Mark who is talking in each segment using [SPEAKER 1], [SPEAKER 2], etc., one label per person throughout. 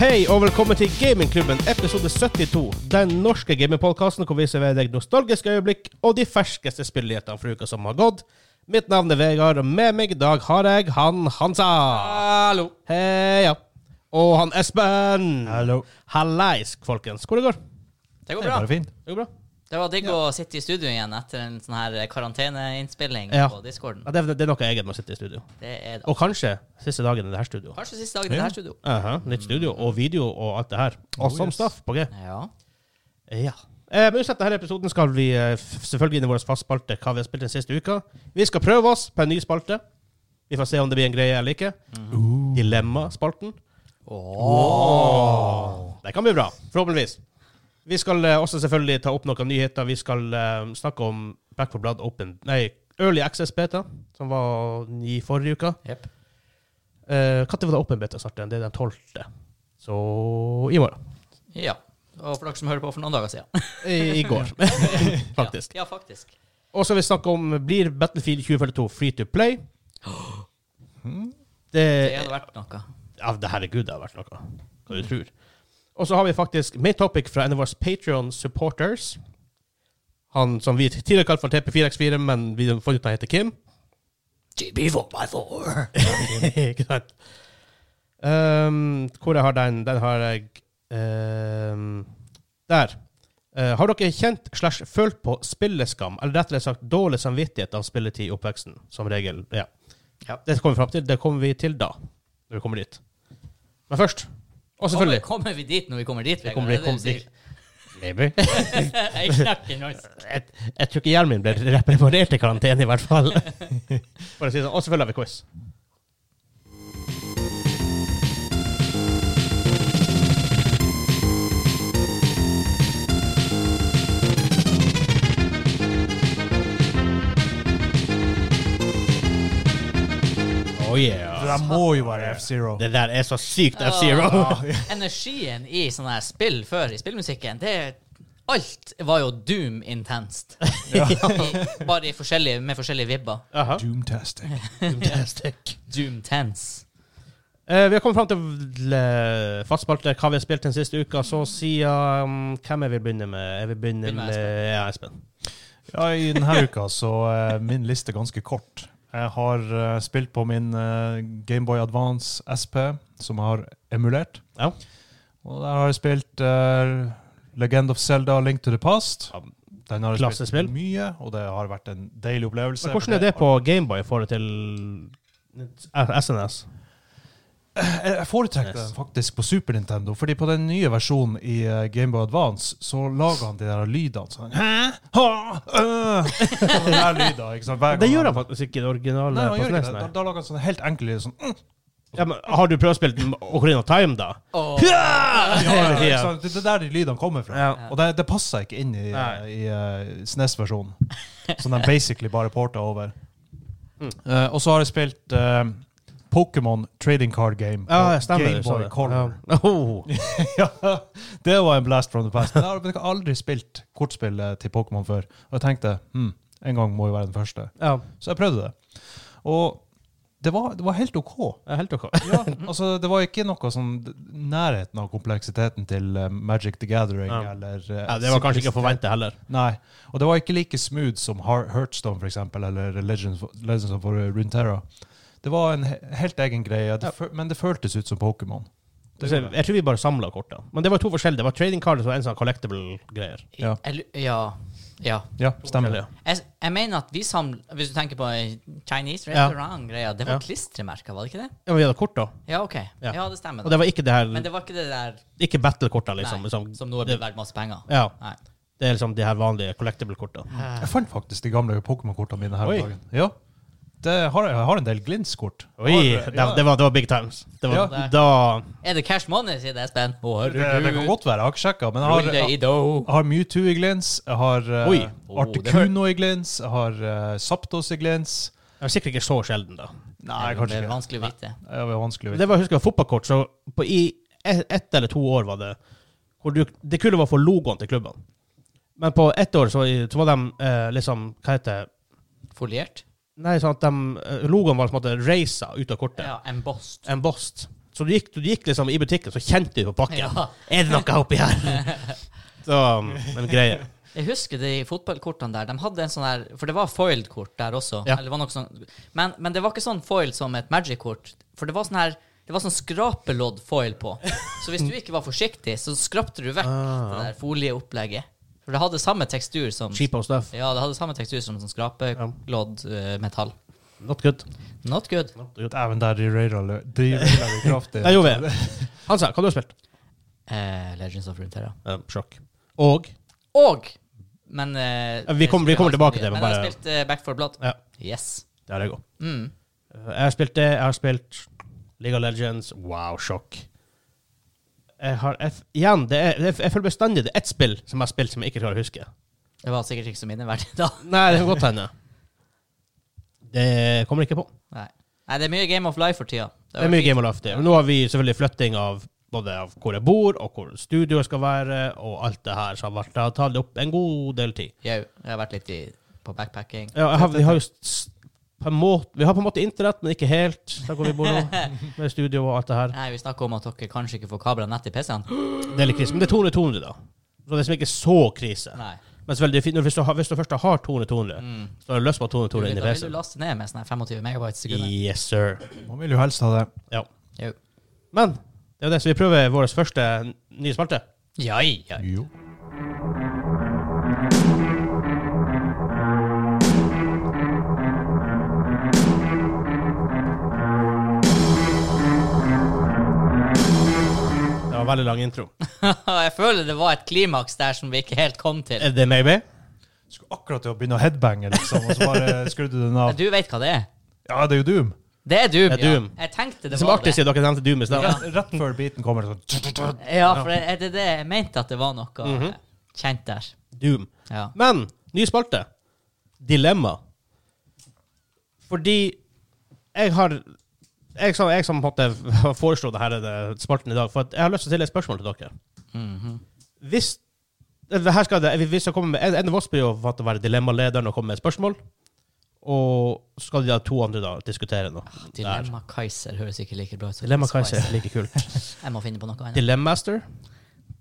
[SPEAKER 1] Hei og velkommen til Gamingklubben episode 72. Den norske gamingpodkasten hvor vi serverer deg nostalgiske øyeblikk og de ferskeste spillnyhetene fra uka som har gått. Mitt navn er Vegard, og med meg i dag har jeg han Hansa.
[SPEAKER 2] Hallo.
[SPEAKER 1] Heia. Og han Espen.
[SPEAKER 3] Hallo.
[SPEAKER 1] Hallais, folkens. Hvor det går
[SPEAKER 2] Det går
[SPEAKER 3] Det er
[SPEAKER 2] bra.
[SPEAKER 3] bare fint.
[SPEAKER 1] det? Går bra?
[SPEAKER 2] Det var digg å sitte i studio igjen etter en sånn her karanteneinnspilling
[SPEAKER 1] Ja.
[SPEAKER 2] på discorden.
[SPEAKER 1] Ja, det, er- det er noe eget med å sitte i studio.
[SPEAKER 2] Det er det.
[SPEAKER 1] Og kanskje siste dagen i det her studioet.
[SPEAKER 2] Kanskje siste dagen i det her studio.
[SPEAKER 1] Aha, nytt studio og video og alt det her. Awesome
[SPEAKER 3] yes.
[SPEAKER 1] stuff på G.
[SPEAKER 2] Ja.
[SPEAKER 1] Ja. Eh, men uansett, denne episoden skal vi eh, f- selvfølgelig inn i vår fastspalte hva vi har spilt den siste uka. Vi skal prøve oss på en ny spalte. Vi får se om det blir en greie eller ikke. Dilemmaspalten. Åh. Det kan bli bra. Forhåpentligvis. Vi skal eh, også selvfølgelig ta opp noen nyheter. Vi skal eh, snakke om Back for Blood Open Nei, Early Access Beta, som var i forrige uke.
[SPEAKER 2] Jepp.
[SPEAKER 1] Når var det Open Beta snart igjen? Det er den 12. Så i morgen.
[SPEAKER 2] Ja. Og for dere som hører på for noen dager siden.
[SPEAKER 1] I, i går, faktisk.
[SPEAKER 2] Ja, faktisk.
[SPEAKER 1] Og så vil vi snakke om Blir Battlefield 2042 free to play? Det,
[SPEAKER 2] Det hadde vært noe.
[SPEAKER 1] ja, det herregud, det har vært noe. Hva du tror. Og så har vi faktisk main topic fra en av våre Patreon supporters. Han som vi tidligere kalte for TP4X4, men vi har funnet ut han heter Kim.
[SPEAKER 2] GB4x4.
[SPEAKER 1] Ikke sant? Ehm, hvor jeg har den? Den har jeg ehm, Der. Eh, har dere kjent slash følt på spilleskam, eller rettere sagt dårlig samvittighet av spilletid i oppveksten? Som regel, ja.
[SPEAKER 2] Ja.
[SPEAKER 1] Det kommer vi fram til. Det kommer vi til da, når vi kommer dit. Men først, og selvfølgelig
[SPEAKER 2] Kommer, kommer vi dit når vi kommer dit?
[SPEAKER 1] kommer
[SPEAKER 2] Vegard?
[SPEAKER 1] dit,
[SPEAKER 2] Det er det
[SPEAKER 1] Maybe.
[SPEAKER 2] du sier. Jeg knakker norsk.
[SPEAKER 1] jeg, jeg tror ikke hjelmen min ble reparert i karantene, i hvert fall. Bare si sånn. Og selvfølgelig har vi quiz. Oh
[SPEAKER 3] For
[SPEAKER 1] yeah.
[SPEAKER 3] det må jo være F-Zero.
[SPEAKER 1] Det der er så sykt F-Zero.
[SPEAKER 2] Ah, Energien i sånne her spill før i spillmusikken, det Alt var jo doom intenst. I- Bare i forskjellige, med forskjellige vibber.
[SPEAKER 1] Aha.
[SPEAKER 3] Doomtastic.
[SPEAKER 1] Fantastic.
[SPEAKER 2] Doom tense.
[SPEAKER 1] Eh, vi har kommet fram til eh, fastspalte hva vi har spilt den siste uka. Så sier um, Hvem jeg vil begynne med? Jeg vil begynne
[SPEAKER 2] Begynn med
[SPEAKER 1] med ja, Espen.
[SPEAKER 3] Ja, I denne uka så er min liste ganske kort. Jeg har eh, spilt på min eh, Gameboy Advance SP, som jeg har emulert.
[SPEAKER 1] Ja.
[SPEAKER 3] Og der har jeg spilt eh, Legend of Zelda Link to the Past.
[SPEAKER 1] Ja,
[SPEAKER 3] Den har jeg
[SPEAKER 1] klassespill.
[SPEAKER 3] spilt mye, og det har vært en deilig opplevelse.
[SPEAKER 1] Men hvordan er det på Gameboy i forhold til eh, SNS?
[SPEAKER 3] Jeg jeg foretrekker den faktisk på Super Nintendo, fordi på den nye versjonen i eh, Game Boy Advance så lager han de der lydene sånn Hæ? Ha? Øh? Og den der lyden, ikke sant? Hver
[SPEAKER 1] Det gjør han
[SPEAKER 3] han
[SPEAKER 1] faktisk ikke i det
[SPEAKER 3] Nei,
[SPEAKER 1] originale.
[SPEAKER 3] han
[SPEAKER 1] på
[SPEAKER 3] gjør ikke det.
[SPEAKER 1] SNES,
[SPEAKER 3] Da,
[SPEAKER 1] nei.
[SPEAKER 3] da lager han sånn helt enkle lyder sånn mm.
[SPEAKER 1] Ja, men, har du prøvd å spille Ocarina of Time, da?
[SPEAKER 2] Åh.
[SPEAKER 3] ja, ja,
[SPEAKER 1] ja.
[SPEAKER 3] ikke sant? Det det er der de lydene kommer fra.
[SPEAKER 1] Ja.
[SPEAKER 3] Og det, det passer ikke inn i,
[SPEAKER 1] Nei.
[SPEAKER 3] i eh, SNES-versjonen. Så den basically bare porta over.
[SPEAKER 1] Mm.
[SPEAKER 3] Eh, og så har jeg spilt eh, Pokémon Trading Card Game.
[SPEAKER 1] Ja,
[SPEAKER 3] på
[SPEAKER 1] ja, stemmer.
[SPEAKER 3] Game
[SPEAKER 1] du sa
[SPEAKER 3] Boy
[SPEAKER 1] det.
[SPEAKER 3] Color.
[SPEAKER 1] Ja. Oh.
[SPEAKER 3] ja, det var en blast from the past. Jeg har jeg har aldri spilt kortspill eh, til Pokémon før. Og jeg tenkte hm, en gang må jo være den første.
[SPEAKER 1] ja.
[SPEAKER 3] Så jeg prøvde det. Og det var, det var helt OK.
[SPEAKER 1] ja, Helt OK.
[SPEAKER 3] altså, det var ikke noe sånn nærheten av kompleksiteten til eh, Magic the Gathering.
[SPEAKER 1] Ja.
[SPEAKER 3] Eller, eh,
[SPEAKER 1] Ja, det var kanskje ikke å forvente heller.
[SPEAKER 3] Nei. Og det var ikke like smooth som Har- Hearthstone for eksempel, eller Legends, Legends of Runeterra. Det var en he helt egen greie, det fø- men det føltes ut som Pokémon. Det
[SPEAKER 1] Så Jeg jeg tror vi bare samla kortene. Men det var to forskjellige. Det var trading cards og en sånn collectable-greier.
[SPEAKER 3] Ja.
[SPEAKER 2] Jeg lu- ja. ja.
[SPEAKER 3] Ja, stemmer.
[SPEAKER 1] Forskjellige.
[SPEAKER 2] Jeg, s- jeg mener at vi samler Hvis du tenker på eh, Chinese
[SPEAKER 1] Ja.
[SPEAKER 2] restaurant-greia, det var
[SPEAKER 1] Ja.
[SPEAKER 2] klistremerker, var det ikke det?
[SPEAKER 1] Ja, men vi hadde kort, da.
[SPEAKER 2] Ja, OK.
[SPEAKER 1] Ja.
[SPEAKER 2] Ja, det
[SPEAKER 1] Og
[SPEAKER 2] stemmer. Da.
[SPEAKER 1] det var ikke det her
[SPEAKER 2] Men det var ikke det der
[SPEAKER 1] Ikke battle-kortene,
[SPEAKER 2] nei,
[SPEAKER 1] liksom. liksom.
[SPEAKER 2] som nå er blitt verdt masse penger.
[SPEAKER 1] Ja.
[SPEAKER 2] Nei.
[SPEAKER 1] Det er liksom de her vanlige collectible-kortene.
[SPEAKER 3] Jeg fant faktisk de gamle Pokémon-kortene mine her om
[SPEAKER 1] Oi.
[SPEAKER 3] dagen. Ja. Det har, jeg har en del Glints-kort.
[SPEAKER 1] Oi!
[SPEAKER 3] Har-
[SPEAKER 1] Det, det, var, det var big times. Det var,
[SPEAKER 3] Ja.
[SPEAKER 1] Da
[SPEAKER 2] Er det cash money, sier det, Espen? Å,
[SPEAKER 3] det, det kan godt være. Jeg har ikke sjekka, men jeg
[SPEAKER 2] Rull
[SPEAKER 3] har,
[SPEAKER 2] det i do.
[SPEAKER 3] jeg har Mewtwo i Glints. Jeg har eh,
[SPEAKER 1] Oi.
[SPEAKER 3] Articuno i Glints. Jeg har eh, Zapdos i Glints.
[SPEAKER 1] Det var sikkert ikke så sjelden, da.
[SPEAKER 3] Nei,
[SPEAKER 2] Det
[SPEAKER 3] kanskje
[SPEAKER 2] er
[SPEAKER 3] ikke.
[SPEAKER 2] vanskelig å vite.
[SPEAKER 3] Ja, Det var vanskelig. å vite.
[SPEAKER 1] Det var, husker jeg, fotballkort, så på, i ett ett eller to år var det hvor du, Det kule var å få logoen til klubben. Men på ett år så, så var de eh, liksom Hva heter det?
[SPEAKER 2] Foliert?
[SPEAKER 1] Nei, sånn at de, eh, logoen var på en måte raisa ut av kortet.
[SPEAKER 2] Ja, embossed.
[SPEAKER 1] Embossed. Så du gikk, du gikk liksom i butikken, så kjente du på pakken.
[SPEAKER 2] Ja.
[SPEAKER 1] Er det noe oppi her? Så, um, en greie.
[SPEAKER 2] Jeg husker de fotballkortene der. De hadde en sånn her For det var foiled-kort der også.
[SPEAKER 1] Ja.
[SPEAKER 2] Eller det var noe sånn, men, men det var ikke sånn foiled som et magic-kort. For det var sånn her Det var sånn skrapelodd-foil på. Så hvis du ikke var forsiktig, så skrapte du vekk
[SPEAKER 1] Ah.
[SPEAKER 2] det der folieopplegget. For det hadde samme tekstur som
[SPEAKER 1] Cheap and stuff.
[SPEAKER 2] Ja, det hadde samme tekstur som sånn skrapelodd-metall.
[SPEAKER 1] Not good.
[SPEAKER 2] Not good.
[SPEAKER 3] Dæven, der derailer lø- derailer vi kraftig.
[SPEAKER 1] Der gjorde vi det. Hansa, hva har du spilt?
[SPEAKER 2] Eh, Legends of Runeterra.
[SPEAKER 1] sjokk. Og
[SPEAKER 2] Og Men eh,
[SPEAKER 1] Vi kommer- vi kommer tilbake til det, men
[SPEAKER 2] Men jeg
[SPEAKER 1] bare-
[SPEAKER 2] har spilt eh, Back for Blood.
[SPEAKER 1] Ja.
[SPEAKER 2] Yes.
[SPEAKER 1] Der er jeg òg.
[SPEAKER 2] Mm.
[SPEAKER 1] Eh, Jeg har spilt det. Jeg har spilt League of Legends. Wow, sjokk. Jeg har F Igjen, det er, jeg føler bestandig det er ett spill som jeg har spilt som jeg ikke klarer å huske.
[SPEAKER 2] Det var sikkert ikke så minneverdig da.
[SPEAKER 1] Nei, det kan godt hende. Det kommer jeg ikke på.
[SPEAKER 2] Nei. Nei, det er mye Game of Life for tida.
[SPEAKER 1] Det er mye Game of Life. det. Men Nå har vi selvfølgelig flytting av både av hvor jeg bor, og hvor studioet skal være, og alt det her. Så har vært- det har tatt opp en god del tid.
[SPEAKER 2] Jau, jeg har vært litt i, på backpacking.
[SPEAKER 1] Ja, jeg har, vi, har jo s- på en måte, vi har på en måte internett, men ikke helt. Der hvor vi bor nå, med studio og alt det her.
[SPEAKER 2] Nei, Vi snakker om at dere kanskje ikke får kabla nett i PC-en.
[SPEAKER 1] Det er litt krise, men det er 200-200, da. Så det er liksom ikke så krise.
[SPEAKER 2] Nei.
[SPEAKER 1] Men selvfølgelig, det er fint når- hvis, du har, hvis du først har 200-200, så har du lyst på
[SPEAKER 2] Du,
[SPEAKER 1] 200-200
[SPEAKER 2] da
[SPEAKER 1] inni
[SPEAKER 2] vil du
[SPEAKER 1] PC-en.
[SPEAKER 2] laste ned med sånn her 25 megabyte i sekundet.
[SPEAKER 1] Yes, sir.
[SPEAKER 3] Man vil jo helst ha det.
[SPEAKER 1] Ja.
[SPEAKER 2] Jau.
[SPEAKER 1] Men det er jo det, så vi prøver vår første nye spalte.
[SPEAKER 2] Jai, jai.
[SPEAKER 3] Jo.
[SPEAKER 1] Det var en veldig lang intro.
[SPEAKER 2] jeg føler det var et klimaks der som vi ikke helt kom til.
[SPEAKER 1] Er det maybe?
[SPEAKER 3] Skulle akkurat til å begynne å headbange, liksom, og så bare skrudde du den
[SPEAKER 2] Men
[SPEAKER 3] av.
[SPEAKER 2] du vet hva det er?
[SPEAKER 3] Ja, det er jo Doom.
[SPEAKER 2] Det er Doom,
[SPEAKER 1] Det er Doom.
[SPEAKER 2] ja. Jeg tenkte
[SPEAKER 1] Det
[SPEAKER 2] det
[SPEAKER 1] som
[SPEAKER 2] var
[SPEAKER 1] artig
[SPEAKER 2] det.
[SPEAKER 1] siden dere nevnte Doom i sted.
[SPEAKER 2] Ja.
[SPEAKER 3] Rett før beaten kommer det sånn
[SPEAKER 2] Ja, for det, er det det jeg mente at det var noe
[SPEAKER 1] Mhm.
[SPEAKER 2] eh, kjent der.
[SPEAKER 1] Doom.
[SPEAKER 2] Ja.
[SPEAKER 1] Men ny spalte. Dilemma. Fordi jeg har Jeg som, jeg som måtte foreslå det her, det spalten i dag, for at jeg har lyst til å stille et spørsmål til dere.
[SPEAKER 2] Mhm.
[SPEAKER 1] Hvis det her skal det, hvis jeg kommer med, En en av oss blir jo valgt å være dilemmalederen og komme med et spørsmål. Og så skal de da to andre da diskutere noe. Der.
[SPEAKER 2] Ah, Dilemma Kaiser høres ikke like bra ut som
[SPEAKER 1] Dilemma
[SPEAKER 2] Spice.
[SPEAKER 1] Kaiser. Like kult.
[SPEAKER 2] Jeg må finne på noe annet.
[SPEAKER 1] Dilemmamaster.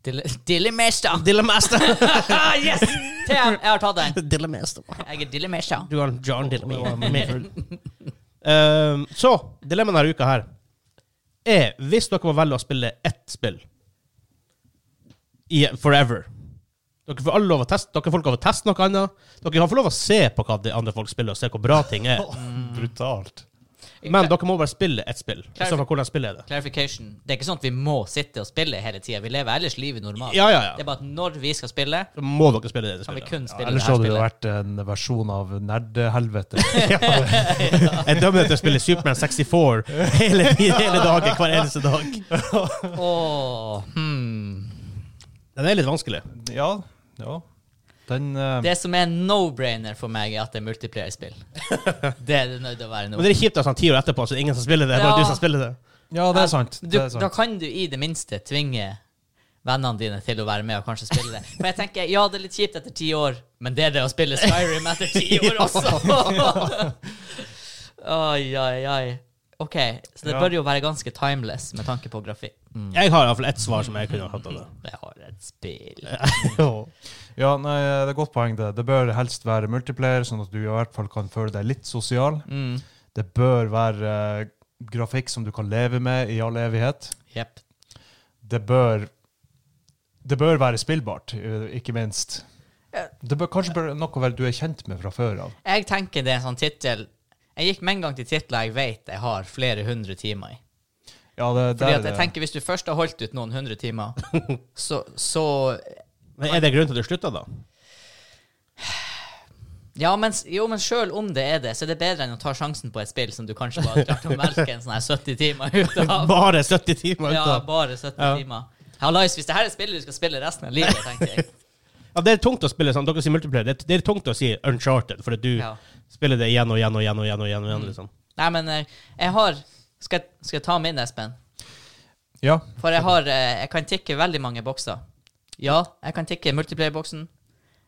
[SPEAKER 2] Dile Dillemesta!
[SPEAKER 1] Dillemmaster.
[SPEAKER 2] yes! TM, jeg har tatt den.
[SPEAKER 1] Dillemmaster.
[SPEAKER 2] Jeg er Dillemesta.
[SPEAKER 1] Du har John Dillamere. um, så dilemmaet denne uka her er hvis dere må velge å spille ett spill i forever Dere får alle lov å teste Dere får ikke lov å teste noe annet. Dere får lov å se på hva de andre folk spiller, og se hvor bra ting er.
[SPEAKER 2] Mm.
[SPEAKER 3] Brutalt.
[SPEAKER 1] Men dere må bare spille ett spill. I så fall hvordan spillet er det.
[SPEAKER 2] Clarification. Det er ikke sånn at vi må sitte og spille hele tida. Vi lever ellers livet normalt.
[SPEAKER 1] Ja, ja,
[SPEAKER 2] Det er
[SPEAKER 1] ja.
[SPEAKER 2] bare at når vi skal spille,
[SPEAKER 1] Så må dere spille det
[SPEAKER 2] kan vi
[SPEAKER 1] spillet.
[SPEAKER 2] kun
[SPEAKER 3] Ja,
[SPEAKER 2] spille det
[SPEAKER 3] ellers
[SPEAKER 2] her
[SPEAKER 3] hadde det jo
[SPEAKER 2] spillet.
[SPEAKER 3] vært en versjon av nerdehelvete.
[SPEAKER 1] Jeg dømmer deg til å spille Superman 64 hele, hele dagen, hver eneste dag.
[SPEAKER 2] Åh, hmm.
[SPEAKER 1] Den er litt vanskelig.
[SPEAKER 3] ja, ja. Den eh,
[SPEAKER 2] Det som er en no-brainer for meg, er at det er multiplayer-spill. Det er det nødt til å være nå.
[SPEAKER 1] Men det er kjipt at sånn ti år etterpå så er det ingen som spiller det. Det er bare
[SPEAKER 2] Ja.
[SPEAKER 1] du som spiller det.
[SPEAKER 3] Ja, det er sant.
[SPEAKER 2] Du,
[SPEAKER 3] Det er
[SPEAKER 2] Da
[SPEAKER 3] sant.
[SPEAKER 2] kan du i det minste tvinge vennene dine til å være med og kanskje spille det. For jeg tenker, ja, det er litt kjipt etter ti år, men det er det å spille Skyrim etter ti år også! Oi, oi, oi. OK, så det
[SPEAKER 3] Ja.
[SPEAKER 2] bør jo være ganske timeless med tanke på grafikk.
[SPEAKER 1] Jeg har iallfall ett svar som jeg kunne hatt av det.
[SPEAKER 2] Jeg har et spill.
[SPEAKER 3] Ja, nei, det er et godt poeng. Det Det bør helst være multiplayer, sånn at du i hvert fall kan føle deg litt sosial.
[SPEAKER 2] Mm.
[SPEAKER 3] Det bør være eh, grafikk som du kan leve med i all evighet.
[SPEAKER 2] Jepp.
[SPEAKER 3] Det bør Det bør være spillbart, eh, ikke minst.
[SPEAKER 2] Ja.
[SPEAKER 3] Det bør kanskje bør noe vel du er kjent med fra før av.
[SPEAKER 2] Jeg tenker det er en sånn tittel Jeg gikk med en gang til titler jeg vet jeg har flere hundre timer i.
[SPEAKER 3] Ja, det, der
[SPEAKER 2] Fordi
[SPEAKER 3] er
[SPEAKER 2] at jeg
[SPEAKER 3] det.
[SPEAKER 2] tenker Hvis du først har holdt ut noen hundre timer, så, så
[SPEAKER 1] Men er det grunnen til at du slutta, da?
[SPEAKER 2] Ja, men, s- jo, men sjøl om det er det, så er det bedre enn å ta sjansen på et spill som du kanskje bare klarte å melke en sånn her 70 timer ut av.
[SPEAKER 1] Bare 70 timer
[SPEAKER 2] Ja,
[SPEAKER 1] ut av?
[SPEAKER 2] bare 70
[SPEAKER 1] Ja.
[SPEAKER 2] timer. Hallais, hvis det her er spillet du skal spille resten av livet, tenkte jeg.
[SPEAKER 1] Ja, det er tungt å spille sånn. Dere sier multiplayer. Det er, det er tungt å si uncharted, fordi du
[SPEAKER 2] Ja.
[SPEAKER 1] spiller det igjen og igjen og igjen. og igjen og igjen, og igjen liksom.
[SPEAKER 2] Nei, men eh, jeg har Skal, jeg- skal jeg ta min, Espen?
[SPEAKER 3] Ja.
[SPEAKER 2] For jeg har eh, Jeg kan tikke veldig mange bokser. Ja, jeg kan tikke multiplayer-boksen.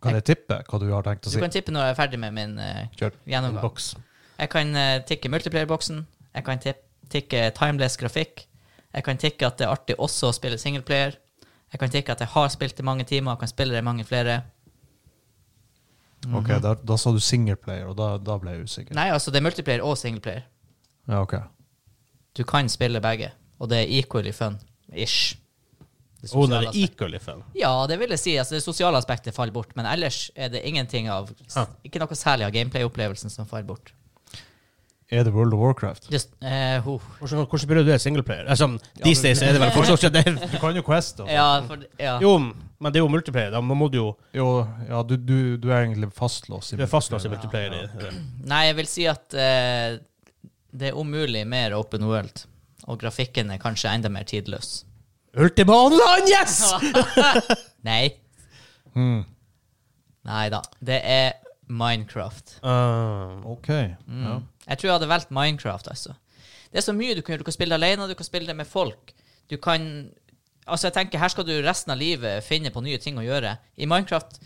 [SPEAKER 3] Kan jeg tippe hva du har tenkt å
[SPEAKER 2] Du
[SPEAKER 1] Altså-
[SPEAKER 3] si?
[SPEAKER 2] kan tippe når jeg er ferdig med min eh,
[SPEAKER 3] Kjør.
[SPEAKER 1] En
[SPEAKER 2] gjennomgang.
[SPEAKER 1] boks.
[SPEAKER 2] Jeg kan eh, tikke multiplayer-boksen. Jeg kan tip- tikke timeless grafikk. Jeg kan tikke at det er artig også å spille singleplayer. Jeg kan tikke at jeg har spilt i mange timer og kan spille det i mange flere.
[SPEAKER 3] Ok, da, da sa du singleplayer, og da, da ble jeg usikker.
[SPEAKER 2] Nei, altså det er multiplayer og singleplayer.
[SPEAKER 3] Ja, ok.
[SPEAKER 2] Du kan spille begge, og det er equally fun. Ish. Det
[SPEAKER 1] Oh, det
[SPEAKER 2] sosiale
[SPEAKER 1] er
[SPEAKER 2] aspektet.
[SPEAKER 1] equally fun.
[SPEAKER 2] Ja, det vil jeg si. Altså, det sosiale aspektet faller bort, men ellers er det ingenting av
[SPEAKER 1] Ah.
[SPEAKER 2] Ikke noe særlig av gameplay-opplevelsen som faller bort.
[SPEAKER 3] Er det World of Warcraft?
[SPEAKER 2] Just, eh, ho.
[SPEAKER 1] Hvordan, hvordan burde du det singleplayer? Altså, these days er det vel fortsatt ikke det.
[SPEAKER 3] Du kan jo Quest, da.
[SPEAKER 2] Ja, for, ja.
[SPEAKER 1] Jo, men det er jo multiplayer. Da må du jo
[SPEAKER 3] Jo, ja, du, du, du er egentlig fastlåst. i
[SPEAKER 1] Du er fastlåst i
[SPEAKER 3] multiplayer.
[SPEAKER 1] multiplayer. i det.
[SPEAKER 2] Nei, jeg vil si at eh, det er om mulig mer open world. Og grafikken er kanskje enda mer tidløs.
[SPEAKER 1] Ultima Online, yes!
[SPEAKER 2] Nei.
[SPEAKER 3] Mm.
[SPEAKER 2] Nei da. Det er Minecraft.
[SPEAKER 1] Ah,
[SPEAKER 3] Ok. Ja. Mhm.
[SPEAKER 2] Jeg tror jeg hadde valgt Minecraft, altså. Det er så mye du kan gjøre. Du kan spille alene, du kan spille det med folk. Du kan Altså, jeg tenker, her skal du resten av livet finne på nye ting å gjøre. I Minecraft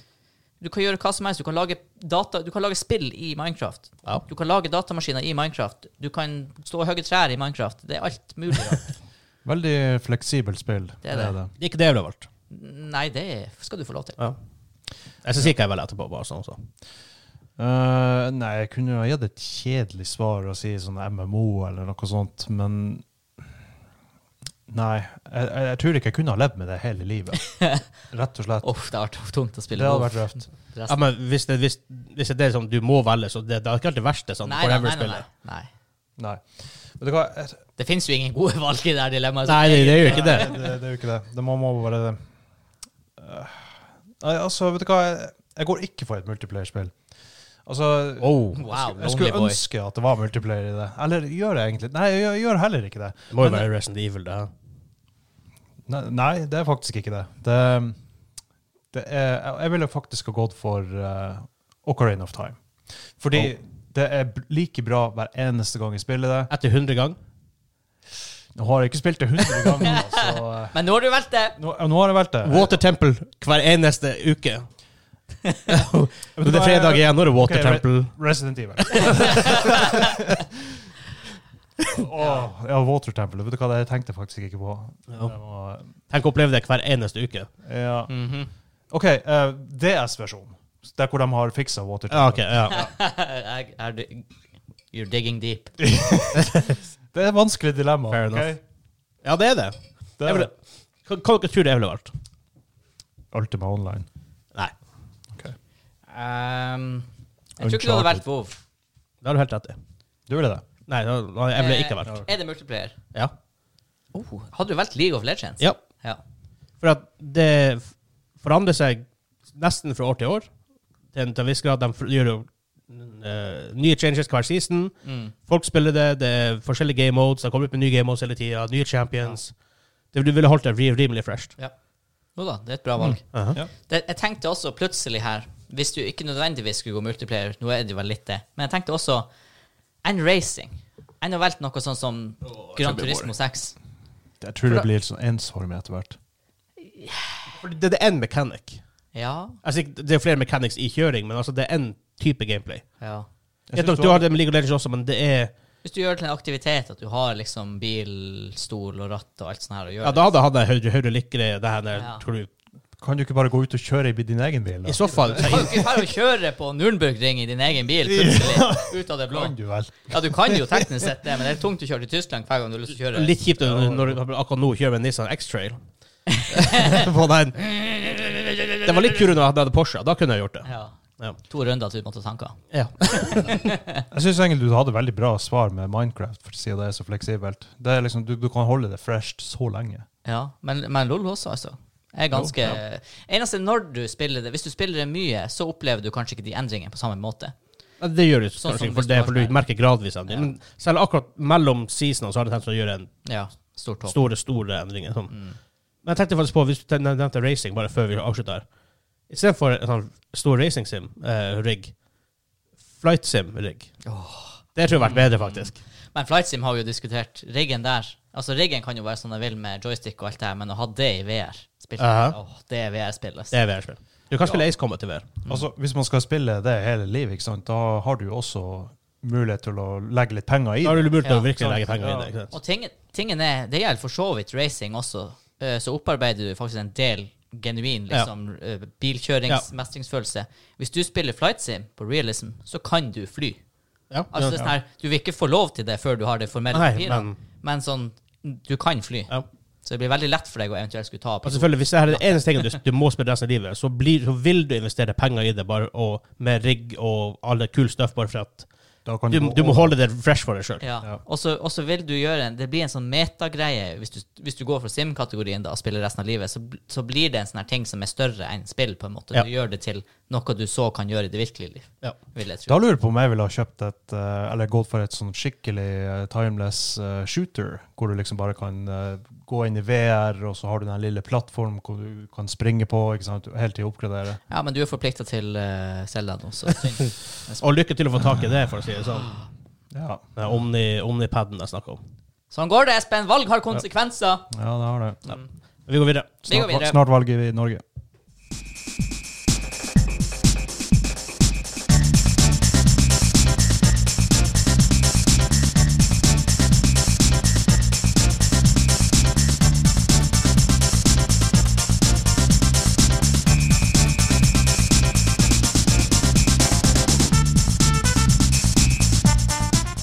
[SPEAKER 2] du kan gjøre hva som helst. Du kan lage, data, du kan lage spill i Minecraft.
[SPEAKER 1] Ja.
[SPEAKER 2] Du kan lage datamaskiner i Minecraft. Du kan stå og hogge trær i Minecraft. Det er alt mulig. rart.
[SPEAKER 3] Veldig fleksibelt spill.
[SPEAKER 2] Det er det.
[SPEAKER 1] det er ikke det jeg ville valgt.
[SPEAKER 2] Nei, det skal du få lov til.
[SPEAKER 1] Ja. Jeg syns ikke jeg velger etterpå, bare sånn. Så.
[SPEAKER 3] Eh, nei, jeg kunne jo ha gitt et kjedelig svar og si sånn MMO eller noe sånt, men Nei. Jeg, jeg, jeg tror ikke jeg kunne ha levd med det hele livet. Rett og slett.
[SPEAKER 2] Uff, det har vært tungt å
[SPEAKER 3] det
[SPEAKER 2] spille
[SPEAKER 3] hadde
[SPEAKER 2] WoW.
[SPEAKER 3] vært røft.
[SPEAKER 1] Ja, men hvis det, hvis, hvis det er det som du må velge, så det, det er ikke alt det verste. Sånn,
[SPEAKER 2] Nei, nei, nei, nei,
[SPEAKER 1] Forever-spillet.
[SPEAKER 2] nei, nei.
[SPEAKER 3] Nei. Vet du hva? Jeg,
[SPEAKER 2] Det fins jo ingen gode valg i det her dilemmaet.
[SPEAKER 1] Nei, det, det gjør ikke det.
[SPEAKER 3] Nei, det, det er jo ikke det. Det må, må bare Øh. Nei, altså, vet du hva? Jeg, jeg går ikke for et multiplayer-spill. Altså
[SPEAKER 1] Oh,
[SPEAKER 2] Wow,
[SPEAKER 3] Jeg skulle,
[SPEAKER 2] lonely
[SPEAKER 3] jeg skulle
[SPEAKER 2] boy.
[SPEAKER 3] ønske at det var multiplayer i det. Eller gjør jeg egentlig Nei, jeg gjør- jeg gjør heller ikke det.
[SPEAKER 1] det må jo
[SPEAKER 3] Men-
[SPEAKER 1] være Resident Evil, det. her.
[SPEAKER 3] Nei, nei, det er faktisk ikke det. Det, det er, jeg- jeg ville faktisk ha gått for eh, Ocarina of Time. Fordi
[SPEAKER 1] Oh.
[SPEAKER 3] det er b- like bra hver eneste gang jeg spiller det.
[SPEAKER 1] Etter 100 gang.
[SPEAKER 3] Nå har jeg ikke spilt det 100 ganger, så eh,
[SPEAKER 2] Men nå har du valgt det!
[SPEAKER 3] nå, nå har jeg valgt det.
[SPEAKER 1] Water Temple hver eneste uke. Når det er fredag igjen, nå er det Water
[SPEAKER 3] Ok, Re-
[SPEAKER 1] Temple.
[SPEAKER 3] Resident Evil. Åh, ja, Water Temple. Vet du hva, det tenkte jeg faktisk ikke på.
[SPEAKER 1] Ja.
[SPEAKER 3] Det var,
[SPEAKER 1] Tenk å oppleve det hver eneste uke.
[SPEAKER 3] ja.
[SPEAKER 2] Mhm.
[SPEAKER 3] OK, eh, DS-versjonen. Der hvor de har fiksa Water
[SPEAKER 1] Ja,
[SPEAKER 3] Temple.
[SPEAKER 1] ok, ja.
[SPEAKER 2] Jeg- er du- You're digging deep.
[SPEAKER 3] Det er et vanskelig dilemma.
[SPEAKER 1] Fair
[SPEAKER 3] ok?
[SPEAKER 1] enough. ja, det er det.
[SPEAKER 3] Det
[SPEAKER 1] Jeg
[SPEAKER 3] er
[SPEAKER 1] ville, hva hva dere tror jeg ville valgt?
[SPEAKER 3] Ultima Online.
[SPEAKER 1] Nei,
[SPEAKER 2] Um, jeg tror ikke du hadde valgt WoW.
[SPEAKER 1] det har du helt rett i.
[SPEAKER 3] Du ville det?
[SPEAKER 1] Nei, da- da- jeg ville ikke
[SPEAKER 2] Eh,
[SPEAKER 1] valgt.
[SPEAKER 2] Er det multiplayer?
[SPEAKER 1] Ja.
[SPEAKER 2] Oh, hadde du valgt League of Legends?
[SPEAKER 1] ja.
[SPEAKER 2] Ja.
[SPEAKER 1] For at det f- forandrer seg nesten fra år til år. Til en til en viss grad. De f- gjør jo eh, nye changes hver season.
[SPEAKER 2] Mm.
[SPEAKER 1] Folk spiller det. Det er forskjellige game modes. Det kommer ut med nye game modes hele tida. Nye champions. Det Du ville holdt det ri- rimelig fresh.
[SPEAKER 2] Jo da, det er et bra valg.
[SPEAKER 1] Mm. Aha.
[SPEAKER 3] Ja.
[SPEAKER 2] Det, jeg tenkte også plutselig her, hvis du ikke nødvendigvis skulle gå multiplayer, nå er det jo vel litt det, men jeg tenkte også enn racing. Enn å velge noe sånn som Gran Turismo 6.
[SPEAKER 3] Jeg tror
[SPEAKER 2] det
[SPEAKER 3] det blir sånn ensformig etter hvert.
[SPEAKER 1] For det, det er én mechanic.
[SPEAKER 2] Ja.
[SPEAKER 1] Altså, ikke- det er flere mechanics i kjøring, men altså, det er én type gameplay.
[SPEAKER 2] ja.
[SPEAKER 1] Jeg tror, du har det med League of Legends også, men det er
[SPEAKER 2] Hvis du gjør det til en aktivitet, at du har liksom bil, stol og ratt og alt sånt her, og gjør
[SPEAKER 1] Ja, da hadde jeg hatt en høyre- høyrelikere, det her,
[SPEAKER 2] Ja.
[SPEAKER 1] tror du.
[SPEAKER 3] Kan du ikke bare gå ut og kjøre i din egen bil?
[SPEAKER 1] I så fall
[SPEAKER 2] Du kan jo ikke bare kjøre på Nürnbergring i din egen bil plutselig, ut av det blå.
[SPEAKER 3] Kan du vel?
[SPEAKER 2] Ja, du kan jo teknisk sett det, men det er tungt å kjøre til Tyskland hver gang du har lyst til å kjøre.
[SPEAKER 1] Litt kjipt når når du akkurat nå kjører med en Nissan X-Trail. På den. det var litt kulere når jeg hadde Porsche. Da kunne jeg gjort det.
[SPEAKER 2] Ja.
[SPEAKER 1] Ja.
[SPEAKER 2] To runder til du måtte tanke.
[SPEAKER 1] Ja.
[SPEAKER 3] Jeg syns egentlig du hadde veldig bra svar med Minecraft, for siden det er så fleksibelt. Det er liksom, du, du kan holde det fresht så lenge.
[SPEAKER 2] Ja, men, men LOL også, altså. Er ganske Eneste når du spiller det, hvis du spiller det mye, så opplever du kanskje ikke de endringene på samme måte.
[SPEAKER 1] Men Det gjør du
[SPEAKER 2] Sånn
[SPEAKER 1] kanskje,
[SPEAKER 2] som
[SPEAKER 1] ikke, for, det,
[SPEAKER 2] hvis du
[SPEAKER 1] for
[SPEAKER 2] har-
[SPEAKER 1] du merker gradvis endring. Men selv akkurat mellom seasonene så har jeg tenkt å gjøre en
[SPEAKER 2] Ja, stort håp.
[SPEAKER 1] store, store endringer. Sånn.
[SPEAKER 2] Mm.
[SPEAKER 1] Men jeg tenkte faktisk på, hvis du ten- nevnte racing bare før vi avslutter her Istedenfor en sånn stor racing sim-rigg, flight sim-rigg. Det tror jeg har vært bedre, faktisk.
[SPEAKER 2] Men Flight Sim har vi jo diskutert. Riggen der Altså, riggen kan jo være sånn den vil med joystick og alt det her, men å ha det i VR spilt,
[SPEAKER 1] Aha.
[SPEAKER 2] Åh, Det er VR-spill, altså.
[SPEAKER 1] Det er VR-spill.
[SPEAKER 3] Mm.
[SPEAKER 1] Du kan spille Ace Combat i VR.
[SPEAKER 3] Altså, Hvis man skal spille det hele livet, ikke sant, da har du jo også mulighet til å legge litt penger i.
[SPEAKER 1] Da har du mulighet til å
[SPEAKER 2] Ja,
[SPEAKER 1] virkelig
[SPEAKER 3] sant.
[SPEAKER 1] legge penger inn.
[SPEAKER 3] Ja.
[SPEAKER 1] Ikke sant?
[SPEAKER 2] Og tingen, tingen er, det gjelder for så vidt racing også, eh, så opparbeider du faktisk en del genuin liksom, eh,
[SPEAKER 1] Ja.
[SPEAKER 2] bilkjøringsmestringsfølelse. Hvis du spiller flight sim på realism, så kan du fly.
[SPEAKER 1] Ja.
[SPEAKER 2] Altså, det er sånn her, du vil ikke få lov til det før du har det formelle
[SPEAKER 1] Nei,
[SPEAKER 2] papiret, men,
[SPEAKER 1] men-
[SPEAKER 2] sånn, du kan fly.
[SPEAKER 1] Ja. Altså,
[SPEAKER 2] Så det blir veldig lett for deg å eventuelt skulle ta
[SPEAKER 1] Og
[SPEAKER 2] på
[SPEAKER 1] selvfølgelig, hvis det her er det eneste tingen du, du må spille resten av livet, så, blir, så vil du investere penger i det bare og, med rigg og alle kul stuff, bare for at
[SPEAKER 3] Da kan
[SPEAKER 1] du,
[SPEAKER 3] gå
[SPEAKER 1] du må
[SPEAKER 3] over.
[SPEAKER 1] holde det fresh for deg sjøl.
[SPEAKER 2] Ja.
[SPEAKER 3] Ja.
[SPEAKER 2] Og så og så vil du gjøre en, Det blir en sånn metagreie. Hvis du, hvis du går for SIM-kategorien da og spiller resten av livet, så, bl- så blir det en sånn her ting som er større enn spill. på en måte
[SPEAKER 1] Ja.
[SPEAKER 2] Du gjør det til noe du så kan gjøre i det virkelige liv.
[SPEAKER 1] Ja.
[SPEAKER 2] Vil jeg tro.
[SPEAKER 3] Da lurer jeg på om jeg ville ha kjøpt et eh, Eller gått for et sånn skikkelig eh, timeless eh, shooter, hvor du liksom bare kan eh, gå inn i VR, og så har du den lille plattformen hvor du kan springe på, ikke sant, helt til å oppgradere.
[SPEAKER 2] Ja, men du er forplikta til uh, Selda nå, så synd.
[SPEAKER 1] Og lykke til å få tak i det, for å si det sånn.
[SPEAKER 3] Ja,
[SPEAKER 1] Den Omni, Omnipaden jeg snakker om.
[SPEAKER 2] Sånn går det, Espen. Valg har konsekvenser.
[SPEAKER 3] ja det har det.
[SPEAKER 2] Mm.
[SPEAKER 1] Vi går videre.
[SPEAKER 2] Vi går
[SPEAKER 3] Snart,
[SPEAKER 2] videre.
[SPEAKER 3] snart valger vi Norge.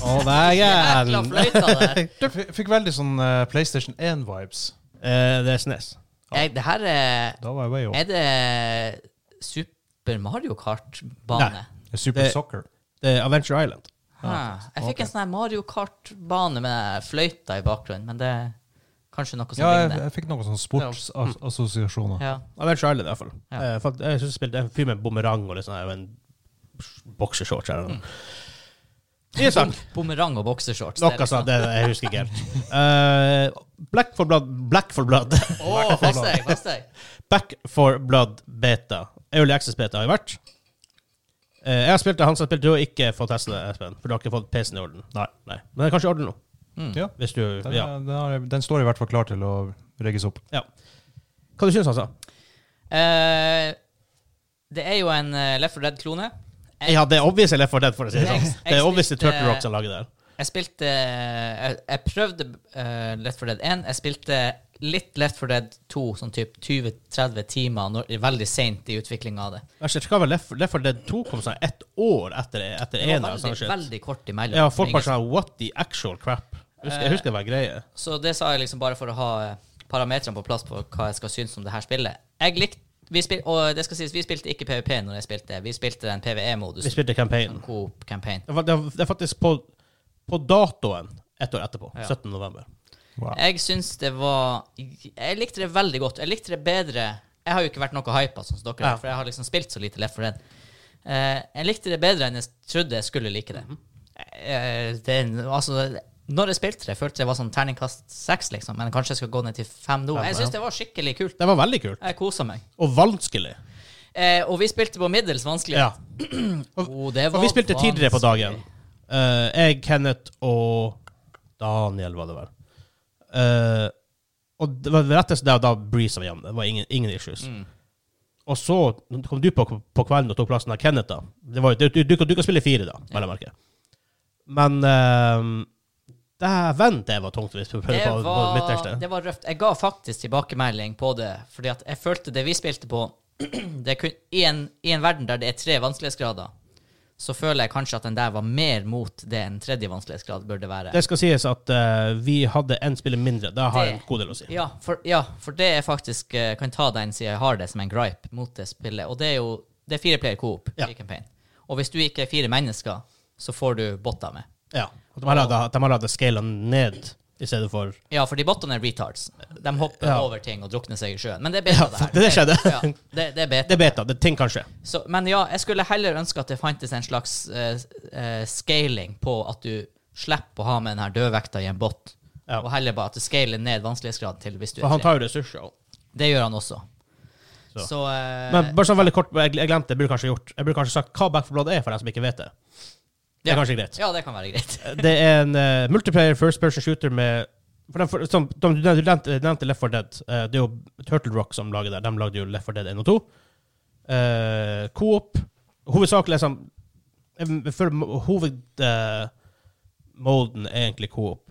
[SPEAKER 1] Og der er
[SPEAKER 2] Jækla
[SPEAKER 1] den.
[SPEAKER 2] fløyta der.
[SPEAKER 3] Jeg fikk- fikk veldig sånn eh, PlayStation 1-vibes.
[SPEAKER 1] Eh, Det er SNES.
[SPEAKER 2] Jeg, det her er
[SPEAKER 3] Da var jeg way off.
[SPEAKER 2] Er det Super Mario Kart-bane?
[SPEAKER 3] Super
[SPEAKER 1] det-
[SPEAKER 3] Soccer.
[SPEAKER 1] Det er Adventure Island.
[SPEAKER 2] Hæ. Jeg fikk
[SPEAKER 3] ok.
[SPEAKER 2] en sånn her Mario Kart-bane med fløyta i bakgrunnen, men det er kanskje noe som
[SPEAKER 3] Ja, jeg,
[SPEAKER 2] ligner.
[SPEAKER 3] jeg fikk sånn noen sånne sportsassosiasjoner.
[SPEAKER 2] Ja.
[SPEAKER 1] Adventure Island, i hvert fall.
[SPEAKER 2] Ja.
[SPEAKER 1] Eh, fakt- Jeg synes jeg spilte en fyr med bumerang og litt sånn her, og en boksershorts her. og-
[SPEAKER 2] Mm.
[SPEAKER 1] Isak.
[SPEAKER 2] Bumerang og boksershorts. det er liksom.
[SPEAKER 1] Noe sånt. altså, Det, jeg husker ikke helt. Eh, Black for Blood Black for Blood.
[SPEAKER 2] liksom- Åh, fast deg, fast deg.
[SPEAKER 1] Back for Blood Beta. Early Access Beta har jo vært. Eh, jeg har spilt det, han som har spilt det, og ikke fått teste det, Espen. For du har ikke fått PC-en i orden. Nei. Men det er kanskje i orden nå.
[SPEAKER 3] Ja,
[SPEAKER 1] Hvis du
[SPEAKER 3] den,
[SPEAKER 1] Ja.
[SPEAKER 3] er- den, Mm. har- den står i hvert fall klar til å rigges opp.
[SPEAKER 1] ja. Hva du syns du, altså?
[SPEAKER 2] Eh, det er jo en eh, Left 4 Dead-klone. Jeg-
[SPEAKER 1] Ja, det er obvious jeg er for redd for å si det
[SPEAKER 2] Jeg-
[SPEAKER 1] sånn.
[SPEAKER 2] jeg
[SPEAKER 1] Det er obvious det er
[SPEAKER 2] spilte-
[SPEAKER 1] Turtle Rock som lager det her.
[SPEAKER 2] Jeg spilte Jeg, jeg prøvde eh, Left 4 Dead 1. Jeg spilte litt Left 4 Dead 2, sånn typ 20-30 timer, når, veldig seint i utviklinga av det.
[SPEAKER 1] Verst, det skal være Left Left 4 Dead 2 kom sånn ett år etter, etter
[SPEAKER 2] Det var
[SPEAKER 1] eneren.
[SPEAKER 2] veldig,
[SPEAKER 1] Sånn shit.
[SPEAKER 2] veldig kort imellom.
[SPEAKER 1] ja, folk var sånn What the actual crap? Husker,
[SPEAKER 2] Eh,
[SPEAKER 1] jeg husker det var en greie.
[SPEAKER 2] Så det sa jeg liksom bare for å ha eh, parametrene på plass på hva jeg skal synes om det her spillet. Jeg likte vi spil, og det skal sies, vi spilte ikke PVP når jeg spilte. Vi spilte den
[SPEAKER 1] Vi
[SPEAKER 2] PVE-modusen.
[SPEAKER 1] spilte campaignen.
[SPEAKER 2] Coop campaign.
[SPEAKER 1] Det var- Det var- det er faktisk på, på datoen ett år etterpå.
[SPEAKER 2] Ja.
[SPEAKER 1] 17. november.
[SPEAKER 3] Wow.
[SPEAKER 2] Jeg syns det var Jeg likte det veldig godt. Jeg likte det bedre Jeg har jo ikke vært noe hypa som dere,
[SPEAKER 1] Ja.
[SPEAKER 2] er, for jeg har liksom spilt så lite Left 4 Dead. Eh, jeg likte det bedre enn jeg trodde jeg skulle like det.
[SPEAKER 1] Mhm.
[SPEAKER 2] Eh, det er en- altså, når jeg spilte det, følte jeg var sånn terningkast seks, liksom, men kanskje jeg skal gå ned til fem nå. Jeg syns det var skikkelig kult.
[SPEAKER 1] Det var veldig kult.
[SPEAKER 2] Jeg kosa meg.
[SPEAKER 1] Og vanskelig.
[SPEAKER 2] Eh, og vi spilte på middels vanskelig.
[SPEAKER 1] Ja.
[SPEAKER 2] Oh, det
[SPEAKER 1] For
[SPEAKER 2] var
[SPEAKER 1] vi spilte tidligere på
[SPEAKER 2] vanskelig.
[SPEAKER 1] dagen. Eh, jeg, Kenneth og Daniel, var det vel. Eh, og det var rettest der og da breeza vi hjem. Det var ingen, ingen issues.
[SPEAKER 2] Mm.
[SPEAKER 1] Og så kom du på, på kvelden og tok plassen av Kenneth, da. Det var, jo- du, du, du, kan- du kan spille fire, da, vel å merke. Men eh, Dæven, det var tungt. Hvis du prøver
[SPEAKER 2] Det
[SPEAKER 1] på, på mitt
[SPEAKER 2] var,
[SPEAKER 1] ekte.
[SPEAKER 2] det var røft. Jeg ga faktisk tilbakemelding på det, fordi at jeg følte det vi spilte på det er kun, i, en, I en verden der det er tre vanskelighetsgrader, så føler jeg kanskje at den der var mer mot det en tredje vanskelighetsgrad burde være.
[SPEAKER 1] Det skal sies at eh, vi hadde én spiller mindre. Det har
[SPEAKER 2] Det-
[SPEAKER 1] en god del å si.
[SPEAKER 2] Ja, for, ja, for det er faktisk eh, Kan ta den siden jeg har det som en gripe mot det spillet. Og det er jo Det er fire player coop
[SPEAKER 1] Ja.
[SPEAKER 2] i campaign. Og hvis du ikke er fire mennesker, så får du botter med.
[SPEAKER 1] Ja. Og de har laget- de har laga scala ned i stedet for
[SPEAKER 2] Ja, for de bottene er retards. De hopper
[SPEAKER 1] Ja.
[SPEAKER 2] over ting og drukner seg i sjøen. Men det er beta,
[SPEAKER 1] Ja,
[SPEAKER 2] det her.
[SPEAKER 1] det skjedde.
[SPEAKER 2] Ja, det, det er beta.
[SPEAKER 1] Det er beta. det er Ting kan skje.
[SPEAKER 2] Så, men ja, jeg skulle heller ønske at det fantes en slags eh, eh, scaling på at du slipper å ha med den her dødvekta i en bot,
[SPEAKER 1] Ja.
[SPEAKER 2] og heller bare at du scaler ned vanskelighetsgrad til hvis du
[SPEAKER 1] For
[SPEAKER 2] er
[SPEAKER 1] han
[SPEAKER 2] tre.
[SPEAKER 1] tar jo ressurser. også.
[SPEAKER 2] Det gjør han også.
[SPEAKER 1] Så.
[SPEAKER 2] Så, eh,
[SPEAKER 1] Men bare sånn veldig kort, jeg jeg glemte jeg burde kanskje gjort Jeg burde kanskje sagt hva Back for Blood er, for dem som ikke vet det. Det er
[SPEAKER 2] Ja.
[SPEAKER 1] kanskje greit.
[SPEAKER 2] Ja, det kan være greit.
[SPEAKER 1] Det er en eh, multiplayer first person shooter med for den, for, som, de, du nevnte- du nevnte Left 4 Dead. eh, det er jo Turtle Rock som lager det. De lagde jo Left 4 Dead 1 og 2. Eh, Coop. Hovedsakelig liksom jeg føler hovedmoden er egentlig coop.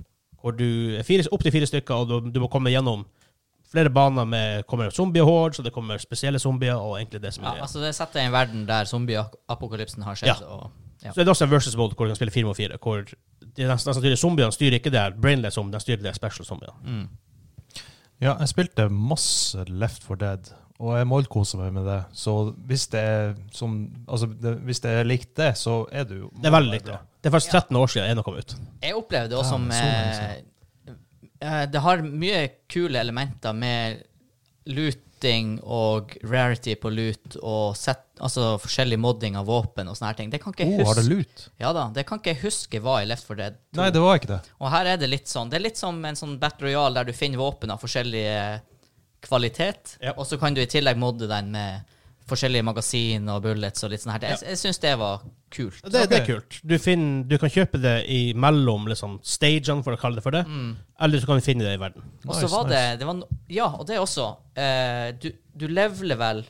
[SPEAKER 1] Hvor du er fire, opp til fire stykker, og du, du må komme gjennom flere baner med kommer zombiehorde, så det kommer spesielle zombier, og egentlig det som
[SPEAKER 2] Ja,
[SPEAKER 1] er
[SPEAKER 2] altså Det setter jeg i en verden der zombieapokalypsen har skjedd.
[SPEAKER 1] Ja.
[SPEAKER 2] Og, ja.
[SPEAKER 1] Så er det også en versus mode hvor du kan spille fire mot fire. Hvor de nesten, nesten tydelige zombiene styrer ikke det her brainless zombiene, de styrer det her special zombiene.
[SPEAKER 2] Mm.
[SPEAKER 3] Ja, jeg spilte masse Left for Dead, og jeg målkoser meg med det. Så hvis det er, som, altså, det, hvis det er likt det, så er det jo
[SPEAKER 1] Det er veldig likt. det. Det er faktisk
[SPEAKER 2] Ja.
[SPEAKER 1] 13 år siden ena kom ut.
[SPEAKER 2] Jeg opplever det
[SPEAKER 3] Ja,
[SPEAKER 2] også som
[SPEAKER 3] så
[SPEAKER 2] eh,
[SPEAKER 3] lenge
[SPEAKER 2] eh, Det har mye kule elementer med looting og rarity på loot og set, altså forskjellig modding av våpen og sånne her ting. Det kan ikke
[SPEAKER 3] Oh,
[SPEAKER 2] jeg
[SPEAKER 3] har det
[SPEAKER 2] huske.
[SPEAKER 3] lut?
[SPEAKER 2] Ja da, det kan ikke jeg huske hva i Left 4 Dead 2.
[SPEAKER 3] Nei, det var ikke det.
[SPEAKER 2] Og her er det litt sånn Det er litt som en sånn Battle Royale der du finner våpen av forskjellig eh, kvalitet,
[SPEAKER 1] Ja.
[SPEAKER 2] og så kan du i tillegg modde den med forskjellige magasin og bullets og litt sånn her. Jeg, jeg syns det var kult.
[SPEAKER 1] Det, det er
[SPEAKER 3] Ok.
[SPEAKER 1] kult. Du, finner, du kan kjøpe det i mellom liksom, stagene, for å kalle det for det. Eller så kan du finne det i verden.
[SPEAKER 2] Og så
[SPEAKER 3] Nice,
[SPEAKER 2] var
[SPEAKER 3] nice.
[SPEAKER 2] det, det var, no- Ja, og det også. eh, du, du leveler vel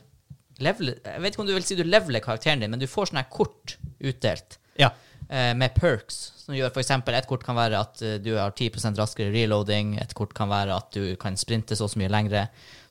[SPEAKER 2] leveler, Jeg vet ikke om du vil si du leveler karakteren din, men du får sånne her kort utdelt.
[SPEAKER 1] Ja.
[SPEAKER 2] eh, med perks, som gjør for eksempel et kort kan være at eh, du har 10 raskere reloading, et kort kan være at du kan sprinte så og så mye lengre.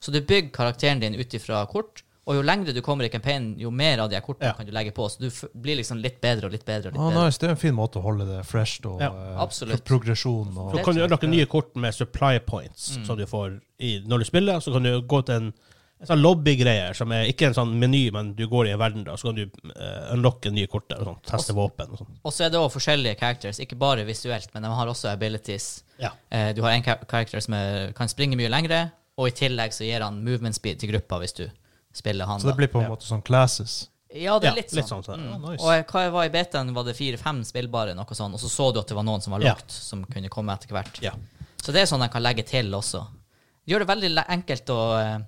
[SPEAKER 2] Så du bygger karakteren din ut ifra kort, og jo lengre du kommer i campaignen, jo mer av de her kortene
[SPEAKER 1] Ja.
[SPEAKER 2] kan du legge på, så du f blir liksom litt bedre og litt bedre og litt
[SPEAKER 3] Ah,
[SPEAKER 2] bedre.
[SPEAKER 3] nice. Det er en fin måte å holde det fresh og
[SPEAKER 1] Ja,
[SPEAKER 3] eh,
[SPEAKER 2] absolutt.
[SPEAKER 3] pro progresjon. Og,
[SPEAKER 1] Så kan du gjøre noen nye kort med supply points som du får i, når du spiller. Så kan du gå til en, en sånn lobbygreie, som er ikke en sånn meny, men du går i en verden, da, så kan du eh, unlocke nye kort der og sånn. Teste våpen og sånn.
[SPEAKER 2] Og så er det også forskjellige characters, ikke bare visuelt, men de har også abilities.
[SPEAKER 1] Ja.
[SPEAKER 2] Eh, du har en ka- character som er, kan springe mye lengre, og i tillegg så gir han movement speed til gruppa hvis du spiller han.
[SPEAKER 3] så det
[SPEAKER 2] da.
[SPEAKER 3] blir på en måte sånn classes.
[SPEAKER 2] Ja, det
[SPEAKER 1] Ja,
[SPEAKER 2] er litt sånn.
[SPEAKER 1] litt sånn, så-
[SPEAKER 2] Mm.
[SPEAKER 3] Ja, nice.
[SPEAKER 2] Og hva var i betaen, var det fire-fem spillbare, noe sånt, og så så du at det var noen som var
[SPEAKER 1] Ja.
[SPEAKER 2] lagt, som kunne komme etter hvert.
[SPEAKER 1] Ja.
[SPEAKER 2] Så det er sånn jeg kan legge til også. Gjør det veldig le- enkelt å eh,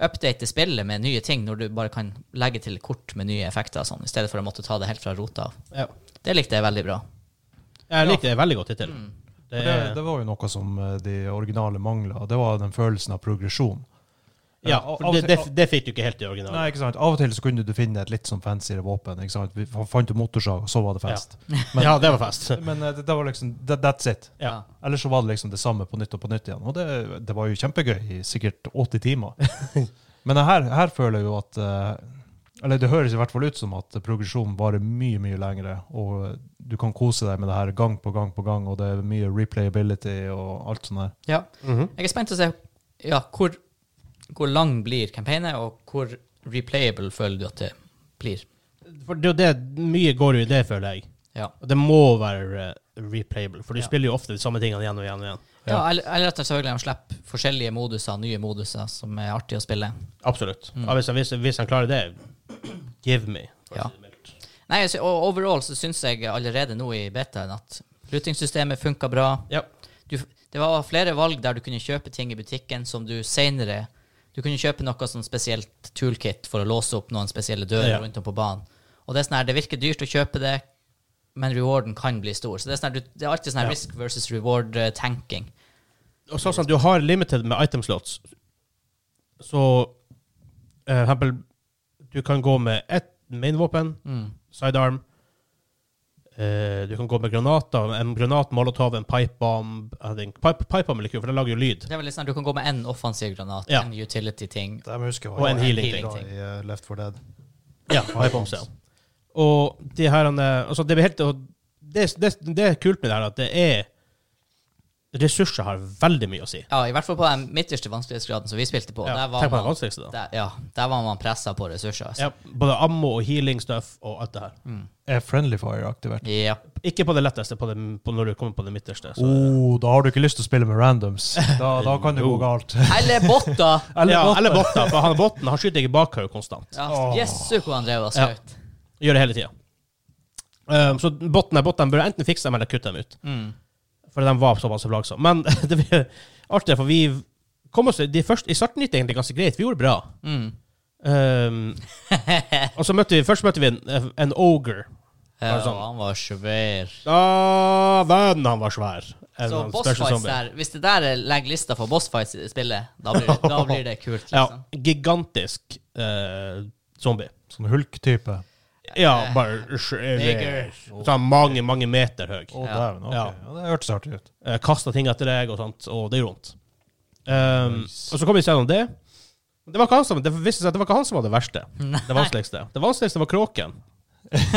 [SPEAKER 2] update spillet med nye ting, når du bare kan legge til kort med nye effekter og sånn, i stedet for å måtte ta det helt fra rota av.
[SPEAKER 1] ja.
[SPEAKER 2] Det likte jeg veldig bra.
[SPEAKER 1] Jeg liker det veldig godt hittil.
[SPEAKER 3] For
[SPEAKER 1] Mm. Det,
[SPEAKER 3] Det, det var jo noe som eh, de originale mangla. Det var den følelsen av progresjon.
[SPEAKER 1] ja,
[SPEAKER 3] av-
[SPEAKER 1] for
[SPEAKER 3] av-
[SPEAKER 1] det, det, det fikk du ikke helt i originalen.
[SPEAKER 3] Nei, ikke sant? Av og til så kunne du finne et litt sånn fancyere våpen. Ikke sant? Vi fa- fant jo motorsag, og så var det fest. Men,
[SPEAKER 1] ja, det var fest.
[SPEAKER 3] men eh, det, det var liksom that, That's it.
[SPEAKER 1] Ja.
[SPEAKER 3] Ellers så var det liksom det samme på nytt og på nytt igjen. Og det, det var jo kjempegøy i sikkert 80 timer. Men her, her føler jeg jo at eh, Eller det høres i hvert fall ut som at progresjonen varer mye, mye lengre. Og du kan kose deg med det her gang på gang på gang, og det er mye replayability og alt sånt der.
[SPEAKER 2] Ja.
[SPEAKER 1] Mhm.
[SPEAKER 2] Jeg er spent å se ja, hvor, hvor lang blir campaignet, og hvor replayable føler du at det blir.
[SPEAKER 1] For det, er jo det, mye går jo i det, føler jeg.
[SPEAKER 2] Ja.
[SPEAKER 1] Og det må være eh, replayable, for du
[SPEAKER 2] Ja.
[SPEAKER 1] spiller jo ofte de samme tingene igjen og igjen. og igjen.
[SPEAKER 2] Ja, eller, eller at de selvfølgelig slipper forskjellige moduser, nye moduser, som er artig å spille.
[SPEAKER 1] Absolutt. Mm. Ja, hvis, hvis, hvis han klarer det, give me. for å
[SPEAKER 2] Ja.
[SPEAKER 1] si det mildt.
[SPEAKER 2] Nei, så, og overall så syns jeg allerede nå i betaen at lootingsystemet funka bra.
[SPEAKER 1] Ja.
[SPEAKER 2] Du, det var flere valg der du kunne kjøpe ting i butikken som du seinere Du kunne kjøpe noe sånn spesielt toolkit for å låse opp noen spesielle dører
[SPEAKER 1] Ja.
[SPEAKER 2] rundt om på banen. Og det er sånn her, det virker dyrt å kjøpe det, men rewarden kan bli stor. Så det er, sånn her, du, det er alltid sånn her
[SPEAKER 1] Ja.
[SPEAKER 2] risk versus eh, reward-tenking.
[SPEAKER 1] Og sånn som du har limited med item slots, så eh, for eksempel Du kan gå med ett mainvåpen, sidearm. eh, du kan gå med granater. En granat, molotov, en pipebomb. jeg tenker- Pipe, pipebomb er litt kul, for den lager jo lyd.
[SPEAKER 2] Det er vel litt sånn her, Du kan gå med én offensiv granat,
[SPEAKER 1] Ja.
[SPEAKER 2] en utility-ting,
[SPEAKER 3] Det jeg husker
[SPEAKER 1] Og en healing
[SPEAKER 2] ting.
[SPEAKER 3] bra i eh, Left 4 Dead.
[SPEAKER 1] Ja, iPhones, ja. Og de her, eh, altså det, er helt, og det, det, det er kult med det her, at det er Ressurser har veldig mye å si.
[SPEAKER 2] Ja, i hvert fall på den midterste vanskelighetsgraden som vi spilte på.
[SPEAKER 1] Ja,
[SPEAKER 2] der, var
[SPEAKER 1] tenk på det
[SPEAKER 2] man,
[SPEAKER 1] vanskeligste, da.
[SPEAKER 2] der, ja, der var man pressa på ressurser. Altså.
[SPEAKER 1] Ja, Mm. både ammo og healing stuff og alt det her.
[SPEAKER 3] Er friendly fire aktivert?
[SPEAKER 2] Ja.
[SPEAKER 1] Ikke på det letteste på det, på når du kommer på det midterste. Så.
[SPEAKER 3] Oh, da har du ikke lyst til å spille med randoms. Da, da kan det gå galt.
[SPEAKER 2] Eller botter!
[SPEAKER 1] Eller, ja,
[SPEAKER 3] botten.
[SPEAKER 1] eller botten, for han botten han skyter ikke i bakhauget konstant.
[SPEAKER 2] Ja, Jesu, hvor han drev og
[SPEAKER 1] Ja.
[SPEAKER 2] skjøt.
[SPEAKER 1] Gjør det hele tida. Um, så botten er botten, bør enten fikse dem eller kutte dem ut.
[SPEAKER 2] Mm.
[SPEAKER 1] For de var såpass plagsomme. Men det blir artig, for vi kom oss de første, I starten gikk det egentlig ganske greit. Vi gjorde bra.
[SPEAKER 2] Mm.
[SPEAKER 1] Um, og så møtte vi, først møtte vi en, en ogre.
[SPEAKER 2] Ja,
[SPEAKER 1] Var det sånn?
[SPEAKER 2] han var svær.
[SPEAKER 1] Da venn, han var svær. En
[SPEAKER 2] Så
[SPEAKER 1] sånn special
[SPEAKER 2] bossfights
[SPEAKER 1] zombie.
[SPEAKER 2] der Hvis det der er- legger lista for bossfights i spillet, da blir, da blir det kult,
[SPEAKER 1] Ja,
[SPEAKER 2] liksom.
[SPEAKER 1] gigantisk eh, zombie.
[SPEAKER 3] Sånn hulk-type.
[SPEAKER 1] Ja, bare
[SPEAKER 2] Bigger.
[SPEAKER 1] Sånn mange, mange meter høy.
[SPEAKER 3] Å,
[SPEAKER 2] Ja.
[SPEAKER 3] dæven. ok.
[SPEAKER 1] Ja.
[SPEAKER 3] Ja, det hørtes artig ut.
[SPEAKER 1] Eh, Kasta ting etter deg og sånt, og det gjorde vondt. Um,
[SPEAKER 3] Nice.
[SPEAKER 1] og så kom vi oss gjennom det. Det var ikke han som, det viste seg at det var ikke han som var det verste. Det vanskeligste. Det vanskeligste var kråken.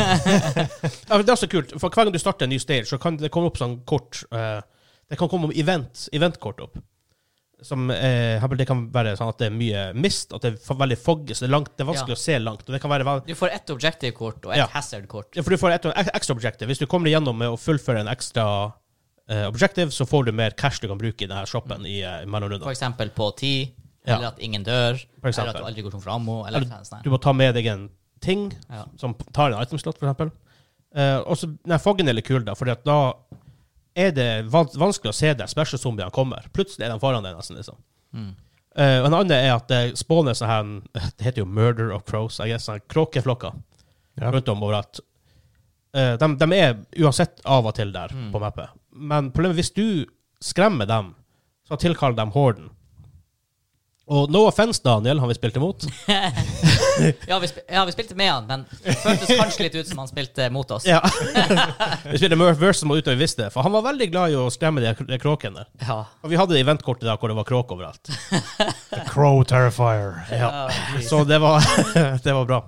[SPEAKER 1] ja, men det er også kult, for hver gang du starter en ny stage, så kan det komme opp sånn kort eh, Det kan komme event, eventkort opp. Som eh, Det kan være sånn at det er mye mist, at det er fa- veldig foggy, så det er, langt, det er vanskelig
[SPEAKER 2] Ja.
[SPEAKER 1] å se langt. Og det kan være vel-
[SPEAKER 2] Du får ett objective-kort og ett
[SPEAKER 1] Ja.
[SPEAKER 2] hazard-kort.
[SPEAKER 1] ja, for du får et ek- ekstra objective. Hvis du kommer igjennom med å fullføre en ekstra eh, objective, så får du mer cash du kan bruke i denne shoppen i, eh, i
[SPEAKER 2] For
[SPEAKER 1] mellomrundene.
[SPEAKER 2] eksempel på ti,
[SPEAKER 1] Ja.
[SPEAKER 2] eller at ingen dør, eller
[SPEAKER 1] eksempel.
[SPEAKER 2] at du aldri går tom for ammo, eller
[SPEAKER 1] Eller
[SPEAKER 2] noe sånt.
[SPEAKER 1] Du må ta med deg en ting
[SPEAKER 2] Ja.
[SPEAKER 1] som tar en itemslott, for eksempel. Eh, og så den foggen er litt kul, da, for da er det van vanskelig å se der special zombiene kommer. Plutselig er de foran deg, nesten. liksom.
[SPEAKER 2] Mm.
[SPEAKER 1] Eh, og en annen er at det spawner sånn her Det heter jo murder of crows, I guess. Sånn her kråkeflokker
[SPEAKER 3] Ja.
[SPEAKER 1] rundt om overalt. Eh, de, de er uansett av og til der
[SPEAKER 2] Mm.
[SPEAKER 1] på mappet. Men problemet er hvis du skremmer dem, så tilkaller de horden. Og no offense, Daniel, han vi spilte imot.
[SPEAKER 2] Ja, vi spil- ja, vi spilte med han, men det føltes kanskje litt ut som han spilte mot oss.
[SPEAKER 1] Ja. vi spilte Murph vs. mot uten at vi visste det, for han var veldig glad i å skremme de, de kråkene. der.
[SPEAKER 2] Ja.
[SPEAKER 1] Og vi hadde det eventkortet der hvor det var kråk overalt.
[SPEAKER 3] The Crow Terrifier.
[SPEAKER 1] Ja.
[SPEAKER 2] Ja,
[SPEAKER 1] Så det var, det var bra.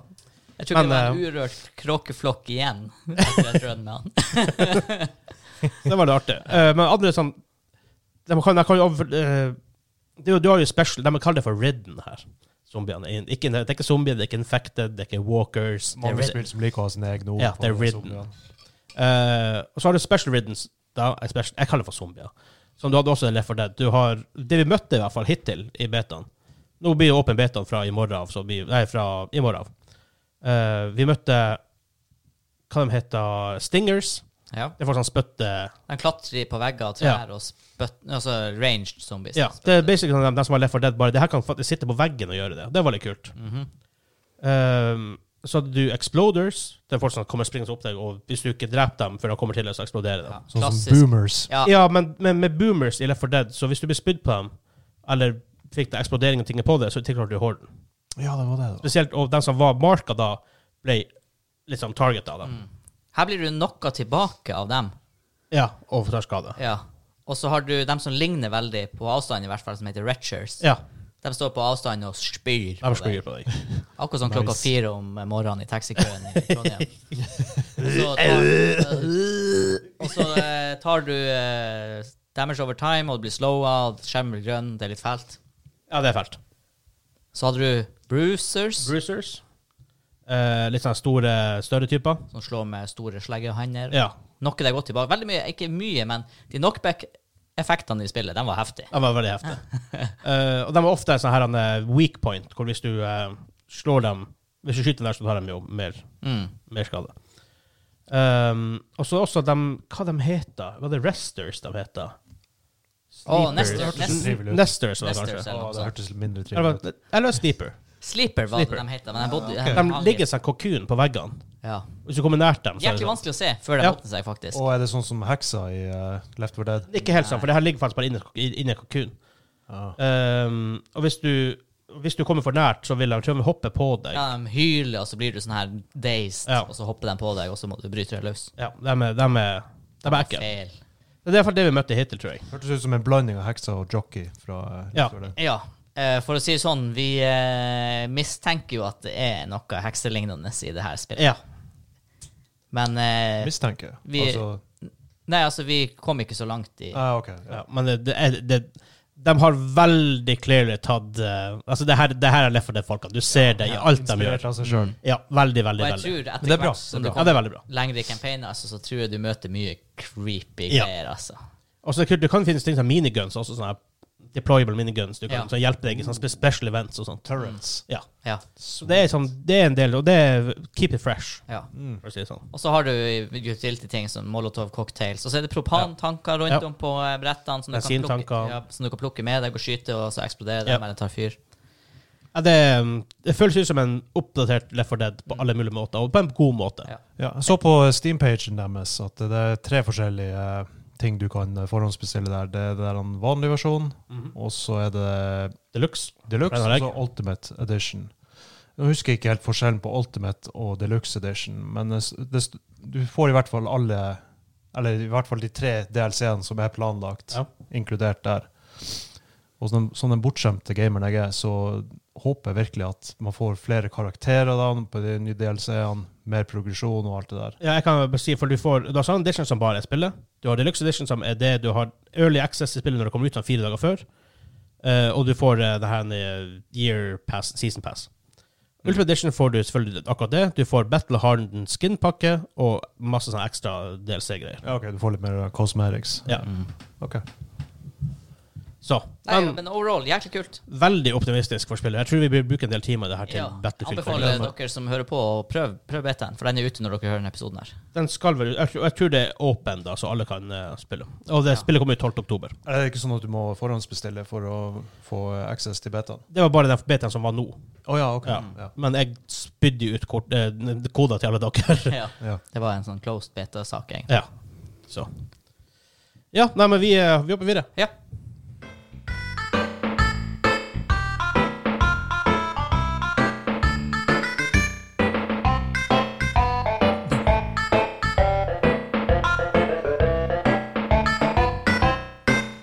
[SPEAKER 2] Jeg tror ikke
[SPEAKER 1] Men, eh,
[SPEAKER 2] det var en urørt kråkeflokk igjen. Etter den runden med han.
[SPEAKER 1] Det var litt artig. Eh, men andre sånn De kan, de kan jo over- eh, det er jo- Du har jo special De kaller det for ridden her. Zombiene. er in- Ikke, det er ikke zombier, det er ikke infected, det er ikke walkers. Det er
[SPEAKER 3] Mange
[SPEAKER 1] rid-
[SPEAKER 3] spill som liker å ha sine egne ord.
[SPEAKER 1] Ja,
[SPEAKER 3] for
[SPEAKER 1] det er ridden.
[SPEAKER 3] zombiene.
[SPEAKER 1] Eh, og så har du special riddens. Da, er special, jeg kaller det for zombier. Som du hadde også i Left 4 Dead. Du har, det vi møtte i hvert fall hittil i betaen Nå blir det åpen betaen fra i morgen av. Så blir, nei, fra i morgen av. Eh, vi møtte hva de heter Stingers.
[SPEAKER 2] Ja.
[SPEAKER 1] Det er folk som spytter
[SPEAKER 2] De klatrer på vegger og trær og spøtt... Altså ranged zombies.
[SPEAKER 1] Ja, det er basically sånn de, de som har Left 4 Dead, bare det her kan faktisk sitte på veggen og gjøre det. Det var litt kult.
[SPEAKER 2] Mhm.
[SPEAKER 1] Ehm, så hadde du Exploders. Det er folk som kommer springende opp deg, og hvis du ikke dreper dem før de kommer til deg, så eksploderer de.
[SPEAKER 2] Ja,
[SPEAKER 3] Sånn
[SPEAKER 2] klassisk.
[SPEAKER 3] som boomers.
[SPEAKER 2] Ja.
[SPEAKER 1] Ja, men, men med boomers i Left 4 Dead, så hvis du blir spydd på dem, eller fikk det eksplodering og ting på det, så tilklarte du horden.
[SPEAKER 3] Ja, det var det. da.
[SPEAKER 1] Spesielt og den som var marka da, ble liksom targetet av dem.
[SPEAKER 2] Mm. Her blir du noe tilbake av dem.
[SPEAKER 1] Ja, og tar skade.
[SPEAKER 2] Ja. Og så har du dem som ligner veldig på avstand, i hvert fall, som heter retchers.
[SPEAKER 1] Ja,
[SPEAKER 2] De står på avstand og
[SPEAKER 1] de
[SPEAKER 2] spyr. på deg.
[SPEAKER 1] spyr på deg.
[SPEAKER 2] Akkurat som klokka
[SPEAKER 3] Nice.
[SPEAKER 2] fire om morgenen i taxikøen i Trondheim. Og så tar, og så eh, tar du eh, damage over time, og du blir slowa, og skjermen blir grønn, det er litt fælt.
[SPEAKER 1] Ja, det er fælt.
[SPEAKER 2] Så hadde du bruisers,
[SPEAKER 1] Bruisers. Eh, litt sånne store, større typer.
[SPEAKER 2] som slår med store sleggehander.
[SPEAKER 1] Ja.
[SPEAKER 2] Noe deg godt tilbake. Veldig mye, ikke mye, men de knockback-effektene i spillet, den var heftig.
[SPEAKER 1] Den var veldig heftig. Eh, og de er ofte sånn her en eh, weak point, hvor hvis du eh, slår dem Hvis du skyter dem der, så tar de jo mer,
[SPEAKER 2] Mm.
[SPEAKER 1] mer skade. Um, og så også de Hva de heter Var det Resters de heter?
[SPEAKER 2] Å,
[SPEAKER 1] Sleepers.
[SPEAKER 2] Nestor-
[SPEAKER 3] Hørtes litt
[SPEAKER 2] Nes-
[SPEAKER 3] trivelig ut.
[SPEAKER 1] Nesters, var det
[SPEAKER 2] Nesters,
[SPEAKER 1] kanskje.
[SPEAKER 2] ja.
[SPEAKER 3] Å, det hørtes litt mindre
[SPEAKER 1] Eller,
[SPEAKER 3] trivelig ut.
[SPEAKER 1] var- eller Sleeper.
[SPEAKER 2] Sleeper var
[SPEAKER 1] Sleeper.
[SPEAKER 2] det de het, men jeg bodde
[SPEAKER 3] Ja,
[SPEAKER 1] De ligger i sånn kokun på veggene.
[SPEAKER 2] ja.
[SPEAKER 1] Hvis du kommer nært dem, så er det
[SPEAKER 2] Jæklig
[SPEAKER 1] sånn.
[SPEAKER 2] vanskelig å se før de
[SPEAKER 1] Ja.
[SPEAKER 2] åpner seg, faktisk.
[SPEAKER 3] Og er det sånn som heksa i eh, Left 4 Dead?
[SPEAKER 1] Det er Ikke helt sånn, for det her ligger faktisk bare inni- inni kokun.
[SPEAKER 3] Ja.
[SPEAKER 1] Um, og hvis du, hvis du kommer for nært, så vil de tror jeg, hoppe på deg.
[SPEAKER 2] Ja, de hyler, og så blir du sånn her dazed,
[SPEAKER 1] Ja.
[SPEAKER 2] og så hopper de på deg, og så må du bryte deg løs.
[SPEAKER 1] Ja, de er, de er, de er ekle.
[SPEAKER 2] Feil.
[SPEAKER 1] Det er i hvert fall det vi møtte hittil, tror jeg.
[SPEAKER 3] Hørtes ut som en blanding av heksa og jockey fra eh, Left
[SPEAKER 1] Ja.
[SPEAKER 3] 4 Dead.
[SPEAKER 2] Ja, eh, for å si det sånn, vi eh, mistenker jo at det er noe hekselignende i det her spillet.
[SPEAKER 1] Ja.
[SPEAKER 2] Men eh,
[SPEAKER 3] Mistenker.
[SPEAKER 2] Vi-
[SPEAKER 3] Altså,
[SPEAKER 2] Nei, altså, vi kom ikke så langt i
[SPEAKER 3] ah, ok. Ja.
[SPEAKER 1] ja men det, det, er- det, de har veldig clearly tatt eh, Altså, det her, det her er lett for de folkene. Du ser det i alt de
[SPEAKER 3] Inspirert
[SPEAKER 1] gjør.
[SPEAKER 3] av seg selv.
[SPEAKER 1] Ja, veldig,
[SPEAKER 2] Og
[SPEAKER 1] veldig.
[SPEAKER 2] jeg
[SPEAKER 1] veldig.
[SPEAKER 2] tror
[SPEAKER 3] Men det
[SPEAKER 2] etter
[SPEAKER 3] er bra,
[SPEAKER 2] hvert som
[SPEAKER 3] det
[SPEAKER 2] du
[SPEAKER 3] er
[SPEAKER 1] Ja, det
[SPEAKER 2] kommer
[SPEAKER 1] er veldig bra.
[SPEAKER 2] lenger i campaignen, altså, så tror jeg du møter mye creepy
[SPEAKER 1] Ja.
[SPEAKER 2] greier, altså.
[SPEAKER 1] Og så er det kult, det kan finnes ting som miniguns også, sånne her deployable miniguns. Du kan
[SPEAKER 2] Ja.
[SPEAKER 1] så hjelpe deg i sånne spe- special events og sånt.
[SPEAKER 3] Turrets.
[SPEAKER 1] Ja.
[SPEAKER 2] Ja,
[SPEAKER 1] Så det er, sånn, det er en del, og det er keep it fresh,
[SPEAKER 2] ja.
[SPEAKER 3] Mm.
[SPEAKER 1] for å si det sånn.
[SPEAKER 2] Og så har du utility ting som molotov cocktails, og så er det propantanker rundt
[SPEAKER 1] Ja.
[SPEAKER 2] om på eh, brettene som du, kan plukke,
[SPEAKER 1] Bensintanker.
[SPEAKER 2] ja, som du kan plukke med deg og skyte, og så eksploderer
[SPEAKER 1] Ja.
[SPEAKER 2] de eller tar fyr.
[SPEAKER 1] Ja, det, um, det føles ut som en oppdatert Left 4 Dead på alle mulige måter, og på en god måte.
[SPEAKER 2] Mm. Ja.
[SPEAKER 3] Ja, jeg så på Steam-pagen deres at det er tre forskjellige eh, ting du kan eh, forhåndsbestille der. Det er den vanlige versjonen,
[SPEAKER 1] Mhm.
[SPEAKER 3] og så er det
[SPEAKER 1] Deluxe.
[SPEAKER 3] Deluxe
[SPEAKER 1] Den har
[SPEAKER 3] og
[SPEAKER 1] jeg.
[SPEAKER 3] så Ultimate Edition. Nå husker jeg ikke helt forskjellen på Ultimate og Deluxe Edition, men det, det, du får i hvert fall alle Eller i hvert fall de tre DLC-ene som er planlagt,
[SPEAKER 1] Ja.
[SPEAKER 3] inkludert der. Og som, som den bortskjemte gameren jeg er, så håper jeg virkelig at man får flere karakterer da, på de nye DLC-ene, mer progresjon og alt det der.
[SPEAKER 1] Ja, jeg kan bare si, for du får Du har sånn edition som bare er spillet. Du har deluxe edition, som er det du har early access til spillet når det kommer ut sånn fire dager før. Eh, og du får eh, det her eh, year pass, season pass. Ultimate edition får du selvfølgelig akkurat det. Du får Battle Hardened skin-pakke og masse sånn ekstra DLC-greier.
[SPEAKER 3] Ja, ok, Du får litt mer uh, cosmetics.
[SPEAKER 1] Ja.
[SPEAKER 2] Mm.
[SPEAKER 3] Ok.
[SPEAKER 1] Så
[SPEAKER 2] Nei,
[SPEAKER 1] men,
[SPEAKER 2] men overall, jæklig kult.
[SPEAKER 1] veldig optimistisk for spillet. Jeg tror vi bør bruke en del timer i det her til
[SPEAKER 2] Ja,
[SPEAKER 1] Battlefield.
[SPEAKER 2] anbefaler dere som hører på, å prøve prøv betaen, for den er ute når dere hører denne episoden her.
[SPEAKER 1] Den skal vel ut. Jeg tror- Jeg tror det er åpen, da, så alle kan eh, spille. Og det
[SPEAKER 2] Ja.
[SPEAKER 1] spillet kommer ut 12. oktober.
[SPEAKER 3] Er det ikke sånn at du må forhåndsbestille for å få uh, access til betaen?
[SPEAKER 1] Det var bare den betaen som var nå.
[SPEAKER 3] Å ja, ok.
[SPEAKER 1] Ja.
[SPEAKER 3] Mm, Ja.
[SPEAKER 1] Men jeg spydde jo ut kort, eh, koder til alle dere.
[SPEAKER 2] Ja.
[SPEAKER 3] Ja.
[SPEAKER 2] Det var en sånn closed beta-sak, egentlig.
[SPEAKER 1] ja. Så. Ja, nei, men vi, eh, vi hopper videre.
[SPEAKER 2] Ja.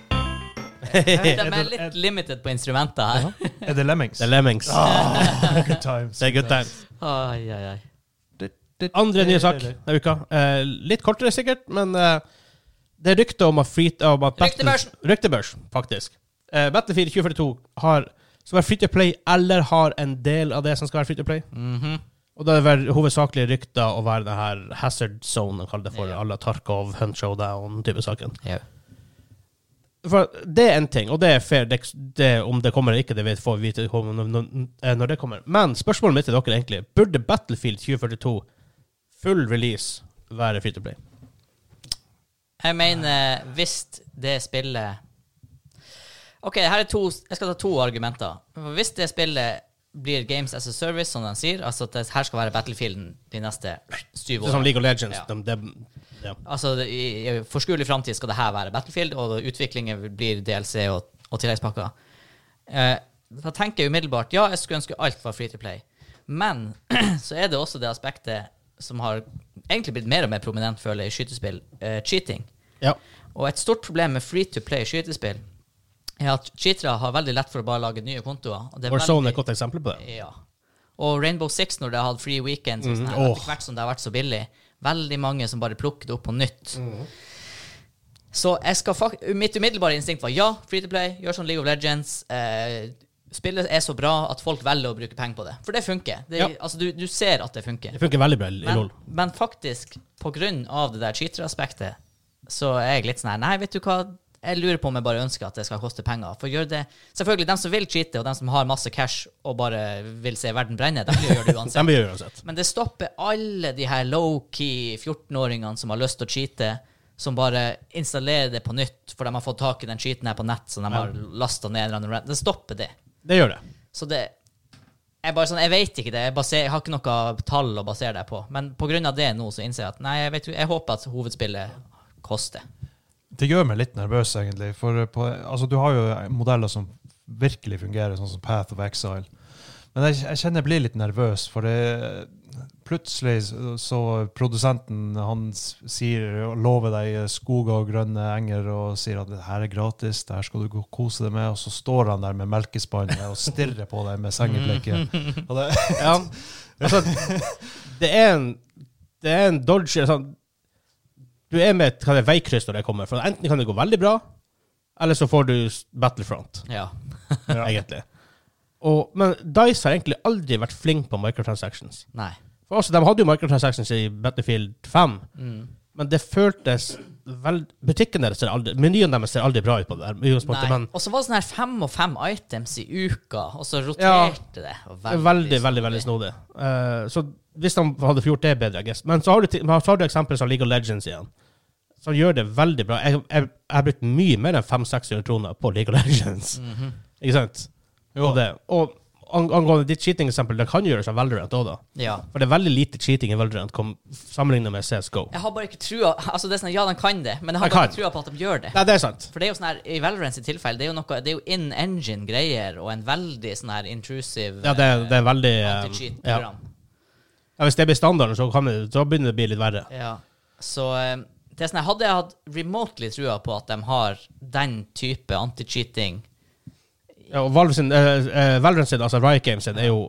[SPEAKER 2] De er litt limited på instrumenter her.
[SPEAKER 3] Er det Lemmings?
[SPEAKER 1] Det er Lemmings.
[SPEAKER 3] Good times.
[SPEAKER 1] Det er good time.
[SPEAKER 2] Ai, ai, ai.
[SPEAKER 1] Andre nye sak denne uka. Eh, litt kortere, sikkert, men eh, det er rykte om at, free, om at Battle-
[SPEAKER 2] Ryktebørsen.
[SPEAKER 1] Ryktebørs, faktisk. Eh, Battlefield 2042 har, skal være free to play, eller har en del av det som skal være free to play.
[SPEAKER 2] Mhm.
[SPEAKER 1] Og da er det vel hovedsakelig rykter å være det her hazard zone, de kaller det for.
[SPEAKER 2] Ja.
[SPEAKER 1] Alle Tarkov, Hunt Showdown-type saken.
[SPEAKER 2] Ja.
[SPEAKER 1] For det er en ting, og det er fair. Det, det, om det kommer eller ikke, det vet får vi vite om- når, eh, når- når det kommer. Men spørsmålet mitt til dere er egentlig Burde Battlefield 2042 full release være free to play?
[SPEAKER 2] Jeg mener, hvis det spillet OK, her er to, jeg skal ta to argumenter. Hvis det spillet blir Games as a Service, som de sier, altså at det her skal være battlefielden de neste syv
[SPEAKER 1] Det er Sånn som
[SPEAKER 2] årene
[SPEAKER 1] League of Legends.
[SPEAKER 2] Ja.
[SPEAKER 1] De, de, ja.
[SPEAKER 2] Altså, det- i, i forskuelig framtid skal det her være Battlefield, og utviklingen blir DLC og, og tilleggspakker. Eh, da tenker jeg umiddelbart ja, jeg skulle ønske alt var free to play. Men så er det også det aspektet som har egentlig blitt mer og mer prominent, føler jeg, i skytespill, eh, cheating.
[SPEAKER 1] ja.
[SPEAKER 2] Og et stort problem med free to play skytespill er at cheatere har veldig lett for å bare lage nye kontoer. Og det er
[SPEAKER 1] Warzone er
[SPEAKER 2] veldig-
[SPEAKER 1] et godt eksempel på det.
[SPEAKER 2] ja. Og Rainbow Six, når det har hatt free weekends og sånn her,
[SPEAKER 1] Mm, åh.
[SPEAKER 2] etter hvert som det har vært så billig, veldig mange som bare plukker det opp på nytt. Så jeg skal fak mitt umiddelbare instinkt var ja, free to play, gjør sånn League of Legends. Eh, spillet er så bra at folk velger å bruke penger på det. For det funker. Det,
[SPEAKER 1] Ja.
[SPEAKER 2] altså, du, du ser at det funker.
[SPEAKER 1] Det funker veldig bra i
[SPEAKER 2] Men,
[SPEAKER 1] LOL.
[SPEAKER 2] men faktisk, på grunn av det der cheateraspektet, så er jeg litt sånn her Nei, vet du hva? Jeg lurer på om jeg bare ønsker at det skal koste penger. For gjør det Selvfølgelig, dem som vil cheate, og dem som har masse cash og bare vil se verden brenne, de vil jo gjøre det
[SPEAKER 1] De
[SPEAKER 2] uansett.
[SPEAKER 1] blir jo uansett.
[SPEAKER 2] Men det stopper alle de her low-key 14-åringene som har lyst til å cheate, som bare installerer det på nytt, for de har fått tak i den cheaten her på nett, så de har lasta ned en eller annen rant. Det stopper det.
[SPEAKER 1] Det gjør det.
[SPEAKER 2] Så det jeg, bare sånn, jeg vet ikke det. Jeg, baser, jeg har ikke noe tall å basere det på. Men pga. det nå så innser jeg at nei, jeg, vet, jo- jeg håper at hovedspillet koster.
[SPEAKER 3] Det gjør meg litt nervøs, egentlig. For på, altså, du har jo modeller som virkelig fungerer, sånn som Path of Exile. Men jeg, jeg kjenner jeg blir litt nervøs, for det, plutselig så- så produsenten han s- sier og lover deg skoger og grønne enger og sier at det her er gratis, det her skal du gå og kose deg med, og så står han der med melkespannet og stirrer på deg med sengeblikket. Og det,
[SPEAKER 1] Ja. Altså, det er en Det er en dodge sånn, Du er med et hva det er, veikryss når det kommer. For enten kan det gå veldig bra, eller så får du s- Battlefront,
[SPEAKER 2] Ja.
[SPEAKER 1] egentlig. Og, men Dice har egentlig aldri vært flink på microtransactions.
[SPEAKER 2] Nei.
[SPEAKER 1] For også, De hadde jo microtransactions i Battlefield 5,
[SPEAKER 2] Mm.
[SPEAKER 1] men det føltes vel, Butikken deres ser aldri Menyen deres ser aldri bra ut på det der. i utgangspunktet,
[SPEAKER 2] nei.
[SPEAKER 1] Men
[SPEAKER 2] Og så var det sånn her fem og fem items i uka, og så roterte det. liksom Og
[SPEAKER 1] Veldig, veldig, veldig, veldig snodig. Eh, så hvis de hadde gjort det bedre, I guess. Men så har du, ti- men så har du eksempler som League of Legends igjen, som gjør det veldig bra. Jeg, jeg, jeg har brukt mye mer enn 500-600 kroner på League of Legends. Ikke sant? Og, det, og, ang- angående ditt cheating-eksempel, det kan gjøres av Valorant òg, da.
[SPEAKER 2] Ja.
[SPEAKER 1] For det er veldig lite cheating i Valorant kom- sammenlignet med CSGO.
[SPEAKER 2] Jeg har bare ikke trua Altså, det er sånn, ja, de kan det, men jeg har
[SPEAKER 1] De
[SPEAKER 2] bare
[SPEAKER 1] kan.
[SPEAKER 2] ikke trua på at de gjør det.
[SPEAKER 1] Nei, det er sant.
[SPEAKER 2] For det er jo sånn her, i Valorant sitt tilfelle, det er jo noe Det er jo in engine-greier og en veldig sånn her intrusive
[SPEAKER 1] Ja, det er, det er veldig
[SPEAKER 2] eh,
[SPEAKER 1] eh, ja.
[SPEAKER 2] anti-cheat-program.
[SPEAKER 1] ja, Hvis det blir standarden, så, kan det, så begynner det å bli litt verre.
[SPEAKER 2] Ja. Så eh, det er sånn her, hadde jeg hatt remotely trua på at de har den type anti-cheating
[SPEAKER 1] Ja, og Valve sin, eh, eh, Valorant sin, altså Riot Games sin, er jo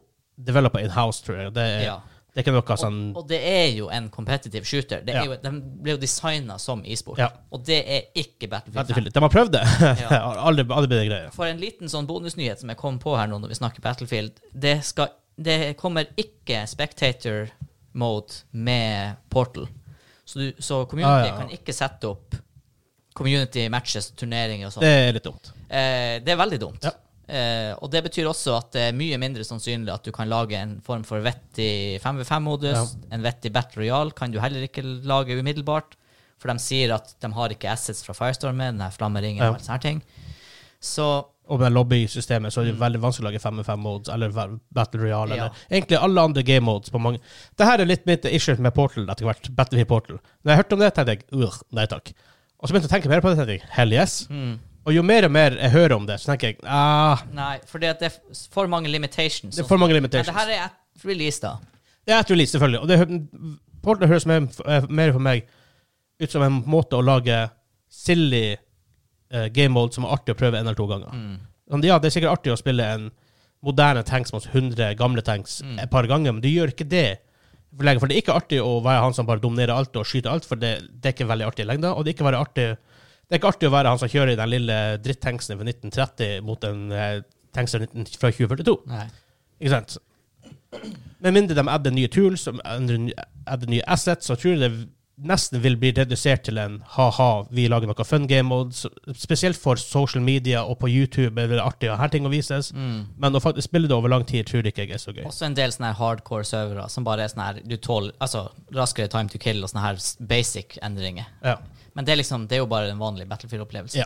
[SPEAKER 1] developa in house, tror jeg. Det er,
[SPEAKER 2] Ja.
[SPEAKER 1] det er ikke noe
[SPEAKER 2] og,
[SPEAKER 1] sånn
[SPEAKER 2] og det er jo en competitive shooter. Det
[SPEAKER 1] Ja.
[SPEAKER 2] er jo, de ble jo designa som e-sport.
[SPEAKER 1] Ja.
[SPEAKER 2] Og det er ikke Battlefield
[SPEAKER 1] Battlefield.
[SPEAKER 2] 5.
[SPEAKER 1] De har prøvd det.
[SPEAKER 2] Ja.
[SPEAKER 1] Har aldri, aldri blitt en greie.
[SPEAKER 2] For en liten sånn bonusnyhet som jeg kom på her nå når vi snakker Battlefield, det, skal, det kommer ikke spectator mode med Portal. Så, du, så community
[SPEAKER 1] Ah, ja, ja.
[SPEAKER 2] kan ikke sette opp community matches, turneringer og sånn.
[SPEAKER 1] Det er litt dumt.
[SPEAKER 2] Eh, det er veldig dumt.
[SPEAKER 1] Ja.
[SPEAKER 2] Eh, og det betyr også at det er mye mindre sannsynlig at du kan lage en form for vettig 5v5-modus. En vettig Battle Royale kan du heller ikke lage umiddelbart. For de sier at de har ikke assets fra Firestormen, den her flammeringen
[SPEAKER 1] Ja.
[SPEAKER 2] og alle sånne her ting. Så
[SPEAKER 1] Og med lobbysystemet så er det veldig vanskelig å lage 5-5 modes eller ver- Battle Royale.
[SPEAKER 2] Mm. Ja.
[SPEAKER 1] Eller egentlig alle andre game modes på mange Dette er litt mitt issue med Portal etter hvert. Battlefield Portal. Når jeg hørte om det, tenkte jeg "Ugh, nei takk. Og så begynte jeg å tenke mer på det, tenkte jeg hell yes.
[SPEAKER 2] Mm.
[SPEAKER 1] Og jo mer og mer jeg hører om det, så tenker jeg ah,
[SPEAKER 2] nei, for det er f- for mange limitations.
[SPEAKER 1] det er for mange
[SPEAKER 2] Men
[SPEAKER 1] limitations.
[SPEAKER 2] det her er et release, da.
[SPEAKER 1] Det er et release, selvfølgelig. Og det, hø- Portal høres mer, eh, mer for meg ut som en måte å lage silly eh, game mode som er artig å prøve en eller to ganger. Sånn, Ja, det er sikkert artig å spille en moderne tanks mot 100 gamle tanks et par ganger, men du gjør ikke det. For lenge, for det er ikke artig å være han som bare dominerer alt og skyter alt, for det, det er ikke veldig artig i lengda. Og det er ikke, være artig, det er ikke artig å være han som kjører i den lille drittanksen fra 1930 mot en eh, tanks fra 19 fra 2042.
[SPEAKER 2] Nei.
[SPEAKER 1] Ikke sant? Med mindre de adder nye tools som endrer- adder nye assets, så tror jeg det nesten vil bli redusert til en ha-ha, vi lager noe fun game mode. så- Spesielt for social media og på YouTube er det artig å ha ting å vises. Men å faktisk spille det over lang tid tror jeg ikke jeg er så gøy.
[SPEAKER 2] Også en del sånne her hardcore servere som bare er sånne her du tål, altså, raskere time to kill og sånne her s- basic endringer.
[SPEAKER 1] Ja.
[SPEAKER 2] Men det er liksom, det er jo bare en vanlig Battlefield-opplevelse.
[SPEAKER 1] Ja.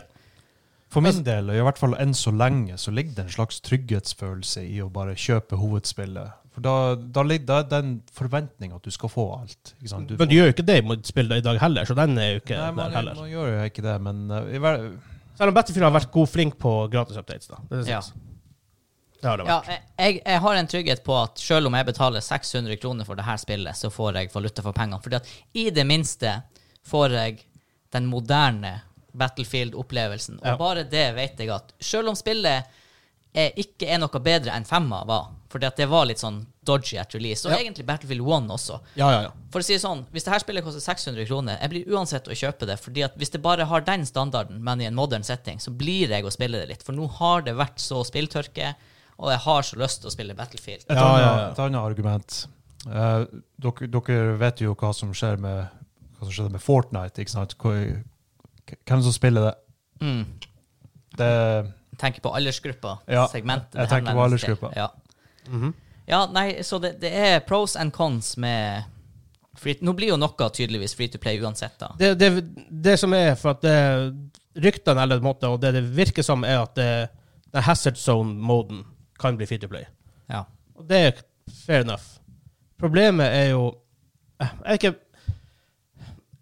[SPEAKER 3] For min del, og i hvert fall enn så lenge, så ligger det en slags trygghetsfølelse i å bare kjøpe hovedspillet. For da, da ligger da er den forventninga at du skal få alt. Ikke sant?
[SPEAKER 1] Men
[SPEAKER 3] får-
[SPEAKER 1] du gjør jo ikke det mot spillet i dag heller, så den er jo ikke
[SPEAKER 3] Nei, man,
[SPEAKER 1] der heller.
[SPEAKER 3] man gjør jo ikke det, men eh, i hver,
[SPEAKER 1] Selv om Battlefield har vært god flink på gratis updates, da. Det, er
[SPEAKER 2] Ja.
[SPEAKER 1] sant. det har det
[SPEAKER 2] Ja,
[SPEAKER 1] vært.
[SPEAKER 2] jeg, jeg har en trygghet på at selv om jeg betaler 600 kroner for det her spillet, så får jeg valuta for pengene. Fordi at i det minste får jeg den moderne Battlefield-opplevelsen. Og
[SPEAKER 1] Ja.
[SPEAKER 2] bare det vet jeg at selv om spillet er, ikke er noe bedre enn femma var, fordi at det var litt sånn dodgy at release, og
[SPEAKER 1] Ja.
[SPEAKER 2] egentlig Battlefield 1 også,
[SPEAKER 1] Ja, ja, ja.
[SPEAKER 2] For å si det sånn, hvis det her spillet koster 600 kroner, jeg blir uansett å kjøpe det, fordi at hvis det bare har den standarden, men i en modern setting, så blir jeg å spille det litt. For nå har det vært så spilltørke, og jeg har så lyst til å spille Battlefield.
[SPEAKER 3] Et,
[SPEAKER 1] Ja,
[SPEAKER 3] annet,
[SPEAKER 1] ja, ja.
[SPEAKER 3] et annet argument. Eh, dere, dere vet jo hva som skjer med, hva som skjedde med Fortnite. ikke sant? Hvor- Hvem som spiller det?
[SPEAKER 2] Mm.
[SPEAKER 3] det
[SPEAKER 2] Jeg tenker på aldersgruppa,
[SPEAKER 3] Ja,
[SPEAKER 2] segmentet.
[SPEAKER 3] jeg
[SPEAKER 2] det
[SPEAKER 3] tenker på
[SPEAKER 2] henvendes til.
[SPEAKER 3] aldersgruppa.
[SPEAKER 2] Ja. ja, nei, så det, det er pros and cons med free, Nå blir jo noe tydeligvis free to play uansett, da.
[SPEAKER 1] det, det, det som er for at det, ryktene eller på en måte, og det det virker som, er at det, den hazard zone-moden kan bli free to play.
[SPEAKER 2] Ja.
[SPEAKER 1] Og det er fair enough. Problemet er jo eh, Jeg, er ikke,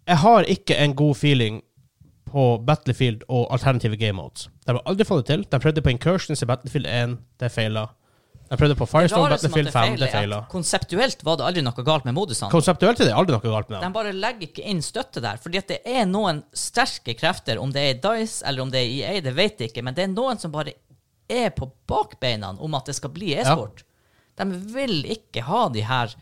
[SPEAKER 1] jeg har ikke en god feeling på Battlefield og alternative game modes. De har aldri fått det til. De prøvde på Incursions i Battlefield 1, det feila. De prøvde på Firestorm
[SPEAKER 2] Rarest med at
[SPEAKER 1] Battlefield 5, det
[SPEAKER 2] er at
[SPEAKER 1] feila.
[SPEAKER 2] Konseptuelt var det aldri noe galt med modusene.
[SPEAKER 1] Konseptuelt er det aldri noe galt med dem.
[SPEAKER 2] De bare legger ikke inn støtte der. Fordi at det er noen sterke krefter, om det er i Dice eller om det er i EA, det vet jeg ikke, men det er noen som bare er på bakbeina om at det skal bli e-sport. De vil ikke ha de her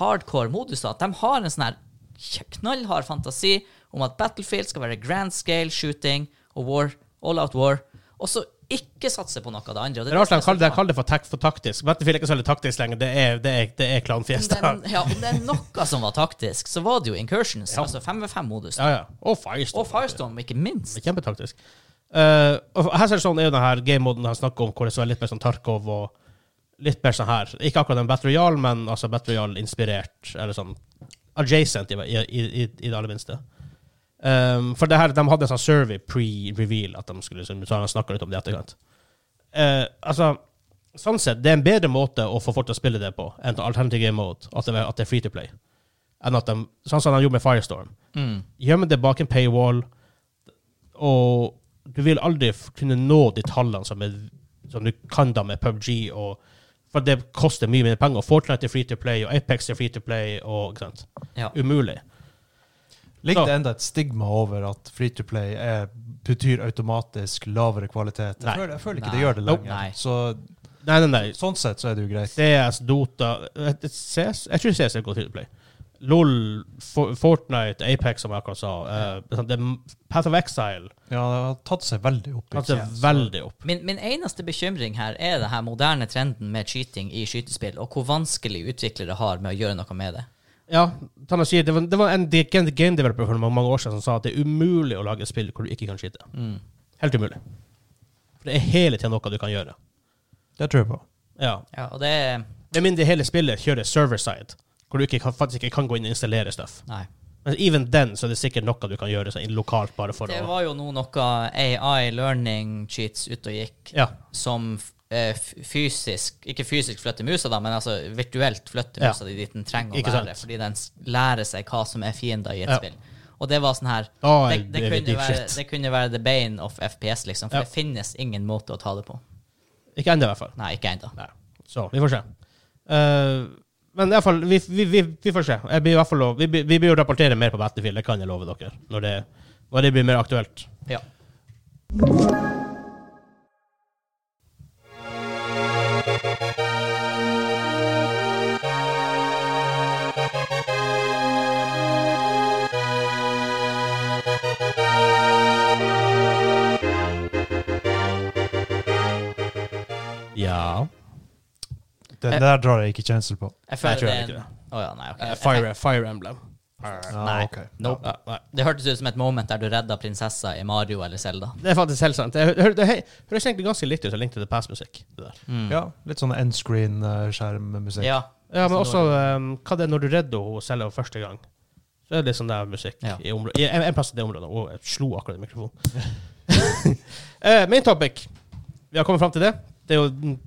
[SPEAKER 2] hardcore modusene. De har en sånn her kj- knallhard fantasi om at Battlefield skal være grand scale shooting og war, all out war, og så ikke satse på noe av det andre. og
[SPEAKER 1] Det er rart
[SPEAKER 2] som
[SPEAKER 1] de kaller det,
[SPEAKER 2] så
[SPEAKER 1] de kaller det for, tak for taktisk. Battlefield er ikke så veldig taktisk lenger. Det er, det er, det er
[SPEAKER 2] om
[SPEAKER 1] klanfiesta.
[SPEAKER 2] det, er, ja, om det er noe som var taktisk, så var det jo incursions. Altså 5v5-modus.
[SPEAKER 1] Ja, ja. Og Firestorm.
[SPEAKER 2] Og Firestorm, ikke minst.
[SPEAKER 1] Det er Kjempetaktisk. Eh, og Hazard Zone er jo den her gamemoden han snakker om, hvor det så er litt mer sånn Tarkov og litt mer sånn her. Ikke akkurat en Battle Royale, men altså Battle Royale-inspirert, eller sånn adjacent, i, i, i, i det aller minste. Um, for det her, de hadde en sånn survey pre-reveal, at de skulle liksom, så han snakket litt om det i etterkant. Eh, altså, sånn sett, det er en bedre måte å få folk til å spille det på enn alternative game mode, at det, at det er free to play. Enn at de, sånn som de gjorde med Firestorm.
[SPEAKER 2] Mm.
[SPEAKER 1] Gjemme det bak en paywall, og du vil aldri f- kunne nå de tallene som, er, som du kan da med PubG. Og, for det koster mye mer penger. Og Fortnite er free to play, og Apex er free to play. Og, ikke sant?
[SPEAKER 2] Ja.
[SPEAKER 1] Umulig.
[SPEAKER 3] Ligger
[SPEAKER 1] Så-
[SPEAKER 3] det enda et stigma over at free to play er, betyr automatisk lavere kvalitet?
[SPEAKER 1] Nei.
[SPEAKER 3] Jeg føler, jeg føler ikke
[SPEAKER 2] Nei.
[SPEAKER 3] det gjør det
[SPEAKER 1] Nope.
[SPEAKER 3] lenger.
[SPEAKER 2] Nei.
[SPEAKER 3] Så
[SPEAKER 1] Nei, nei, nei.
[SPEAKER 3] sånn sett så er det jo greit.
[SPEAKER 1] CS, Dota eh, CS, Jeg tror CS er et godt free to play. LOL, For- Fortnite, Apex, som jeg akkurat sa. eh, det er sant, det er Path of Exile
[SPEAKER 3] Ja, det har tatt seg veldig opp.
[SPEAKER 1] tatt seg
[SPEAKER 3] ikke sant?
[SPEAKER 1] veldig opp.
[SPEAKER 2] Min, min eneste bekymring her er den her moderne trenden med cheating i skytespill, og hvor vanskelig utviklere har med å gjøre noe med det.
[SPEAKER 1] Ja, Tanna sier det var, det var en de- game game developer for mange år siden som sa at det er umulig å lage et spill hvor du ikke kan skyte. Helt umulig. For det er hele tiden noe du kan gjøre.
[SPEAKER 3] Det tror jeg på.
[SPEAKER 1] Ja.
[SPEAKER 2] Ja, og det
[SPEAKER 1] Med mindre hele spillet kjører server-side, hvor du ikke kan, faktisk ikke kan gå inn og installere stuff.
[SPEAKER 2] Nei.
[SPEAKER 1] Men even then så er det sikkert noe du kan gjøre sånn lokalt, bare for
[SPEAKER 2] Det
[SPEAKER 1] å
[SPEAKER 2] var jo nå noe AI learning cheats ute og gikk,
[SPEAKER 1] Ja.
[SPEAKER 2] som eh, f- fysisk Ikke fysisk flytter musa, da, men altså virtuelt flytter
[SPEAKER 1] Ja.
[SPEAKER 2] musa di dit den trenger å
[SPEAKER 1] Ikke sant.
[SPEAKER 2] være, fordi den s- lærer seg hva som er fiender i et
[SPEAKER 1] Ja.
[SPEAKER 2] spill. Og det var sånn her
[SPEAKER 1] Da er
[SPEAKER 2] det, det,
[SPEAKER 1] det
[SPEAKER 2] kunne
[SPEAKER 1] deep
[SPEAKER 2] være,
[SPEAKER 1] shit.
[SPEAKER 2] det kunne være the bane of FPS, liksom, for
[SPEAKER 1] Ja.
[SPEAKER 2] det finnes ingen måte å ta det på.
[SPEAKER 1] Ikke ennå, i hvert fall.
[SPEAKER 2] Nei, ikke ennå.
[SPEAKER 1] Nei. Så vi får se. Eh, men i hvert fall, vi, vi, vi, vi får se. Jeg blir i hvert fall, lov- vi, blir- vi blir å rapportere mer på Battlefield, det kan jeg love dere, når det, når det blir mer aktuelt.
[SPEAKER 2] Ja.
[SPEAKER 1] Ja. Eh.
[SPEAKER 3] Det det der drar jeg ikke kjensel på.
[SPEAKER 2] Jeg
[SPEAKER 1] Nei, jeg
[SPEAKER 2] føler
[SPEAKER 1] tror
[SPEAKER 2] det er
[SPEAKER 1] ikke
[SPEAKER 2] en- Å ja, nei, ok.
[SPEAKER 1] Eh, Fire, Fire Emblem.
[SPEAKER 3] Ja,
[SPEAKER 2] Nei.
[SPEAKER 3] ok.
[SPEAKER 2] Nope.
[SPEAKER 1] Ja, nei.
[SPEAKER 2] Det hørtes ut som et moment der du redda prinsessa i Mario eller Zelda.
[SPEAKER 1] Det er faktisk helt sant. Det hø- hø- det hø- høres egentlig ganske likt ut som Link to the Past-musikk. det der.
[SPEAKER 3] Ja, litt sånn endscreen-skjermmusikk.
[SPEAKER 2] Ja.
[SPEAKER 1] Mm. Ja, men
[SPEAKER 2] Så
[SPEAKER 1] også um, hva det er når du redder henne selv for første gang. Så er det litt sånn der musikk
[SPEAKER 2] Ja.
[SPEAKER 1] i området. I en, en plass i det området. Å, jeg slo akkurat i mikrofonen. Eh, main topic. Vi har kommet fram til det. Det er jo den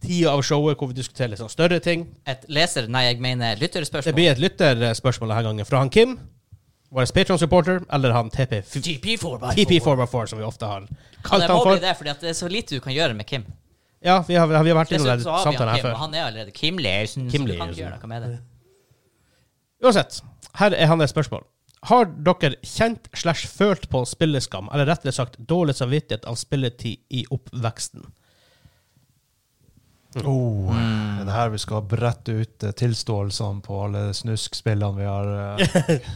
[SPEAKER 1] tida av showet hvor vi diskuterer litt sånn større ting.
[SPEAKER 2] Et leser... Nei, jeg mener
[SPEAKER 1] Det
[SPEAKER 2] lytterspørsmål.
[SPEAKER 1] blir et lytterspørsmål denne gangen fra han Kim, vår Patron-supporter, eller han TP,
[SPEAKER 2] GP4
[SPEAKER 1] TP4x4, som vi ofte har
[SPEAKER 2] Ja,
[SPEAKER 1] kalt
[SPEAKER 2] det
[SPEAKER 1] han
[SPEAKER 2] må bli
[SPEAKER 1] for.
[SPEAKER 2] det, fordi at det er så lite du kan gjøre med Kim.
[SPEAKER 1] Ja, vi har, vi har vært innom
[SPEAKER 2] Dessuten
[SPEAKER 1] den
[SPEAKER 2] så har vi
[SPEAKER 1] samtalen
[SPEAKER 2] han
[SPEAKER 1] her
[SPEAKER 2] Kim,
[SPEAKER 1] før.
[SPEAKER 2] og han er allerede Kim Leirsen,
[SPEAKER 1] Kim
[SPEAKER 2] så du kan
[SPEAKER 1] Leirsen.
[SPEAKER 2] ikke gjøre noe med det.
[SPEAKER 1] Uansett, her er hans spørsmål. Har dere kjent slash følt på spilleskam, eller rettere sagt dårlig samvittighet av spilletid i oppveksten?
[SPEAKER 3] Oh,
[SPEAKER 1] Mm.
[SPEAKER 3] Det er her vi skal brette ut eh, tilståelsene på alle snuskspillene vi har. eh.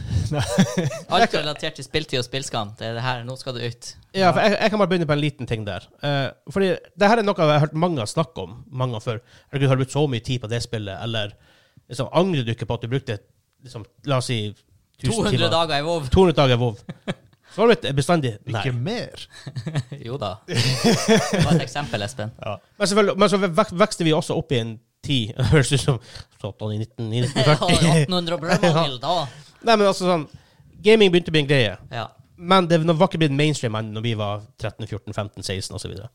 [SPEAKER 2] Alt relatert til spilltid og spillskam. Det er det her, nå skal det ut.
[SPEAKER 1] Ja, for jeg, jeg kan bare begynne på en liten ting der. Eh, fordi det her er noe jeg har hørt mange snakke om, mange før. Herregud, har du brukt så mye tid på det spillet, eller liksom, angrer du ikke på at du brukte liksom, la oss si 1000
[SPEAKER 2] 200
[SPEAKER 1] timer?
[SPEAKER 2] dager i WoW.
[SPEAKER 1] 200 dager WoW. Svaret mitt er bestandig nei.
[SPEAKER 3] Ikke mer.
[SPEAKER 2] Jo da. Det var et eksempel, Espen.
[SPEAKER 1] Men, selvfølgelig- men så vek- vokste vi også opp i en tid, høres ut som 17, 19,
[SPEAKER 2] Jeg
[SPEAKER 1] 1940.
[SPEAKER 2] har 1800 brødmangel da.
[SPEAKER 1] Nei, men altså sånn Gaming begynte å bli en greie,
[SPEAKER 2] Ja.
[SPEAKER 1] men det var ikke blitt mainstream enn når vi var 13-14-15-16 osv. Så, videre.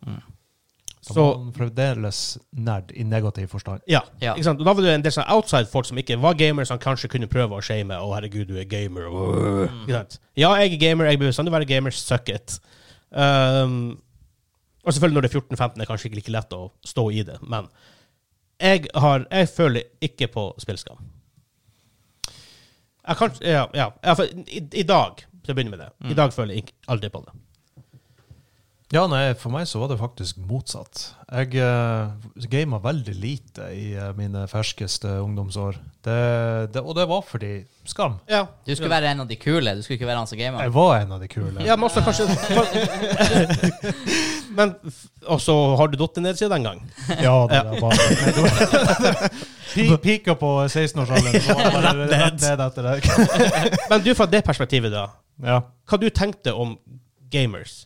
[SPEAKER 1] så
[SPEAKER 3] Så man fremdeles nerd i negativ forstand.
[SPEAKER 1] ja,
[SPEAKER 2] Ja.
[SPEAKER 1] Ikke sant? Og da var det en del sånn outside-folk som ikke var gamere, som kanskje kunne prøve å shame. 'Å, herregud, du er gamer'. øh». Ikke sant? Ja, jeg er gamer, jeg bør bestandig være gamer, suck it. Um, og selvfølgelig, når det er 14-15, er det kanskje ikke like lett å stå i det, men jeg, har, jeg føler ikke på spillskam. Jeg kan, ja, ja, ja, for i, I dag, til å begynne med det, i dag føler jeg ikke, aldri på det.
[SPEAKER 3] Ja, nei, for meg så var det faktisk motsatt. Jeg uh, gama veldig lite i eh, mine ferskeste ungdomsår. Det, det, og det var fordi Skam.
[SPEAKER 1] Ja,
[SPEAKER 2] Du skulle være en av de kule, du skulle ikke være han som gamer.
[SPEAKER 3] Jeg var en av de kule.
[SPEAKER 1] ja men også kanskje Men Og så har du datt ned siden den gang.
[SPEAKER 3] Ja, det var bare Pi- Pika på 16-årsalderen, så var det bare rett ned etter det.
[SPEAKER 1] Men du, fra det perspektivet, da.
[SPEAKER 3] Ja.
[SPEAKER 1] Hva du tenkte om gamers?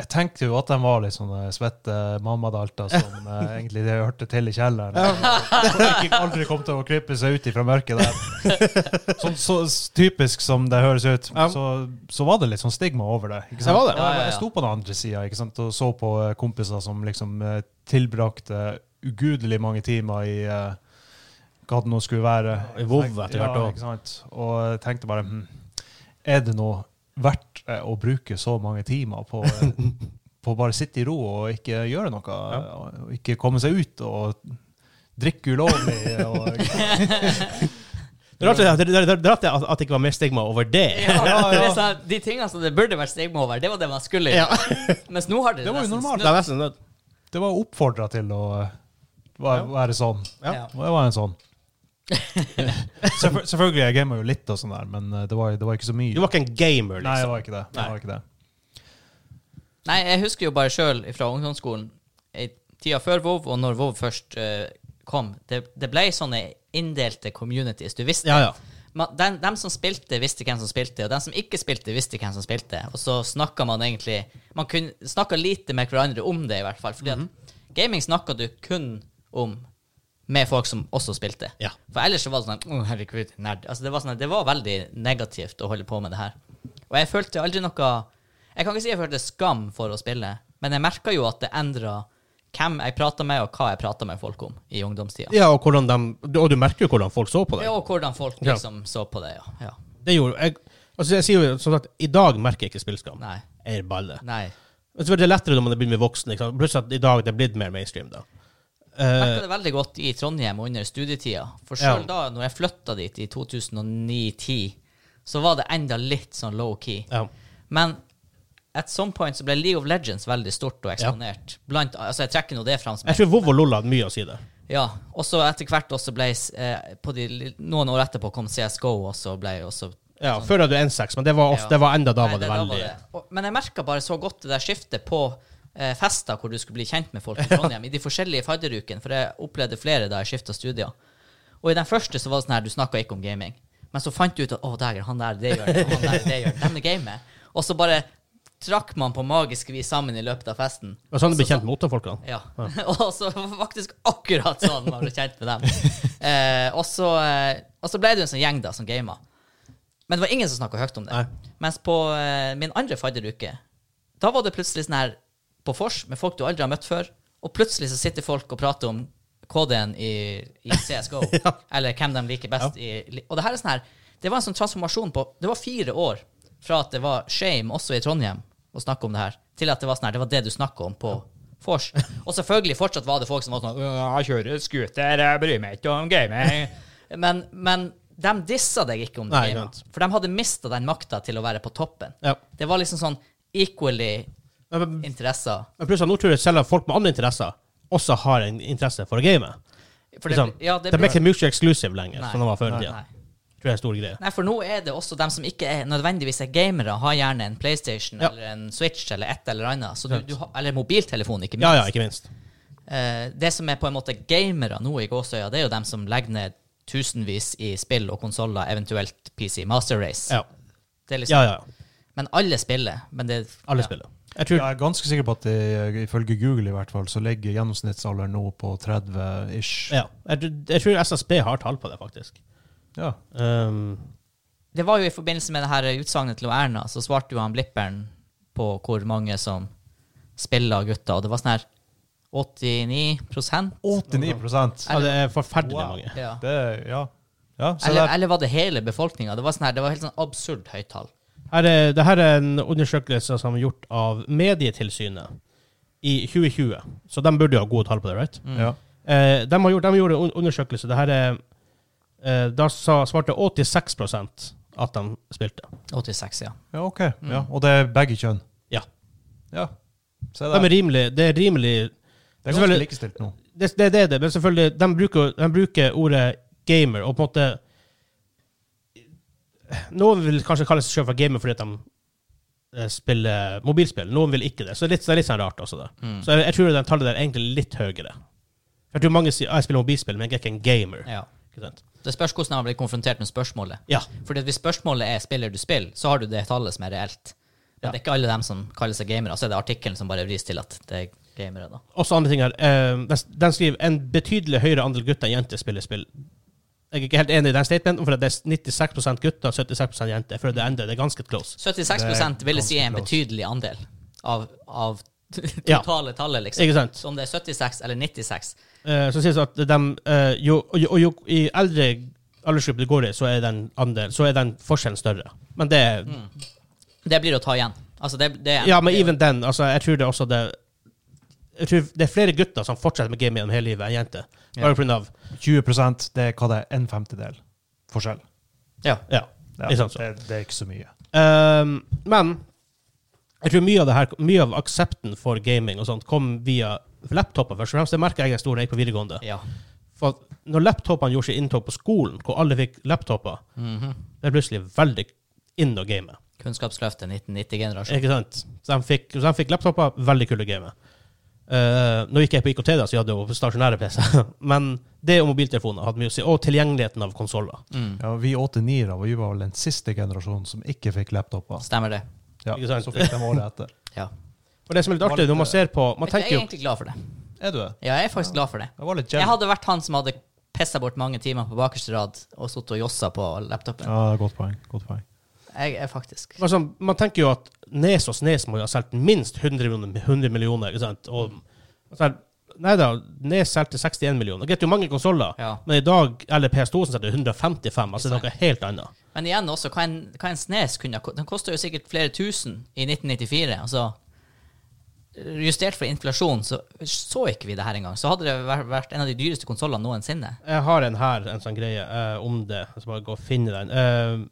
[SPEAKER 3] Jeg tenkte jo at de var litt sånne svette eh, mammadalter som eh, egentlig det hørte til i kjelleren. Som ikke aldri kom til å krype seg ut ifra mørket der. Sånn så s- typisk som det høres ut,
[SPEAKER 1] Ja.
[SPEAKER 3] så, så var det litt sånn stigma over det. Ikke
[SPEAKER 1] Det
[SPEAKER 3] sant?
[SPEAKER 1] var det.
[SPEAKER 2] Ja, ja, ja.
[SPEAKER 3] Jeg sto på den andre sida ikke sant, og så på eh, kompiser som liksom eh, tilbrakte ugudelig mange timer i eh, hva det nå skulle være.
[SPEAKER 1] I WoW etter hvert
[SPEAKER 3] Ja,
[SPEAKER 1] også.
[SPEAKER 3] ikke sant? Og jeg tenkte bare hm, Er det noe verdt eh, å bruke så mange timer på, eh, på bare sitte i ro og ikke gjøre noe? Og ikke komme seg ut og drikke ulovlig? Og,
[SPEAKER 1] Det er rart det- det- det- det er rart det at at det ikke var mer stigma over det.
[SPEAKER 2] Ja,
[SPEAKER 3] Ja, ja.
[SPEAKER 2] det er sånn, de tingene som det burde vært stigma over, det var det man skulle
[SPEAKER 1] Ja.
[SPEAKER 2] gjøre. Mens nå har det,
[SPEAKER 3] Det var jo
[SPEAKER 2] nesten
[SPEAKER 3] normalt.
[SPEAKER 1] Det er nesten det.
[SPEAKER 3] det var oppfordra til å eh, være, være sånn.
[SPEAKER 1] Ja.
[SPEAKER 2] Ja.
[SPEAKER 3] Og jeg var en sånn. Selvfø- selvfølgelig, jeg gamer jo litt og sånn der, men eh, det var, det var ikke så mye.
[SPEAKER 1] Du var ikke en gamer,
[SPEAKER 3] Nei, jeg
[SPEAKER 1] liksom.
[SPEAKER 3] var ikke det. Jeg var ikke det.
[SPEAKER 2] Nei, jeg husker jo bare sjøl fra ungdomsskolen, i tida før Vov, og når Vov først eh, kom, det, det ble sånne inndelte communities. Du visste
[SPEAKER 1] Ja, ja.
[SPEAKER 2] man, den, dem som spilte, visste hvem som spilte, og dem som ikke spilte, visste hvem som spilte. Og så snakka man egentlig Man kun- snakka lite med hverandre om det, i hvert fall. Fordi
[SPEAKER 1] Mhm.
[SPEAKER 2] at gaming snakka du kun om med folk som også spilte.
[SPEAKER 1] Ja.
[SPEAKER 2] For ellers så var det sånn Å, herregud, nerd. Altså, det, var sånn, det var veldig negativt å holde på med det her. Og jeg følte aldri noe Jeg kan ikke si jeg følte skam for å spille, men jeg merka jo at det endra hvem jeg prata med, og hva jeg prata med folk om i ungdomstida.
[SPEAKER 1] Ja, og, hvordan de, og du merker jo hvordan folk så på deg.
[SPEAKER 2] Ja, og hvordan folk
[SPEAKER 1] Ja.
[SPEAKER 2] liksom så på det, ja. ja.
[SPEAKER 1] Det gjorde jeg. Altså, jeg sier jo som sagt, i dag merker jeg ikke spillskam.
[SPEAKER 2] Nei.
[SPEAKER 1] Jeg er balle.
[SPEAKER 2] Nei.
[SPEAKER 1] Men så blir det lettere når man er blitt mer voksen. Ikke sant? Plutselig at i dag det er blitt mer mainstream, da. Eh,
[SPEAKER 2] merka det veldig godt i Trondheim under studietida. For sjøl
[SPEAKER 1] Ja.
[SPEAKER 2] da når jeg flytta dit i 2009-10, så var det enda litt sånn low-key.
[SPEAKER 1] ja.
[SPEAKER 2] Men at some point så ble League of Legends veldig stort og eksponert. Blant, altså Jeg trekker nå det fram som
[SPEAKER 1] Jeg tror Vov og Lolla hadde mye å si der.
[SPEAKER 2] Ja. Og så etter hvert også ble eh, på de, li- Noen år etterpå kom CSGO også, ble også
[SPEAKER 1] Ja, Før hadde du N6, men det var, ofte,
[SPEAKER 2] Ja.
[SPEAKER 1] det var enda da
[SPEAKER 2] Nei,
[SPEAKER 1] var det
[SPEAKER 2] da
[SPEAKER 1] veldig
[SPEAKER 2] det. Og, men jeg merka bare så godt det der skiftet på eh, fester hvor du skulle bli kjent med folk i Trondheim, i de forskjellige fadderukene, for jeg opplevde flere da jeg skifta studier. Og i den første så var det sånn her, du snakka ikke om gaming. Men så fant du ut at å, dæger, han der, det gjør det, han der, det gjør det. De gamer. Og så bare trakk man på magisk vis sammen i løpet av festen.
[SPEAKER 1] Det var sånn du ble kjent med motorfolkene.
[SPEAKER 2] Ja. og så faktisk akkurat sånn man ble kjent med dem. Eh, og, så, eh, og så ble det jo en sånn gjeng da som gama. Men det var ingen som snakka høyt om det.
[SPEAKER 1] Nei.
[SPEAKER 2] Mens på eh, min andre fadderuke, da var det plutselig sånn her på vors med folk du aldri har møtt før, og plutselig så sitter folk og prater om KD-en i, i CSGO, eller hvem de liker best i Og det her er sånn her Det var en sånn transformasjon på Det var fire år fra at det var shame også i Trondheim å snakke om det her, til at det var sånn her Det var det du snakka om på vors. Og selvfølgelig fortsatt var det folk som var sånn «Øh».
[SPEAKER 4] Jeg kjører scooter, jeg bryr meg ikke om gaming.
[SPEAKER 2] Men, men de dissa deg ikke om det.
[SPEAKER 1] Nei,
[SPEAKER 2] gamet.
[SPEAKER 1] sant.
[SPEAKER 2] for de hadde mista den makta til å være på toppen.
[SPEAKER 1] Ja.
[SPEAKER 2] Det var liksom sånn equally
[SPEAKER 1] Men, men-
[SPEAKER 2] interesser.
[SPEAKER 1] men plutselig, nå tror jeg selv at folk med andre interesser også har en interesse for å game.
[SPEAKER 2] For
[SPEAKER 1] det, liksom,
[SPEAKER 2] ja, det
[SPEAKER 1] det ble
[SPEAKER 2] blir-
[SPEAKER 1] ikke mye exclusive lenger,
[SPEAKER 2] Nei.
[SPEAKER 1] som Sånn det var før i tida.
[SPEAKER 2] Nei.
[SPEAKER 1] Tror jeg er en stor greie.
[SPEAKER 2] Nei, for nå er det også dem som ikke er, nødvendigvis er gamere, har gjerne en PlayStation
[SPEAKER 1] Ja.
[SPEAKER 2] eller en Switch eller et eller annet. Så du, du har, eller mobiltelefon, ikke
[SPEAKER 1] Ja,
[SPEAKER 2] minst.
[SPEAKER 1] ja, ikke minst.
[SPEAKER 2] Eh, det som er på en måte gamere nå i gåsøya, det er jo dem som legger ned tusenvis i spill og konsoller, eventuelt PC Master Race.
[SPEAKER 1] Ja,
[SPEAKER 2] Det er liksom,
[SPEAKER 1] ja. ja.
[SPEAKER 2] Men alle spiller. Men det,
[SPEAKER 1] Alle
[SPEAKER 2] ja.
[SPEAKER 1] spiller. Jeg tror
[SPEAKER 3] Jeg er ganske sikker på at det, ifølge Google i hvert fall, så ligger gjennomsnittsalderen nå på 30-ish.
[SPEAKER 1] Ja. Jeg, tr- jeg tror SSB har tall på det, faktisk.
[SPEAKER 3] Ja.
[SPEAKER 1] Um,
[SPEAKER 2] Det var jo i forbindelse med det her utsagnet til Erna, så svarte jo han Blipperen på hvor mange som spiller av gutter, og det var sånn her 89
[SPEAKER 3] 89
[SPEAKER 1] ja, det er forferdelig mange.
[SPEAKER 2] ja.
[SPEAKER 3] Det, ja. ja så
[SPEAKER 2] eller,
[SPEAKER 3] der,
[SPEAKER 2] eller var det hele befolkninga? Det var sånn her, det var helt sånn absurd høyt tall.
[SPEAKER 1] Her er, det her er en undersøkelse som er gjort av Medietilsynet i 2020. Så de burde jo ha gode tall på det, right?
[SPEAKER 3] ja.
[SPEAKER 1] Eh, de, har gjort, de gjorde en un- undersøkelse. Det her er, eh, da sa, svarte 86 at de spilte.
[SPEAKER 2] 86, ja.
[SPEAKER 3] ja, OK. Ja. Og det er begge kjønn.
[SPEAKER 1] Ja.
[SPEAKER 3] Ja. Se
[SPEAKER 1] De
[SPEAKER 3] der.
[SPEAKER 1] er rimelig, det er rimelig
[SPEAKER 3] Det er ganske
[SPEAKER 1] selvfølgelig-
[SPEAKER 3] likestilt nå.
[SPEAKER 1] det, det, det er det, men selvfølgelig, de bruker, de bruker ordet gamer, og på en måte Noen vil kanskje kalle seg selv for gamer fordi at de eh, spiller mobilspill. Noen vil ikke det. Så det er litt, det er litt sånn rart også, det. Så jeg, jeg tror det tallet der er egentlig litt høyere. Jeg tror mange sier «Ah, jeg spiller mobilspill, men jeg er ikke en gamer.
[SPEAKER 2] ja.
[SPEAKER 1] Ikke sant?
[SPEAKER 2] Det spørs hvordan man blir konfrontert med spørsmålet.
[SPEAKER 1] Ja.
[SPEAKER 2] Fordi at Hvis spørsmålet er 'spiller du spill', så har du det tallet som er reelt. Men det er ikke alle dem som kaller seg gamere. Så er det artikkelen som bare vris til at det er gamere, da.
[SPEAKER 1] Også andre ting her. Eh, den- Den skriver en betydelig høyere andel gutter enn jenter spiller spill. Jeg er ikke helt enig i den statementen, for det er 96 gutter og 76 jenter. Før det ender, det er ganske close.
[SPEAKER 2] 76 vil jeg si er en
[SPEAKER 3] ganske close.
[SPEAKER 2] betydelig andel av, av
[SPEAKER 1] Ja.
[SPEAKER 2] totale tallet, liksom.
[SPEAKER 1] Ikke sant?
[SPEAKER 2] Så om det er 76 eller 96
[SPEAKER 1] Eh, Så sies det at dem, eh, jo, og jo, og jo i eldre aldersgruppe du går i, så er den, andel, så er den forskjellen større. Men det er
[SPEAKER 2] Det blir å ta igjen. Altså, det, det er
[SPEAKER 1] Ja, men even den, altså, jeg tror det er også det jeg tror det er flere gutter som fortsetter med game gjennom hele livet enn jenter. Bare
[SPEAKER 2] Ja.
[SPEAKER 1] på grunn av
[SPEAKER 3] 20 det er hva det er, en femtedel forskjell.
[SPEAKER 2] Ja.
[SPEAKER 1] Ja.
[SPEAKER 3] Ja,
[SPEAKER 1] Ikke sant, så.
[SPEAKER 3] det, det er ikke så mye.
[SPEAKER 1] Ehm, men jeg tror mye av det her, mye av aksepten for gaming og sånt kom via laptoper først og fremst. Det merka jeg en stor da jeg gikk på videregående.
[SPEAKER 2] ja.
[SPEAKER 1] For at når laptopene gjorde sitt inntog på skolen, hvor alle fikk laptoper,
[SPEAKER 2] Mhm.
[SPEAKER 1] ble det plutselig veldig inn å game.
[SPEAKER 2] Kunnskapsløftet 1990-generasjon.
[SPEAKER 1] Ikke sant? Så de fikk, så de fikk laptoper, veldig kule gamer. Eh, nå gikk jeg på IKT, da, så jeg hadde jo stasjonære PC. Men det og mobiltelefoner hadde mye å si. Og tilgjengeligheten av konsoller.
[SPEAKER 2] Mm.
[SPEAKER 3] Ja, vi 89-ere var jo vel den siste generasjonen som ikke fikk laptoper.
[SPEAKER 2] Stemmer det.
[SPEAKER 3] Ja,
[SPEAKER 1] Ikke sant?
[SPEAKER 3] Så fikk de året etter.
[SPEAKER 2] Ja.
[SPEAKER 1] Og det som er litt artig, når man ser på Man
[SPEAKER 2] Jeg
[SPEAKER 1] tenker
[SPEAKER 2] er
[SPEAKER 1] jo
[SPEAKER 2] egentlig glad for det.
[SPEAKER 3] Er du det?
[SPEAKER 2] Ja, jeg er faktisk glad for det.
[SPEAKER 3] Jeg var litt
[SPEAKER 2] Jeg
[SPEAKER 3] jealous.
[SPEAKER 2] hadde vært han som hadde pissa bort mange timer på bakerste rad og sittet og jossa på laptopen.
[SPEAKER 3] Ja, godt poeng. Godt poeng.
[SPEAKER 2] Jeg er faktisk
[SPEAKER 1] altså, Man tenker jo at Nes og Snes må jo ha solgt minst 100 millioner, 100 millioner ikke sant? Og,
[SPEAKER 2] Mm.
[SPEAKER 1] altså, nei da, Nes solgte 61 millioner. Greit, det er jo mange konsoller,
[SPEAKER 2] Ja.
[SPEAKER 1] men i dag, eller PS2, som selger 155. Altså det er noe helt annet.
[SPEAKER 2] Men igjen også, hva en, hva en snes kunne ha ko- Den kosta jo sikkert flere tusen i 1994. Altså, justert for inflasjon så så ikke vi det her engang. Så hadde det vært- vært en av de dyreste konsollene noensinne.
[SPEAKER 1] Jeg har en her, en sånn greie eh, om det. Jeg skal bare gå og finne den. Eh,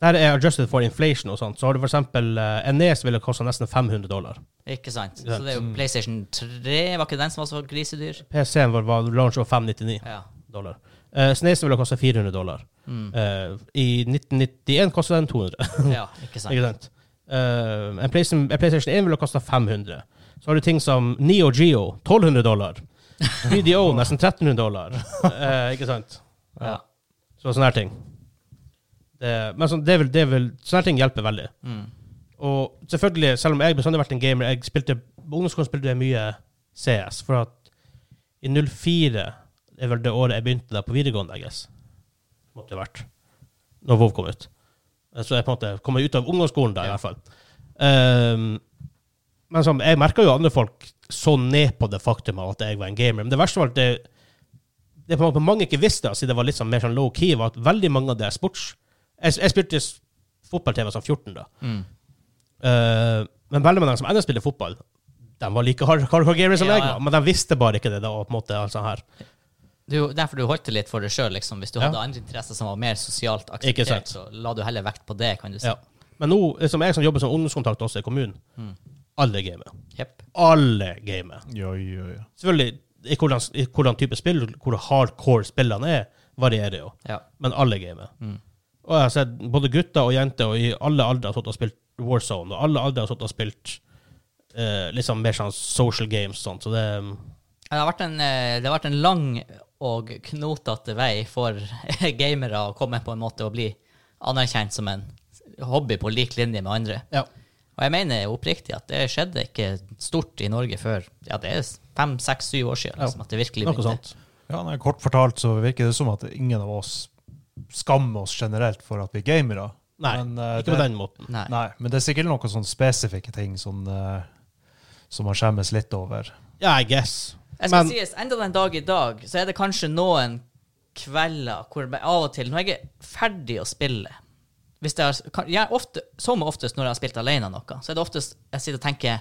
[SPEAKER 1] der er adjusted for inflation og sånt. Så har du for eksempel eh, en nes ville kosta nesten 500 dollar.
[SPEAKER 2] Ikke sant? Så det er jo PlayStation 3, var ikke den som var så grisedyr?
[SPEAKER 1] PC-en vår var launch over 599
[SPEAKER 2] Ja.
[SPEAKER 1] dollar. Uh, Snesen ville kosta 400 dollar.
[SPEAKER 2] Mm.
[SPEAKER 1] Eh, I 1991 kosta den 200.
[SPEAKER 2] ja ikke sant?
[SPEAKER 1] Ikke sant? Eh, en, PlayStation, en PlayStation 1 ville kosta 500. Så har du ting som Neo Geo 1200 dollar. BDO nesten 1300 dollar. Eh, ikke sant?
[SPEAKER 2] Ja.
[SPEAKER 1] Så sånne her ting. Det, men sånn, det vil, det vil, sånne her ting hjelper veldig.
[SPEAKER 2] Mm.
[SPEAKER 1] Og selvfølgelig, selv om jeg bestandig har vært en gamer, jeg spilte, på ungdomsskolen spilte jeg mye CS, for at i 04 er vel det året jeg begynte der på videregående, jeg guess. Måtte det vært. Når WoW kom ut. Eh, Så jeg på en måte kom meg ut av ungdomsskolen da, i
[SPEAKER 2] Ja.
[SPEAKER 1] hvert fall. Ehm, men sånn, jeg merka jo andre folk så ned på det faktum at jeg var en gamer. Men det verste var at det, det på en måte mange ikke visste, siden det var litt sånn mer sånn low-key, var at veldig mange av det er sports. Jeg, jeg spilte s- fotball til jeg var sånn 14, da.
[SPEAKER 2] Mm.
[SPEAKER 1] Eh, men veldig mange som ennå spiller fotball, de var like hard- hardcore gamere som
[SPEAKER 2] Ja,
[SPEAKER 1] jeg
[SPEAKER 2] ja.
[SPEAKER 1] var. Men de visste bare ikke det. da, og på en måte alt sånn her.
[SPEAKER 2] Du, derfor du holdt det litt for deg sjøl, liksom. Hvis du
[SPEAKER 1] Ja.
[SPEAKER 2] hadde andre interesser som var mer sosialt
[SPEAKER 1] Ikke sant.
[SPEAKER 2] akseptert, så la du heller vekt på det, kan du si.
[SPEAKER 3] Liksom.
[SPEAKER 1] Ja. Men nå, som jeg som jobber som ungdomskontakt også i kommunen,
[SPEAKER 3] Mm.
[SPEAKER 1] alle gamer.
[SPEAKER 2] Jepp.
[SPEAKER 1] Alle gamer.
[SPEAKER 3] Jo, jo, jo.
[SPEAKER 1] Selvfølgelig, i hvordan, i hvordan type spill, hvor hardcore spillene er, varierer jo.
[SPEAKER 2] Ja.
[SPEAKER 1] Men alle gamer.
[SPEAKER 3] Mm.
[SPEAKER 1] Og jeg har sett både gutter og jenter og i alle aldre har sittet og spilt Warzone, og alle aldre har sittet og spilt eh, liksom mer sånn social games sånn, så det
[SPEAKER 2] Ja, Det har vært en, eh, det har vært en lang og knotete vei for gamere å komme på en måte og bli anerkjent som en hobby på lik linje med andre.
[SPEAKER 1] Ja.
[SPEAKER 2] Og jeg mener oppriktig at det skjedde ikke stort i Norge før ja, det er fem, seks, syv år siden.
[SPEAKER 1] Ja.
[SPEAKER 2] Liksom, at det virkelig
[SPEAKER 1] Noe
[SPEAKER 2] begynte.
[SPEAKER 1] sånt.
[SPEAKER 3] Ja, nei, Kort fortalt så virker det som at ingen av oss skammer oss generelt for at vi er gamere.
[SPEAKER 1] Nei,
[SPEAKER 3] Men, eh,
[SPEAKER 1] ikke på
[SPEAKER 3] det-
[SPEAKER 1] den måten.
[SPEAKER 2] Nei.
[SPEAKER 3] Nei, men det er sikkert noen sånne spesifikke ting som, eh, som man skjemmes litt over.
[SPEAKER 1] Ja, I guess.
[SPEAKER 2] Jeg skal
[SPEAKER 1] Men-
[SPEAKER 2] sies, enda den dag i dag, så er det kanskje noen kvelder hvor jeg av og til, når jeg er ferdig å spille hvis det er, kan, jeg er ofte, Som oftest når jeg har spilt alene noe, så er det oftest jeg sitter og tenker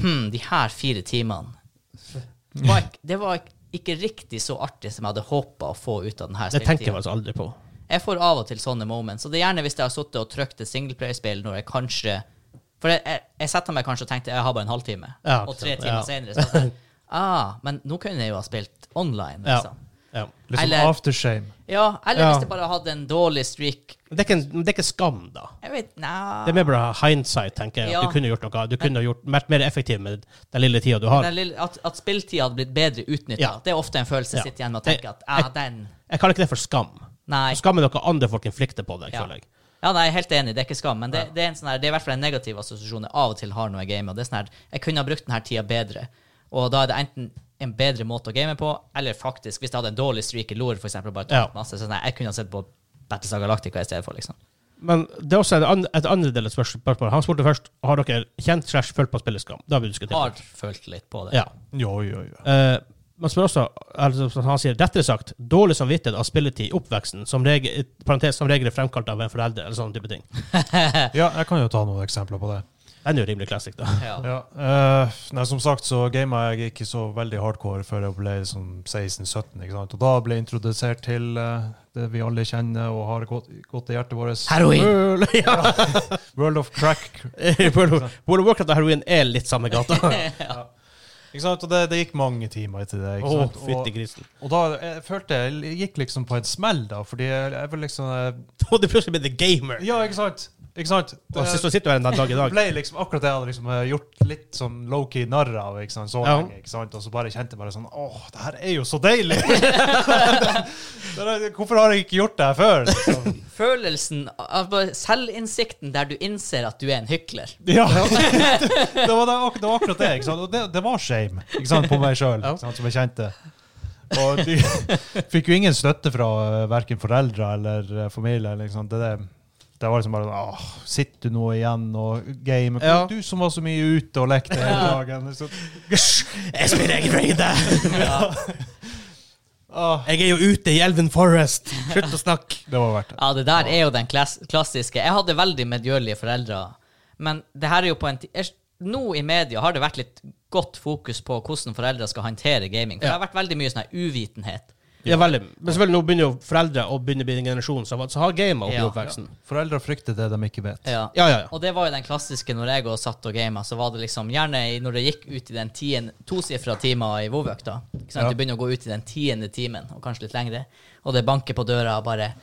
[SPEAKER 2] Hm, de her fire timene var ikke, Det var ikke, ikke riktig så artig som jeg hadde håpa å få ut av denne
[SPEAKER 1] Det tenker jeg
[SPEAKER 2] spilletida.
[SPEAKER 1] faktisk aldri på.
[SPEAKER 2] Jeg får av og til sånne moments. Og det er gjerne hvis jeg har sittet og trykt et singleplayerspill når jeg kanskje For jeg, jeg, jeg setter meg kanskje og tenkte jeg har bare en halvtime,
[SPEAKER 1] Ja,
[SPEAKER 2] og tre
[SPEAKER 1] ikke sant.
[SPEAKER 2] timer
[SPEAKER 1] Ja.
[SPEAKER 2] senere så er det, ah, Men nå kunne jeg jo ha spilt online,
[SPEAKER 1] Ja.
[SPEAKER 2] liksom.
[SPEAKER 1] Ja.
[SPEAKER 3] Litt sånn
[SPEAKER 2] Eller-
[SPEAKER 3] aftershame.
[SPEAKER 2] Ja, eller
[SPEAKER 1] Ja.
[SPEAKER 2] hvis jeg bare hadde en dårlig streak.
[SPEAKER 1] Men Det, er ikke, en- men det er ikke skam, da.
[SPEAKER 2] Jeg vet Nei.
[SPEAKER 1] Det er mer bare hindsight, tenker jeg. at
[SPEAKER 2] Ja.
[SPEAKER 1] Du kunne gjort noe. Du kunne gjort, vært mer effektiv med den lille tida du har.
[SPEAKER 2] Den lille, at at spilltida hadde blitt bedre utnytta.
[SPEAKER 1] Ja.
[SPEAKER 2] Det er ofte en følelse
[SPEAKER 1] Ja.
[SPEAKER 2] jeg sitter igjen med og
[SPEAKER 1] Det-
[SPEAKER 2] tenker at ah,
[SPEAKER 1] jeg-
[SPEAKER 2] den
[SPEAKER 1] Jeg kaller ikke det for skam.
[SPEAKER 2] Nei.
[SPEAKER 1] Skam er noe andre folk inflikter på deg,
[SPEAKER 2] Ja.
[SPEAKER 1] føler jeg.
[SPEAKER 2] Ja, Ja, nei, jeg er helt enig, det er ikke skam, men det, det, er, en sånn her, det er i hvert fall en negativ assosiasjon jeg av og til har når jeg gamer. og Det er sånn her, Jeg kunne ha brukt denne tida bedre, og da er det enten en bedre måte å game på, eller faktisk, hvis jeg hadde en dårlig streak i LoR, for eksempel, bare tatt
[SPEAKER 1] Ja.
[SPEAKER 2] masse, så sånn her, jeg kunne ha sett på Battlestar Galactica i stedet for, liksom.
[SPEAKER 1] Men det er også et, an et andre del av spørs- spørsmålet. Han spurte først har dere kjent slash følt på spilleskam. Det har vi diskutert.
[SPEAKER 2] Har følt litt på det.
[SPEAKER 1] Ja.
[SPEAKER 3] Jo, jo, jo.
[SPEAKER 1] Eh, man spør også, altså, som han sier, rettere sagt, dårlig samvittighet av spilletid i oppveksten, som regel, parentes, som regel er fremkalt av en forelder, eller sånne type ting.
[SPEAKER 3] Ja, jeg kan jo ta noen eksempler på det.
[SPEAKER 1] Den er jo rimelig classic, da.
[SPEAKER 2] Ja.
[SPEAKER 3] Ja, eh, nei, som sagt så gama jeg ikke så veldig hardcore før jeg ble liksom 16-17. ikke sant? Og da ble jeg introdusert til eh, det vi alle kjenner og har godt, godt i hjertet vårt.
[SPEAKER 2] Heroin!
[SPEAKER 1] ja.
[SPEAKER 3] World of Crack.
[SPEAKER 1] World of- World of Warcraft og heroin er litt samme gata.
[SPEAKER 3] Ikke sant? Og det, det gikk mange timer til
[SPEAKER 1] Å,
[SPEAKER 3] det. ikke sant?
[SPEAKER 1] fytti grisen.
[SPEAKER 3] og, og da jeg følte jeg l- gikk liksom på en smell, da, fordi jeg, jeg var liksom eh,
[SPEAKER 1] Og det plutselig blir The Gamer.
[SPEAKER 3] Ja, ikke sant? Ikke sant?
[SPEAKER 1] Og så så sitter du her en dag i
[SPEAKER 3] Det
[SPEAKER 1] dag.
[SPEAKER 3] ble liksom akkurat det jeg hadde liksom eh, gjort litt sånn low-key narr av. ikke sant, så
[SPEAKER 1] Ja.
[SPEAKER 3] lenge, ikke sant, Og så bare kjente jeg bare sånn Åh, det her er jo så deilig! Det er- Hvorfor har jeg ikke gjort det her før? Liksom.
[SPEAKER 2] Følelsen av bare selvinnsikten der du innser at du er en hykler.
[SPEAKER 3] Ja. det, var, det, var ak- det var akkurat det. ikke sant, Og det, det var shame ikke sant, på meg sjøl, som jeg kjente. Og de fikk jo ingen støtte fra verken foreldre eller eh, familie. eller, Ikke sant? Det, det, det var liksom bare sånn, Åh, sitter du nå igjen og gamer?
[SPEAKER 1] Ja.
[SPEAKER 3] Du som var så mye ute og lekte hele dagen. liksom.
[SPEAKER 1] Jeg spiller egen raid!
[SPEAKER 2] Ja.
[SPEAKER 3] Åh,
[SPEAKER 1] Jeg er jo ute i Elven Forest! Slutt å snakke.
[SPEAKER 3] Det var verdt det.
[SPEAKER 2] Ja, det der er jo den klass klassiske. Jeg hadde veldig medgjørlige foreldre, men det her er jo på en ti- jeg- Nå i media har det vært litt godt fokus på hvordan foreldre skal håndtere gaming. For
[SPEAKER 1] Ja.
[SPEAKER 2] Det har vært veldig mye sånn her uvitenhet.
[SPEAKER 1] Ja, veldig. Men selvfølgelig, nå begynner jo foreldre å begynne å bli en generasjon som som har gamet opp i
[SPEAKER 2] Ja.
[SPEAKER 1] oppveksten.
[SPEAKER 3] Foreldre frykter det de ikke vet.
[SPEAKER 2] Ja.
[SPEAKER 1] Ja, ja, ja.
[SPEAKER 2] Og det var jo den klassiske når jeg og satt og gama, så var det liksom gjerne i- når det gikk ut i den tien- tosifra timer i Vov-økta. Ikke sant?
[SPEAKER 3] Ja.
[SPEAKER 2] Det begynner å gå ut i den tiende timen, og kanskje litt lengre, og det banker på døra og bare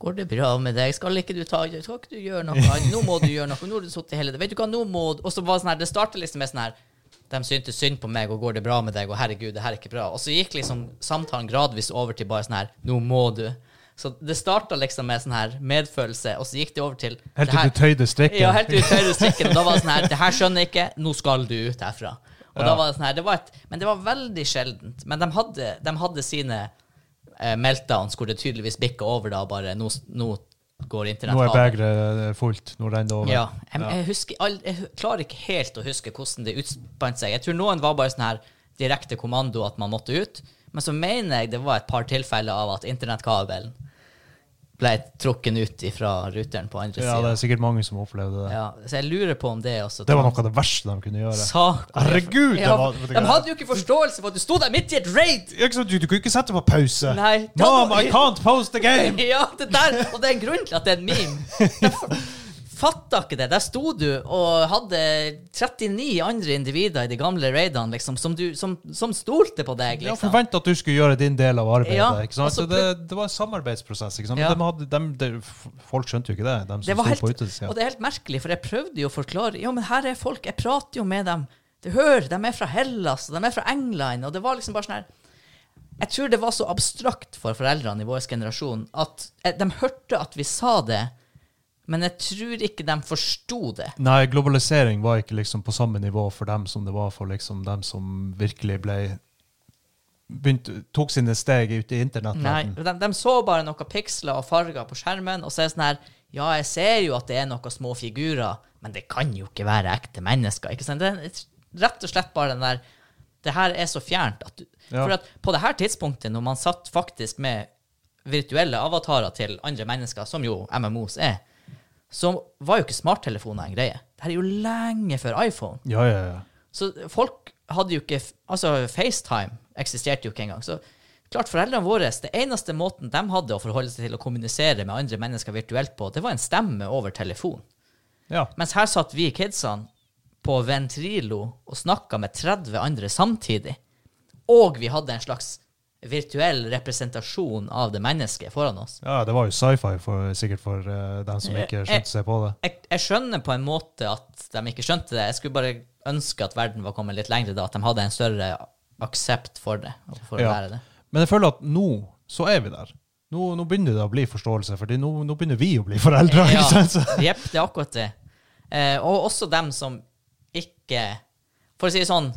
[SPEAKER 2] Går det bra med deg? Skal ikke du ta Skal ikke du gjøre noe? annet? Nå må du gjøre noe. Nå har du sittet hele det. Vet du hva, nå må du Og så var det sånn her, det startet liksom med sånn her De syntes synd på meg, og går det bra med deg? Og herregud, det her er ikke bra. Og så gikk liksom samtalen gradvis over til bare sånn her Nå må du. Så det starta liksom med sånn her medfølelse, og så gikk det over til
[SPEAKER 3] Helt
[SPEAKER 2] det her-
[SPEAKER 3] til du tøyde strikken.
[SPEAKER 2] ja, helt ut høyre strikken. Og da var det sånn her Det her skjønner jeg ikke. Nå skal du ut herfra. Og da
[SPEAKER 3] Ja.
[SPEAKER 2] var det sånn her det var et, Men det var veldig sjeldent. Men de hadde, de hadde sine eh, meltdowns hvor det tydeligvis bikka over da bare Nå, nå går internett
[SPEAKER 3] Nå er
[SPEAKER 2] av.
[SPEAKER 3] begeret eh, fullt. Nå renner det over.
[SPEAKER 2] Ja. Jeg, jeg, husker, all- jeg hu- klarer ikke helt å huske hvordan det utspant seg. Jeg tror noen var bare sånn her direkte kommando at man måtte ut. Men så mener jeg det var et par tilfeller av at internettkabelen ble trukket ut ifra ruteren på andre
[SPEAKER 3] Ja,
[SPEAKER 2] sida.
[SPEAKER 3] det er sikkert mange som opplevde det.
[SPEAKER 2] Ja, så jeg lurer på om det også
[SPEAKER 3] Det var noe av det verste de kunne gjøre.
[SPEAKER 2] Sak.
[SPEAKER 3] Herregud!
[SPEAKER 2] Ja,
[SPEAKER 3] det var, vet du
[SPEAKER 2] de
[SPEAKER 3] hva?
[SPEAKER 2] hadde jo ikke forståelse for at du sto der midt i et raid!
[SPEAKER 3] Ikke sant, du, du kunne ikke sette på pause.
[SPEAKER 2] Nei, ta
[SPEAKER 3] Mom,
[SPEAKER 2] nå-
[SPEAKER 3] I can't post the game!
[SPEAKER 2] Ja, det der, Og det er en grunn til at det er en meme. Jeg fatta ikke det. Der sto du og hadde 39 andre individer i de gamle raidene liksom, som, du, som, som stolte på deg.
[SPEAKER 3] Jeg
[SPEAKER 2] liksom.
[SPEAKER 3] forventa at du skulle gjøre din del av arbeidet.
[SPEAKER 2] Ja,
[SPEAKER 3] ikke sant?
[SPEAKER 2] og så
[SPEAKER 3] det, det var en samarbeidsprosess. Ikke sant?
[SPEAKER 2] Ja.
[SPEAKER 3] Men de hadde, de, de, folk skjønte jo ikke det, de som
[SPEAKER 2] Det var
[SPEAKER 3] sto
[SPEAKER 2] helt,
[SPEAKER 3] på
[SPEAKER 2] og
[SPEAKER 3] utesida.
[SPEAKER 2] det er helt merkelig, for jeg prøvde jo å forklare Ja, men her er folk, jeg prater jo med dem. Du hører, de er fra Hellas, og de er fra England, og det var liksom bare sånn her Jeg tror det var så abstrakt for foreldrene i vår generasjon at eh, de hørte at vi sa det, men jeg tror ikke de forsto det.
[SPEAKER 3] Nei, globalisering var ikke liksom på samme nivå for dem som det var for liksom dem som virkelig ble begynte, Tok sine steg ut i
[SPEAKER 2] Nei,
[SPEAKER 3] internettverdenen.
[SPEAKER 2] de, de så bare noen piksler og farger på skjermen, og så er det sånn her Ja, jeg ser jo at det er noen små figurer, men det kan jo ikke være ekte mennesker. Ikke sant? Det er rett og slett bare den der Det her er så fjernt at du
[SPEAKER 3] Ja.
[SPEAKER 2] For at på det her tidspunktet, når man satt faktisk med virtuelle avatarer til andre mennesker, som jo MMOs er, så var jo ikke smarttelefoner en greie. Det her er jo lenge før iPhone.
[SPEAKER 3] Ja, ja, ja.
[SPEAKER 2] Så folk hadde jo ikke Altså, FaceTime eksisterte jo ikke engang. Så klart, foreldrene våre Det eneste måten de hadde å forholde seg til å kommunisere med andre mennesker virtuelt på, det var en stemme over telefon.
[SPEAKER 3] ja.
[SPEAKER 2] Mens her satt vi kidsene på Ventrilo og snakka med 30 andre samtidig. Og vi hadde en slags virtuell representasjon av det mennesket foran oss.
[SPEAKER 3] Ja, det var jo sci-fi for, sikkert for eh, dem som
[SPEAKER 2] Eh,
[SPEAKER 3] ikke
[SPEAKER 2] eh.
[SPEAKER 3] skjønte seg på det.
[SPEAKER 2] jeg, jeg skjønner på en måte at de ikke skjønte det. Jeg skulle bare ønske at verden var kommet litt lengre da, at de hadde en større aksept for det. og For å
[SPEAKER 3] Ja.
[SPEAKER 2] lære det.
[SPEAKER 3] Men jeg føler at nå så er vi der. Nå, nå begynner det å bli forståelse, for nå, nå begynner vi å bli foreldre.
[SPEAKER 2] Ja.
[SPEAKER 3] ikke sant? Så-
[SPEAKER 2] Jepp, det er akkurat det. Eh, og også dem som ikke For å si det sånn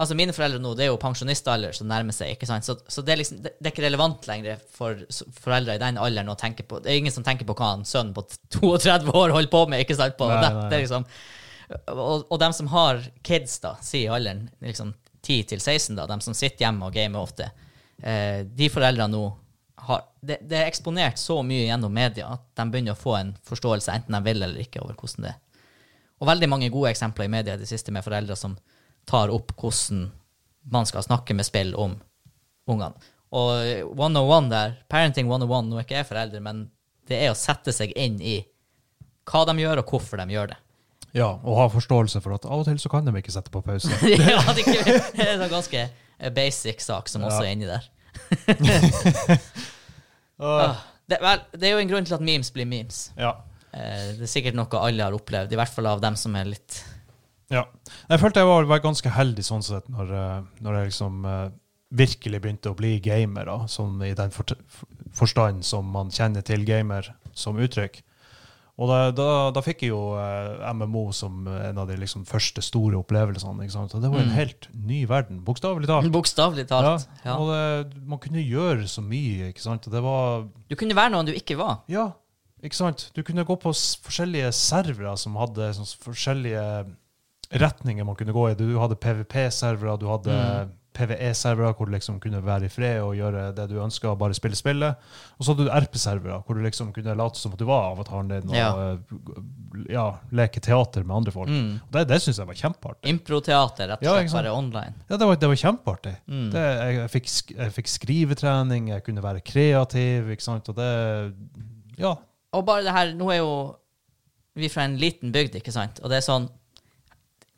[SPEAKER 2] Altså Mine foreldre nå det er jo pensjonistalder som nærmer seg. ikke sant? Så, så det, er liksom, det, det er ikke relevant lenger for s- foreldre i den alderen å tenke på Det er ingen som tenker på hva en sønn på 32 år holder på med. ikke sant? På,
[SPEAKER 3] Nei,
[SPEAKER 2] det,
[SPEAKER 3] nei,
[SPEAKER 2] det er liksom, og, og dem som har kids, da, sier alderen liksom 10 til 16, da, dem som sitter hjemme og gamer ofte, eh, de foreldrene nå har det, det er eksponert så mye gjennom media at de begynner å få en forståelse, enten de vil eller ikke, over hvordan det er. Og veldig mange gode eksempler i media i det siste med foreldre som tar opp hvordan man skal snakke med spill om ungene. Og 101 der, Parenting 101, nå er ikke jeg forelder, men det er å sette seg inn i hva de gjør, og hvorfor de gjør det.
[SPEAKER 3] Ja, og ha forståelse for at av og til så kan de ikke sette på pause.
[SPEAKER 2] ja, det er ikke- det er en sånn ganske basic sak som også
[SPEAKER 3] Ja.
[SPEAKER 2] er inni der. Ah, det, vel, det er jo en grunn til at memes blir memes.
[SPEAKER 3] Ja.
[SPEAKER 2] Eh, det er sikkert noe alle har opplevd, i hvert fall av dem som er litt
[SPEAKER 3] ja. Jeg følte jeg var, var ganske heldig sånn sett når, eh, når jeg liksom eh, virkelig begynte å bli gamer, da, sånn i den fort- forstand som man kjenner til gamer som uttrykk. Og da, da, da fikk jeg jo eh, MMO som en av de liksom første store opplevelsene. ikke sant? Og det var en helt ny verden, bokstavelig talt.
[SPEAKER 2] Bokstavelig talt.
[SPEAKER 3] Ah. Ja,
[SPEAKER 2] Ja.
[SPEAKER 3] Og det, man kunne gjøre så mye, ikke sant? Og det var
[SPEAKER 2] Du kunne være noen du ikke var.
[SPEAKER 3] Ja, ikke sant? Du kunne gå på s forskjellige servere som hadde sånn s- forskjellige retninger man kunne gå i. Du hadde PVP-servere, du hadde
[SPEAKER 2] Mm.
[SPEAKER 3] PVE-servere, hvor du liksom kunne være i fred og gjøre det du ønska, bare spille spillet. Og så hadde du RP-servere, hvor du liksom kunne late som at du var avataren din, og
[SPEAKER 2] Ja.
[SPEAKER 3] ja. ja, leke teater med andre folk.
[SPEAKER 2] Mm.
[SPEAKER 3] Og det, det syns jeg var kjempeartig.
[SPEAKER 2] Improteater, rett og
[SPEAKER 3] Ja,
[SPEAKER 2] slett
[SPEAKER 3] ikke sant.
[SPEAKER 2] bare online.
[SPEAKER 3] Ja, det var, det var kjempeartig.
[SPEAKER 2] Mm.
[SPEAKER 3] Det, jeg, jeg, fikk, sk- jeg fikk skrivetrening, jeg kunne være kreativ, ikke sant, og det Ja.
[SPEAKER 2] Og bare det her, nå er jo vi fra en liten bygd, ikke sant? Og det er sånn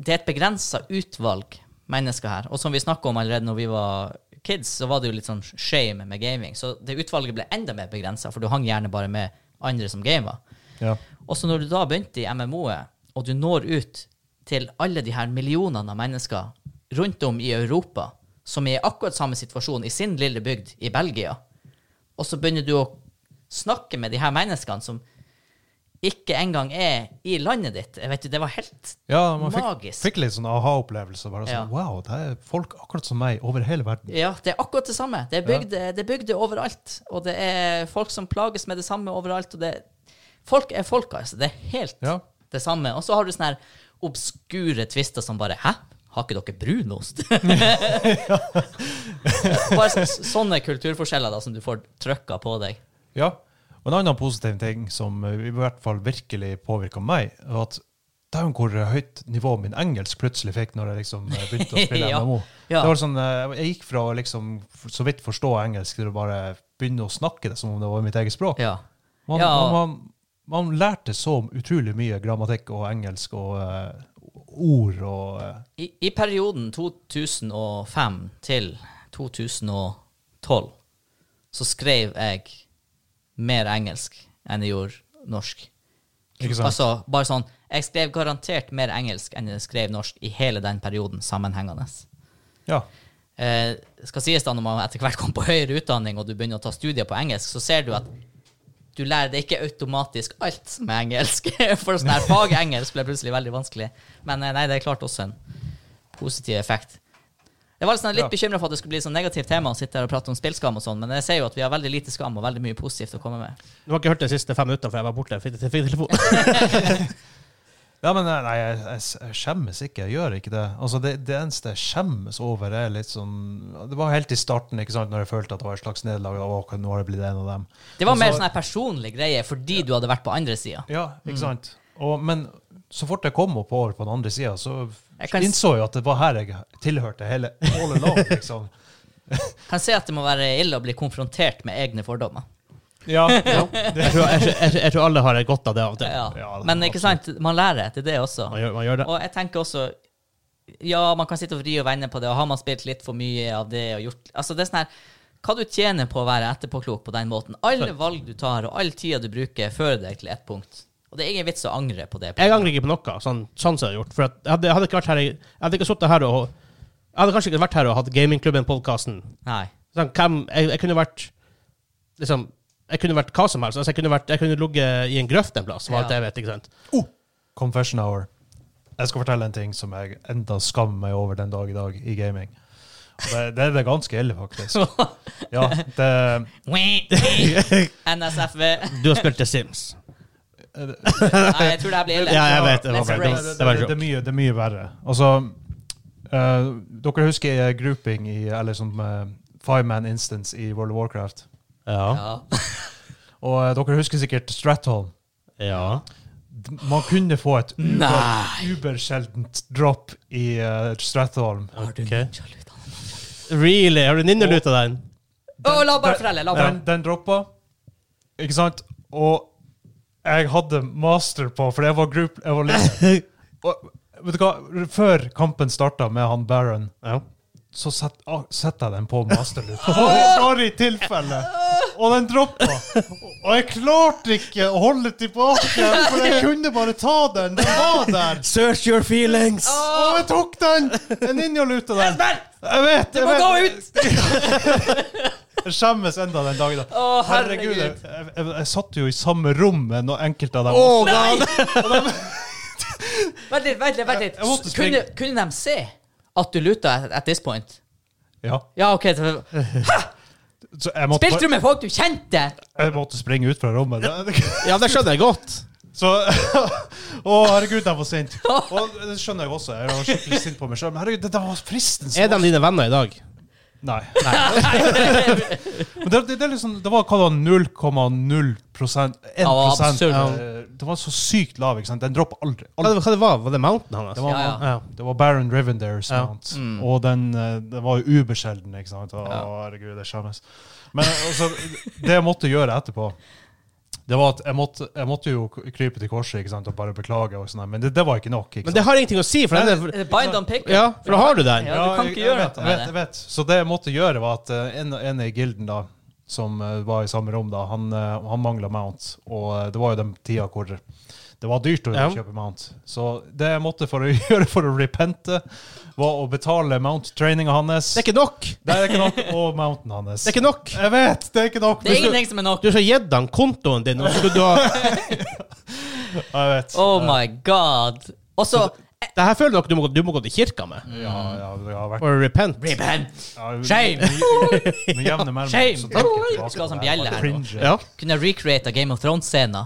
[SPEAKER 2] Det er et begrensa utvalg mennesker her. Og som vi snakka om allerede når vi var kids, så var det jo litt sånn shame med gaming. Så det utvalget ble enda mer begrensa, for du hang gjerne bare med andre som gamer.
[SPEAKER 3] Ja.
[SPEAKER 2] Og så når du da begynte i MMO-et, og du når ut til alle de her millionene av mennesker rundt om i Europa, som er i akkurat samme situasjon i sin lille bygd i Belgia, og så begynner du å snakke med de her menneskene som ikke engang er i landet ditt. Jeg vet jo, det var helt
[SPEAKER 3] ja man fikk,
[SPEAKER 2] Magisk.
[SPEAKER 3] fikk litt sånn aha-opplevelse. Bare
[SPEAKER 2] Ja.
[SPEAKER 3] sånn Wow, det er folk akkurat som meg over hele verden.
[SPEAKER 2] Ja, det er akkurat det samme. Det er bygde, det er bygde overalt. Og det er folk som plages med det samme overalt. Og det, folk er folk, altså. Det er helt
[SPEAKER 3] Ja.
[SPEAKER 2] det samme. Og så har du sånne her obskure tvister som bare Hæ? Har ikke dere brunost? bare så, sånne kulturforskjeller da som du får trøkka på deg.
[SPEAKER 3] Ja. Og en annen positiv ting som eh, i hvert fall virkelig påvirka meg, var at Dæven, hvor høyt nivå min engelsk plutselig fikk når jeg liksom eh, begynte å spille
[SPEAKER 2] Ja.
[SPEAKER 3] MMO.
[SPEAKER 2] Ja.
[SPEAKER 3] Det var sånn, eh, Jeg gikk fra å liksom f- så vidt forstå engelsk til å bare begynne å snakke det som om det var mitt eget språk.
[SPEAKER 2] Ja.
[SPEAKER 3] Man,
[SPEAKER 2] Ja.
[SPEAKER 3] man, man, man lærte så utrolig mye grammatikk og engelsk og eh, ord og eh,
[SPEAKER 2] I, I perioden 2005 til 2012 så skrev jeg mer engelsk enn jeg gjorde norsk.
[SPEAKER 3] Ikke sant?
[SPEAKER 2] Altså, bare sånn, jeg skrev garantert mer engelsk enn jeg skrev norsk i hele den perioden sammenhengende.
[SPEAKER 3] Ja.
[SPEAKER 2] Eh, skal sies da Når man etter hvert kommer på høyere utdanning og du begynner å ta studier på engelsk, så ser du at du lærer deg ikke automatisk alt med engelsk. For sånn her fagengelsk ble plutselig veldig vanskelig. Men eh, nei, det er klart også en positiv effekt. Jeg var liksom litt
[SPEAKER 3] Ja.
[SPEAKER 2] bekymret bekymra for at det skulle bli et sånn negativt tema å sitte her og prate om spillskam og sånn, men jeg ser jo at vi har veldig lite skam og veldig mye positivt å komme med.
[SPEAKER 1] Du har ikke hørt de siste fem minuttene, for jeg var borte. Fikk, fikk telefon.
[SPEAKER 3] ja, men eh, nei, jeg, jeg, jeg skjemmes ikke. Jeg gjør ikke det. Altså, det, det eneste jeg skjemmes over, er litt sånn Det var helt i starten, ikke sant, når jeg følte at det var et slags nederlag. og, Å, nå har jeg blitt en av dem.
[SPEAKER 2] Det var
[SPEAKER 3] Og
[SPEAKER 2] mer
[SPEAKER 3] så-
[SPEAKER 2] sånn her personlig greie fordi du hadde vært på andre sida.
[SPEAKER 3] Ja, ikke sant. Og, men så fort jeg kom opp over på den andre sida, så
[SPEAKER 2] Jeg kan s-
[SPEAKER 3] innså jeg at det var her jeg tilhørte hele all along, liksom.
[SPEAKER 2] Kan se at det må være ille å bli konfrontert med egne fordommer.
[SPEAKER 3] Ja,
[SPEAKER 1] Jeg tror, jeg, jeg, jeg tror alle har godt av det av og til.
[SPEAKER 2] Ja.
[SPEAKER 3] Ja, det-
[SPEAKER 2] Men ikke sant, man lærer etter det også.
[SPEAKER 1] Man gjør, man gjør det.
[SPEAKER 2] Og jeg tenker også Ja, man kan sitte og vri og vende på det, og har man spilt litt for mye av det og gjort Altså, det er sånn her Hva du tjener på å være etterpåklok på den måten? Alle valg du tar, og all tida du bruker, fører deg til ett punkt. Og det er ingen vits å angre på det.
[SPEAKER 1] Jeg angrer ikke på noe, sånn, sånn som jeg har gjort. For at jeg, hadde, jeg hadde ikke vært her i- Jeg hadde ikke sittet her og Jeg hadde kanskje ikke vært her og hatt Gamingklubben-podkasten.
[SPEAKER 2] Nei.
[SPEAKER 1] Sånn, hvem- jeg, jeg kunne vært liksom, jeg kunne vært hva som helst. Altså, jeg kunne, vært, jeg kunne ligget i en grøft en plass, for alt
[SPEAKER 2] Ja.
[SPEAKER 1] jeg vet. ikke sant?
[SPEAKER 3] Confession hour. Jeg skal fortelle en ting som jeg enda skammer meg over den dag i dag i gaming. Og Det, det er det ganske ille, faktisk. Ja, det,
[SPEAKER 2] NSFV.
[SPEAKER 1] Du har spilt The Sims.
[SPEAKER 2] Nei, jeg tror det her blir ille.
[SPEAKER 1] Ja, jeg vet det.
[SPEAKER 2] Let's
[SPEAKER 1] var
[SPEAKER 2] race.
[SPEAKER 1] bare-
[SPEAKER 3] det,
[SPEAKER 1] Det var
[SPEAKER 3] det, det,
[SPEAKER 1] joke.
[SPEAKER 3] er mye, det er mye verre. Altså, eh, dere husker eh, grouping i, eller som eh, five man instance i World of Warcraft?
[SPEAKER 1] Ja.
[SPEAKER 2] Ja.
[SPEAKER 3] Og eh, dere husker sikkert Stratholm.
[SPEAKER 1] ja.
[SPEAKER 3] D- Man kunne få et uber-
[SPEAKER 2] Nei.
[SPEAKER 3] ubersjeldent drop i eh, Stratholm.
[SPEAKER 2] Har du
[SPEAKER 1] Ok.
[SPEAKER 2] ninjaluta?
[SPEAKER 1] Really? Har du ninneluta den?
[SPEAKER 2] Å, la bare fortelle. La
[SPEAKER 3] Den,
[SPEAKER 2] bare.
[SPEAKER 3] den droppa, ikke sant? Og jeg hadde master på, for jeg var group jeg var leader. Og, vet du hva? Før kampen starta med han Baron,
[SPEAKER 1] Ja.
[SPEAKER 3] så sett- ah, setter jeg den på masterloop. Bare i tilfelle. Og den droppa. Og jeg klarte ikke å holde tilbake, for jeg kunne bare ta den. Den var der.
[SPEAKER 1] Search your feelings!
[SPEAKER 3] Og jeg tok den! En ninjaluta den.
[SPEAKER 2] Espen!
[SPEAKER 3] Jeg vet,
[SPEAKER 2] Du
[SPEAKER 3] jeg
[SPEAKER 2] må gå
[SPEAKER 3] vet.
[SPEAKER 2] ut!
[SPEAKER 3] Jeg skjemmes enda den dag i dag.
[SPEAKER 2] Å,
[SPEAKER 3] Herregud, jeg,
[SPEAKER 2] herregud.
[SPEAKER 3] jeg, jeg, jeg satt jo i samme rom med noen enkelte av dem.
[SPEAKER 1] Oh,
[SPEAKER 2] Nei!
[SPEAKER 1] God.
[SPEAKER 2] Vent litt, vent litt. vent litt.
[SPEAKER 3] Jeg måtte
[SPEAKER 2] Kunne,
[SPEAKER 3] springe.
[SPEAKER 2] kunne de se at du luta at, at this point?
[SPEAKER 3] Ja,
[SPEAKER 2] Ja, OK. så-
[SPEAKER 3] så jeg måtte,
[SPEAKER 2] Spilte du med folk du kjente?
[SPEAKER 3] bare- jeg måtte springe ut fra rommet.
[SPEAKER 1] Ja, det skjønner jeg godt.
[SPEAKER 3] Så Å, herregud, jeg var sint. Og det skjønner jeg også. Jeg var skikkelig sint på meg sjøl. Men herregud, det var fristende.
[SPEAKER 1] Er de dine venner i dag?
[SPEAKER 3] Nei. Men det, det, det, er liksom, det var hva da, 0,0 prosent, 1
[SPEAKER 2] Ja,
[SPEAKER 3] prosent,
[SPEAKER 2] absurd.
[SPEAKER 3] eh, Det var så sykt lav. ikke sant? Den dropper aldri.
[SPEAKER 1] Hva,
[SPEAKER 3] aldri.
[SPEAKER 1] hva det var Var det Mountain hans?
[SPEAKER 3] Det var,
[SPEAKER 2] Ja, Mm.
[SPEAKER 1] Ja.
[SPEAKER 3] det var Baron Rivendare som
[SPEAKER 1] Ja.
[SPEAKER 3] vant. Og den eh, det var jo ubeskjelden, ikke sant. Å,
[SPEAKER 2] Ja.
[SPEAKER 3] herregud, det skjemmes. Men altså, det jeg måtte gjøre etterpå det var at jeg måtte, jeg måtte jo krype til korset ikke sant, og bare beklage, og sånn, der, men det, det var ikke nok. ikke sant?
[SPEAKER 1] Men det har ingenting å si, for den er
[SPEAKER 2] Eh, Bind on pick.
[SPEAKER 1] Ja, for da har du den.
[SPEAKER 2] Ja, du kan
[SPEAKER 3] jeg-
[SPEAKER 2] ikke
[SPEAKER 3] jeg
[SPEAKER 2] gjøre
[SPEAKER 3] vet,
[SPEAKER 2] noe
[SPEAKER 3] jeg
[SPEAKER 2] med
[SPEAKER 3] vet,
[SPEAKER 2] det.
[SPEAKER 3] jeg vet. Så det jeg måtte gjøre, var at eh, en, en i gilden da, som eh, var i samme rom, da, han, eh, han mangla mount. Og eh, det var jo den tida hvor det var dyrt å
[SPEAKER 1] Ja.
[SPEAKER 3] kjøpe mount. Så det jeg måtte for å gjøre for å repente, var å betale mount-traininga hans.
[SPEAKER 1] Det er ikke nok!
[SPEAKER 3] Det er ikke nok. Og mounten hans.
[SPEAKER 1] Det er ikke nok!
[SPEAKER 3] Jeg vet, det er ikke nok.
[SPEAKER 2] Det er ingenting som er nok.
[SPEAKER 1] Du har gitt han kontoen din, og så skulle du ha
[SPEAKER 3] Jeg vet.
[SPEAKER 2] Oh my god. Og så
[SPEAKER 1] Det her føler dere du må, du må gå til kirka med.
[SPEAKER 2] Mm.
[SPEAKER 3] Ja, ja, det har vært
[SPEAKER 1] For å repent.
[SPEAKER 2] Repent!
[SPEAKER 3] ja,
[SPEAKER 2] Shame!
[SPEAKER 3] Med jevne mellomrom.
[SPEAKER 2] Shame.
[SPEAKER 3] så tenker jeg
[SPEAKER 2] Du
[SPEAKER 3] tilbake
[SPEAKER 2] skal ha
[SPEAKER 3] på
[SPEAKER 2] sånn
[SPEAKER 3] det her.
[SPEAKER 2] bjelle her nå.
[SPEAKER 3] Cringe.
[SPEAKER 1] Ja.
[SPEAKER 2] Kunne recreate Game of Thrones-scena.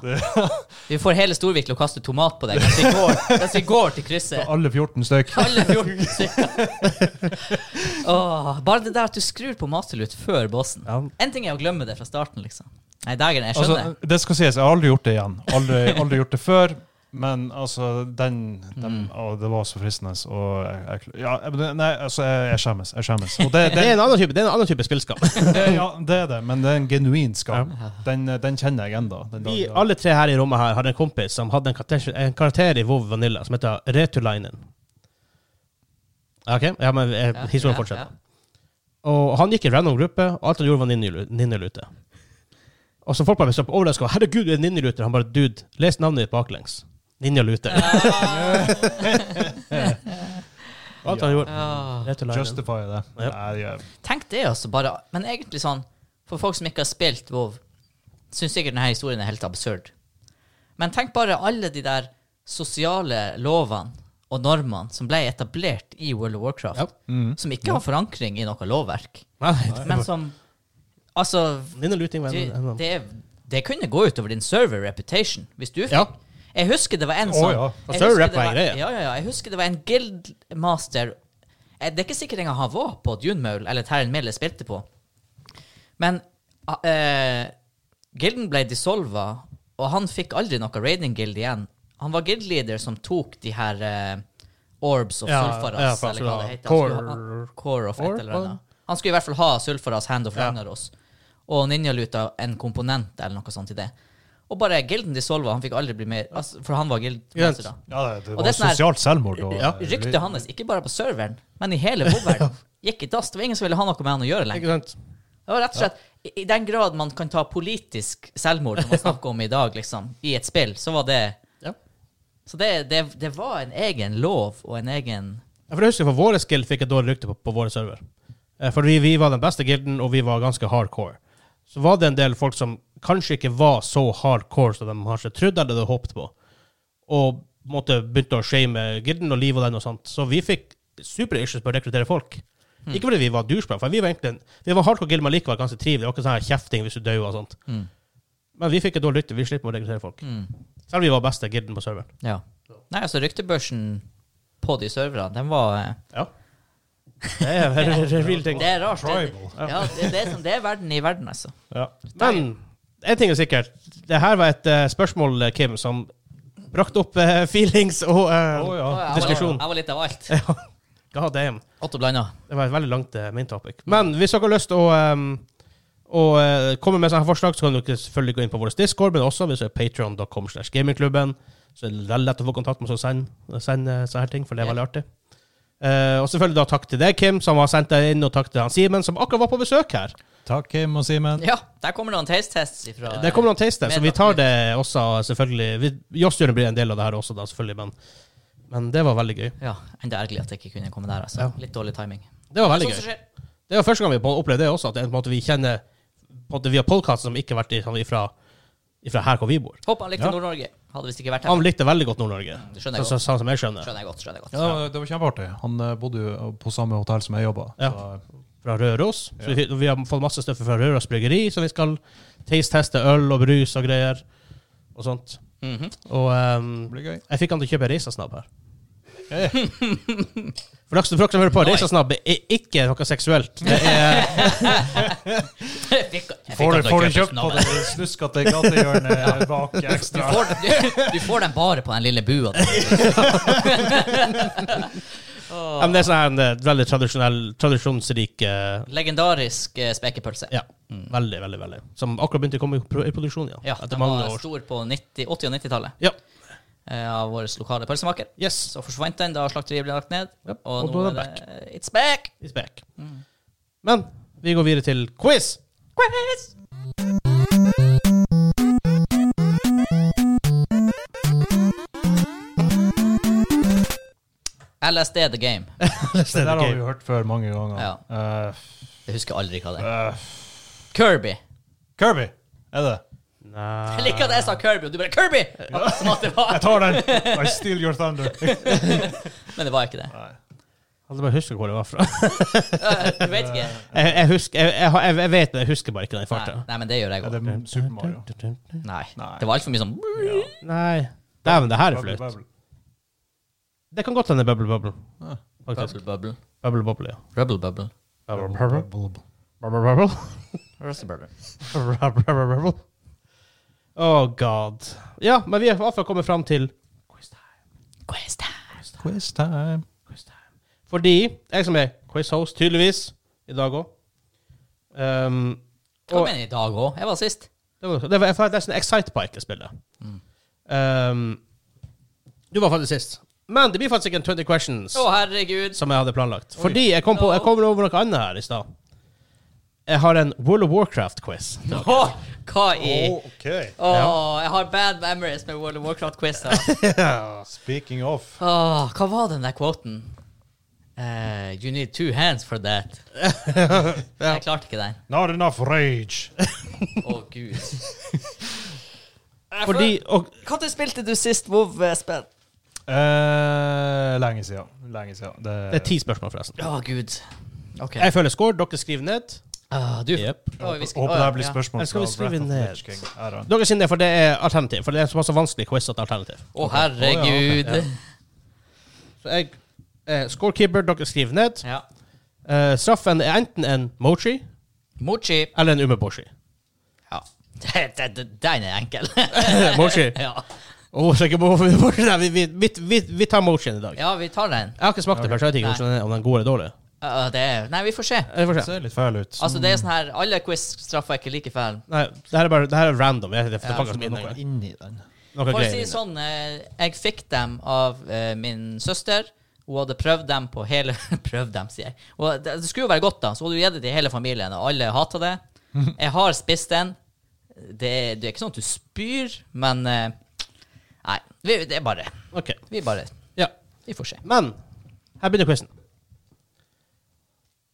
[SPEAKER 2] Vi får hele Storvik til å kaste tomat på deg mens vi går, mens vi går til krysset.
[SPEAKER 3] Alle 14 stykk.
[SPEAKER 2] Alle 14 stykker. Åh, bare det der at du skrur på masterlut før bossen.
[SPEAKER 1] Ja.
[SPEAKER 2] En ting er å glemme det fra starten, liksom. Nei, dagen, jeg skjønner.
[SPEAKER 3] Altså, det skal sies, jeg har aldri gjort det igjen. Aldri, aldri gjort det før. Men altså, den, den
[SPEAKER 2] Mm.
[SPEAKER 3] å, Det var så fristende. Og jeg, jeg, ja, men det- nei, altså, jeg, jeg skjemmes. Jeg skjemmes. Og det,
[SPEAKER 1] Det
[SPEAKER 3] det,
[SPEAKER 1] er en annen type, det er en annen type spillskam.
[SPEAKER 3] det, ja, det er det, men det er en genuin skam. Den, den kjenner jeg ennå.
[SPEAKER 1] Vi alle tre her i rommet her hadde en kompis som hadde en karakter, en karakter i WoW Vanilla som heter Retulainen. OK? Ja, men eh,
[SPEAKER 2] Ja,
[SPEAKER 1] historien
[SPEAKER 2] ja,
[SPEAKER 1] fortsetter.
[SPEAKER 2] ja.
[SPEAKER 1] Og han gikk i en random gruppe, og alt han gjorde, var ninjalu- ninjalute. Og så folk bare ble overraska. 'Herregud, du er ninjaluter.' Han bare 'Dude, les navnet ditt baklengs'. Ninjalute. alt han gjorde.
[SPEAKER 2] Åh.
[SPEAKER 1] Retulainen.
[SPEAKER 3] Justify det.
[SPEAKER 1] Ja.
[SPEAKER 3] Nei, jeg-
[SPEAKER 2] Tenk det, altså. Bare. Men egentlig sånn, for folk som ikke har spilt WoW, syns sikkert denne historien er helt absurd. Men tenk bare alle de der sosiale lovene og normene som ble etablert i World of Warcraft,
[SPEAKER 1] Ja.
[SPEAKER 2] som ikke har forankring i noe lovverk,
[SPEAKER 1] Nei,
[SPEAKER 2] men som Altså,
[SPEAKER 1] ninjaluting var
[SPEAKER 2] du,
[SPEAKER 1] en- en annen.
[SPEAKER 2] det, det kunne gå utover din server reputation hvis du fikk
[SPEAKER 1] Ja.
[SPEAKER 2] Jeg husker det var en
[SPEAKER 3] Å,
[SPEAKER 2] sånn
[SPEAKER 3] ja.
[SPEAKER 2] jeg
[SPEAKER 1] server
[SPEAKER 2] husker
[SPEAKER 1] rep
[SPEAKER 2] det
[SPEAKER 1] var en greie.
[SPEAKER 2] Ja, ja, ja. Jeg husker det var en guildmaster Eh, Det er ikke sikkert engang han var på Dunemaul eller Terren Mille spilte på. Men ah, eh, gilden ble dissolva, og han fikk aldri noe raiding guild igjen. Han var guildleader som tok de her eh, orbs og
[SPEAKER 1] Ja, ja,
[SPEAKER 2] sulfaras,
[SPEAKER 1] for han
[SPEAKER 2] eller hva det
[SPEAKER 1] skulle
[SPEAKER 2] heter.
[SPEAKER 1] ha
[SPEAKER 2] Han skulle ha- core of et
[SPEAKER 1] Core,
[SPEAKER 2] eller annet. Han skulle i hvert fall ha sulfaras hand of
[SPEAKER 1] Ja.
[SPEAKER 2] Ragnaros, og ninjaluta en komponent eller noe sånt i det. Og bare gilden dissolva, han fikk aldri bli mer altså, For han var guildmaster, da.
[SPEAKER 3] ja, det, det
[SPEAKER 2] Og
[SPEAKER 3] var
[SPEAKER 2] det er sånn her-
[SPEAKER 3] sosialt selvmord. Og,
[SPEAKER 1] Ja.
[SPEAKER 2] Ryktet hans, ikke bare på serveren, men i hele WoW-verdenen, gikk i dass. Det var ingen som ville ha noe med han å gjøre lenger.
[SPEAKER 1] Ikke sant?
[SPEAKER 2] Det var rett og slett, i, I den grad man kan ta politisk selvmord, som man snakker om i dag, liksom, i et spill, så var det
[SPEAKER 1] Ja.
[SPEAKER 2] Så det, det, det var en egen lov og en egen
[SPEAKER 1] Ja, For jeg husker for våre guild fikk et dårlig rykte på, på våre server. Eh, For vi, vi var den beste gilden, og vi var ganske hardcore. så var det en del folk som kanskje ikke var så hardcore som de kanskje trodde eller hadde håpet på, og på en måte begynte å shame Gilden og Liv og den og sånt. Så vi fikk super issues på å rekruttere folk. Ikke fordi vi var douchebag, for vi var egentlig vi var hardcore Gilden, men likevel ganske trivelig. Det var ikke sånn her kjefting hvis du døde og sånt.
[SPEAKER 2] Mm.
[SPEAKER 1] Men vi fikk et dårlig rykte. Vi slipper å rekruttere folk.
[SPEAKER 2] Mm.
[SPEAKER 1] Selv om vi var beste Gilden på serveren.
[SPEAKER 2] Ja. Nei, altså, ryktebørsen på de serverne, den var eh,
[SPEAKER 1] Ja. Det er veldig real ting.
[SPEAKER 2] Det er rart. Det,
[SPEAKER 3] Tribal.
[SPEAKER 2] ja, det, det, er sånn, det er verden i verden, altså.
[SPEAKER 1] Ja. Men en ting er sikkert. Det her var et eh, spørsmål, Kim, som brakte opp eh, feelings og eh,
[SPEAKER 3] Å,
[SPEAKER 2] Å,
[SPEAKER 3] ja.
[SPEAKER 2] Jeg var, litt,
[SPEAKER 1] Diskusjon.
[SPEAKER 2] jeg var litt av alt.
[SPEAKER 1] ja. God damn.
[SPEAKER 2] Åtte blanda.
[SPEAKER 1] Det var et veldig langt eh, main topic. Men hvis dere har lyst til å ehm, å, eh, komme med sånne forslag, så kan dere selvfølgelig gå inn på vår Discord, men også hvis det er patreon.com slash gamingklubben. Så er det veldig lett å få kontakt med oss og sende, sende eh, sånne her ting, for det er veldig artig. Eh, og selvfølgelig da takk til deg, Kim, som har sendt deg inn, og takk til han Simen, som akkurat var på besøk her.
[SPEAKER 3] Takk, Kim og Simen.
[SPEAKER 2] Ja, der kommer noen taste-tests ifra
[SPEAKER 1] Det kommer noen taster, så vi tar
[SPEAKER 2] Medlagt.
[SPEAKER 1] det også, selvfølgelig. Vi- Joss Jørgen blir en del av det her også, da, selvfølgelig, men, men det var veldig gøy.
[SPEAKER 2] Ja, enda ergerlig at jeg ikke kunne komme der, altså.
[SPEAKER 1] Ja.
[SPEAKER 2] Litt dårlig timing.
[SPEAKER 1] Det var veldig gøy.
[SPEAKER 2] Sånn som skjer.
[SPEAKER 1] Det var første gang vi på- opplevde det også, at det er på en måte vi kjenner på en måte via podkasten som ikke har vært i- sånn ifra, ifra her hvor vi bor.
[SPEAKER 2] Håper han likte
[SPEAKER 3] Ja.
[SPEAKER 2] Nord-Norge. Hadde visst ikke vært her.
[SPEAKER 1] Han likte veldig godt Nord-Norge,
[SPEAKER 2] Det skjønner jeg
[SPEAKER 1] så- så- sånn som jeg skjønner.
[SPEAKER 2] Skjønner jeg godt. skjønner jeg godt.
[SPEAKER 3] Ja, det var- det var kjempeartig. Han eh, bodde jo på samme hotell som jeg jobba.
[SPEAKER 1] Ja.
[SPEAKER 3] så- eh,
[SPEAKER 1] Fra Røros. Så vi, vi har fått masse støff fra Røros bryggeri, så vi skal taste-teste øl og brus og greier og sånt.
[SPEAKER 2] Mhm.
[SPEAKER 1] Og
[SPEAKER 3] Det
[SPEAKER 1] ehm,
[SPEAKER 3] blir gøy.
[SPEAKER 1] jeg fikk han til å kjøpe Reisasnabb her. For dere som for dere som hører på, Reisasnabb er ikke noe seksuelt. Det er
[SPEAKER 2] Jeg fikk- jeg fikk sånn han til å
[SPEAKER 3] Får du, får du
[SPEAKER 2] kjøpe
[SPEAKER 3] kjøpt på
[SPEAKER 2] snabben.
[SPEAKER 3] det snuskete gatehjørnet bak
[SPEAKER 2] Du
[SPEAKER 3] ekstra?
[SPEAKER 2] får, du, du får den bare på den lille bua. der.
[SPEAKER 1] Ja, men det er sånn her en eh, veldig tradisjonell, tradisjonsrik eh,
[SPEAKER 2] Legendarisk eh, spekepølse.
[SPEAKER 1] Ja. Veldig, veldig, veldig. Som akkurat begynte å komme i pro- i produksjon igjen.
[SPEAKER 2] Ja,
[SPEAKER 1] etter
[SPEAKER 2] den
[SPEAKER 1] mange
[SPEAKER 2] var
[SPEAKER 1] år.
[SPEAKER 2] stor på 90, 80- og 90-tallet
[SPEAKER 1] Ja.
[SPEAKER 2] eh, av vår lokale pølsemaker.
[SPEAKER 1] Yes.
[SPEAKER 2] Så forsvant den da slakteriet ble lagt ned,
[SPEAKER 1] Ja,
[SPEAKER 2] og,
[SPEAKER 1] og
[SPEAKER 2] nå
[SPEAKER 1] da
[SPEAKER 2] er
[SPEAKER 1] er
[SPEAKER 2] det It's back!
[SPEAKER 1] It's back. Men vi går videre til quiz.
[SPEAKER 2] Quiz! LSD The Game.
[SPEAKER 3] Det der har vi jo hørt før mange ganger.
[SPEAKER 2] Ja.
[SPEAKER 3] Eh,
[SPEAKER 2] Jeg husker aldri hva det er.
[SPEAKER 3] eh,
[SPEAKER 2] Kirby.
[SPEAKER 3] Kirby, er det?
[SPEAKER 2] Jeg liker at jeg sa Kirby, og du bare Kirby! Akkurat Som at det var.
[SPEAKER 3] Jeg tar den! I steal your thunder.
[SPEAKER 2] Men det var ikke det.
[SPEAKER 1] Hadde Altså, bare huska hvor det var fra.
[SPEAKER 2] Øh, Du vet ikke.
[SPEAKER 1] Jeg, jeg, husker, jeg, jeg, har- jeg, jeg vet det, jeg husker bare ikke den i
[SPEAKER 2] Nei,
[SPEAKER 1] farta.
[SPEAKER 2] nei, men det gjør jeg
[SPEAKER 3] Er
[SPEAKER 2] godt.
[SPEAKER 3] det Super Mario?
[SPEAKER 2] Nei.
[SPEAKER 3] Nei.
[SPEAKER 2] Det var altfor mye sånn
[SPEAKER 1] Nei. Dæven, det her er
[SPEAKER 3] Bubble,
[SPEAKER 1] flaut.
[SPEAKER 3] bubble.
[SPEAKER 1] Det kan godt hende Bubble Bubble.
[SPEAKER 3] Ja.
[SPEAKER 1] Faktisk.
[SPEAKER 2] Bubble bubble.
[SPEAKER 1] Bubble Bubble, ja.
[SPEAKER 2] Rubble bubble.
[SPEAKER 1] Bubble Bubble.
[SPEAKER 3] Bubble.
[SPEAKER 1] Bubble Bubble.
[SPEAKER 2] Rusty bubble.
[SPEAKER 1] Oh god. Ja, men vi er i hvert fall kommet fram til
[SPEAKER 2] Quiz time.
[SPEAKER 3] Quiz time.
[SPEAKER 1] Fordi jeg som er quiz-host, tydeligvis, i dag òg um,
[SPEAKER 2] Hva
[SPEAKER 1] Og-
[SPEAKER 2] mener du i dag òg? Jeg var sist.
[SPEAKER 1] Det var, det var, det var nesten Excitebike-spillet. Um, du var faktisk sist. Men det blir faktisk ikke en 20 questions,
[SPEAKER 2] Å, herregud.
[SPEAKER 1] som jeg hadde planlagt. Fordi jeg kom, på, jeg kom over noe annet her i stad. Jeg har en World of Warcraft-quiz.
[SPEAKER 2] Å, hva i
[SPEAKER 3] Ok.
[SPEAKER 2] Eh. Å, jeg har bad memories med World of Warcraft-quizer.
[SPEAKER 3] Speaking of
[SPEAKER 2] Åh, hva var den der quoten? Eh, you need two hands for that. Jeg klarte ikke den.
[SPEAKER 3] Not enough rage.
[SPEAKER 2] Å, gud.
[SPEAKER 1] Fordi og,
[SPEAKER 2] Når spilte du sist WoW-spill?
[SPEAKER 3] Eh, lenge siden. Lenge siden.
[SPEAKER 1] Det er ti spørsmål, forresten.
[SPEAKER 2] Å, gud. OK.
[SPEAKER 1] Jeg føler score. Dere skriver ned.
[SPEAKER 2] Ah, du Å, vi
[SPEAKER 3] Håper
[SPEAKER 2] skal- å,
[SPEAKER 3] håper det
[SPEAKER 2] ja,
[SPEAKER 3] her blir
[SPEAKER 2] ja.
[SPEAKER 3] spørsmål
[SPEAKER 1] Eller skal vi skrive
[SPEAKER 3] Breath of the
[SPEAKER 1] ned?
[SPEAKER 3] Lich King. Er det?
[SPEAKER 1] Dere sier det, for det er alternativ. For det er en såpass vanskelig quiz at det er alternativ.
[SPEAKER 2] Å, herregud.
[SPEAKER 1] Å, ja, Så jeg eh, Scorekeeper, dere skriver ned.
[SPEAKER 2] Ja.
[SPEAKER 1] Eh, straffen er enten en mochi
[SPEAKER 2] Mochi.
[SPEAKER 1] eller en umeboshi.
[SPEAKER 2] Ja. Det- det- det- Den er enkel.
[SPEAKER 1] mochi.
[SPEAKER 2] ja.
[SPEAKER 1] Åh, så ikke må- Nei, vi, vi, vi, vi, vi tar motion i dag.
[SPEAKER 2] ja, vi tar den.
[SPEAKER 1] Jeg har ikke smakt det før, så jeg vet ikke hvordan den er, om den er god eller dårlig.
[SPEAKER 2] Ja, det er, nei, vi får se.
[SPEAKER 1] Jeg får
[SPEAKER 3] Det
[SPEAKER 1] se.
[SPEAKER 3] ser litt feil ut.
[SPEAKER 2] Altså, det er sånn her Alle quiz-straffer er ikke like fæle.
[SPEAKER 1] Nei, det her er bare det her er random. Jeg, det
[SPEAKER 2] Ja,
[SPEAKER 1] er faktisk
[SPEAKER 3] Det er
[SPEAKER 1] min
[SPEAKER 3] noe
[SPEAKER 1] noe,
[SPEAKER 3] inni den.
[SPEAKER 1] noe
[SPEAKER 2] For å
[SPEAKER 1] greier. i
[SPEAKER 2] si
[SPEAKER 1] det.
[SPEAKER 2] det sånn, eh, jeg fikk dem av eh, min søster. Hun hadde prøvd dem på hele Prøvd dem, sier jeg. Og det, det skulle jo være godt, da, så hun hadde jo gitt det til hele familien, og alle hata det. Jeg har spist den. Det, er- det er ikke sånn at du spyr, men eh, Nei. Vi, det er bare
[SPEAKER 1] Ok,
[SPEAKER 2] Vi bare
[SPEAKER 1] ja.
[SPEAKER 2] Vi får se.
[SPEAKER 1] Men her begynner quizen.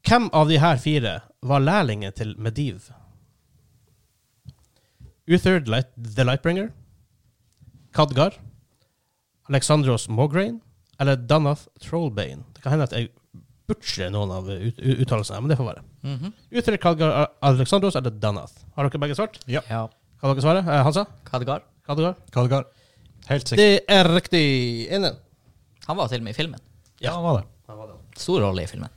[SPEAKER 1] Hvem av de her fire var lærlingen til Mediv? Uther Light, The Lightbringer, Khadgar, Alexandros Mograine eller Danath Trollbane. Det kan hende at jeg butcher noen av ut u- uttalelsene, men det får være. Uther, Khadgar, A- Alexandros eller Danath. Har dere begge svart?
[SPEAKER 2] Ja.
[SPEAKER 1] Kan dere svare? Eh, Hansa?
[SPEAKER 2] Khadgar.
[SPEAKER 1] Khadgar?
[SPEAKER 3] Kalgar. Helt sikkert.
[SPEAKER 1] Det er riktig. Ene.
[SPEAKER 2] Han var til og med i filmen.
[SPEAKER 3] Ja, han var det.
[SPEAKER 2] Stor rolle i filmen.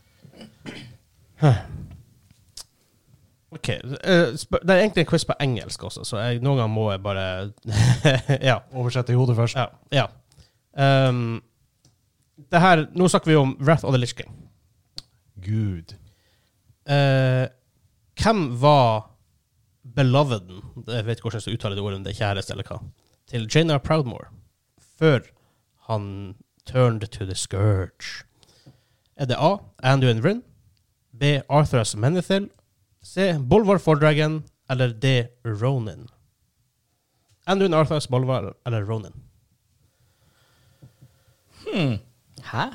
[SPEAKER 1] Ok, eh, spør- Det er egentlig en quiz på engelsk også, så jeg, noen ganger må jeg bare Ja.
[SPEAKER 3] Oversette i hodet først.
[SPEAKER 1] Ja. ja. Ehm, det her, nå snakker vi om Wrath of the Lich King.
[SPEAKER 3] Gud.
[SPEAKER 1] Eh, hvem var beloveden Jeg vet ikke hvordan jeg skal uttale det ordet, om det er kjæreste eller hva. Til Jaina Proudmore før han turned to the scourge. Er det A. Anduin Vryn? B. Arthurus Menethil? C. Bolvar Fordragon? Eller D. Ronin? Anduin Arthurus Bolvar eller Ronin?
[SPEAKER 2] Hæ?
[SPEAKER 3] Ja.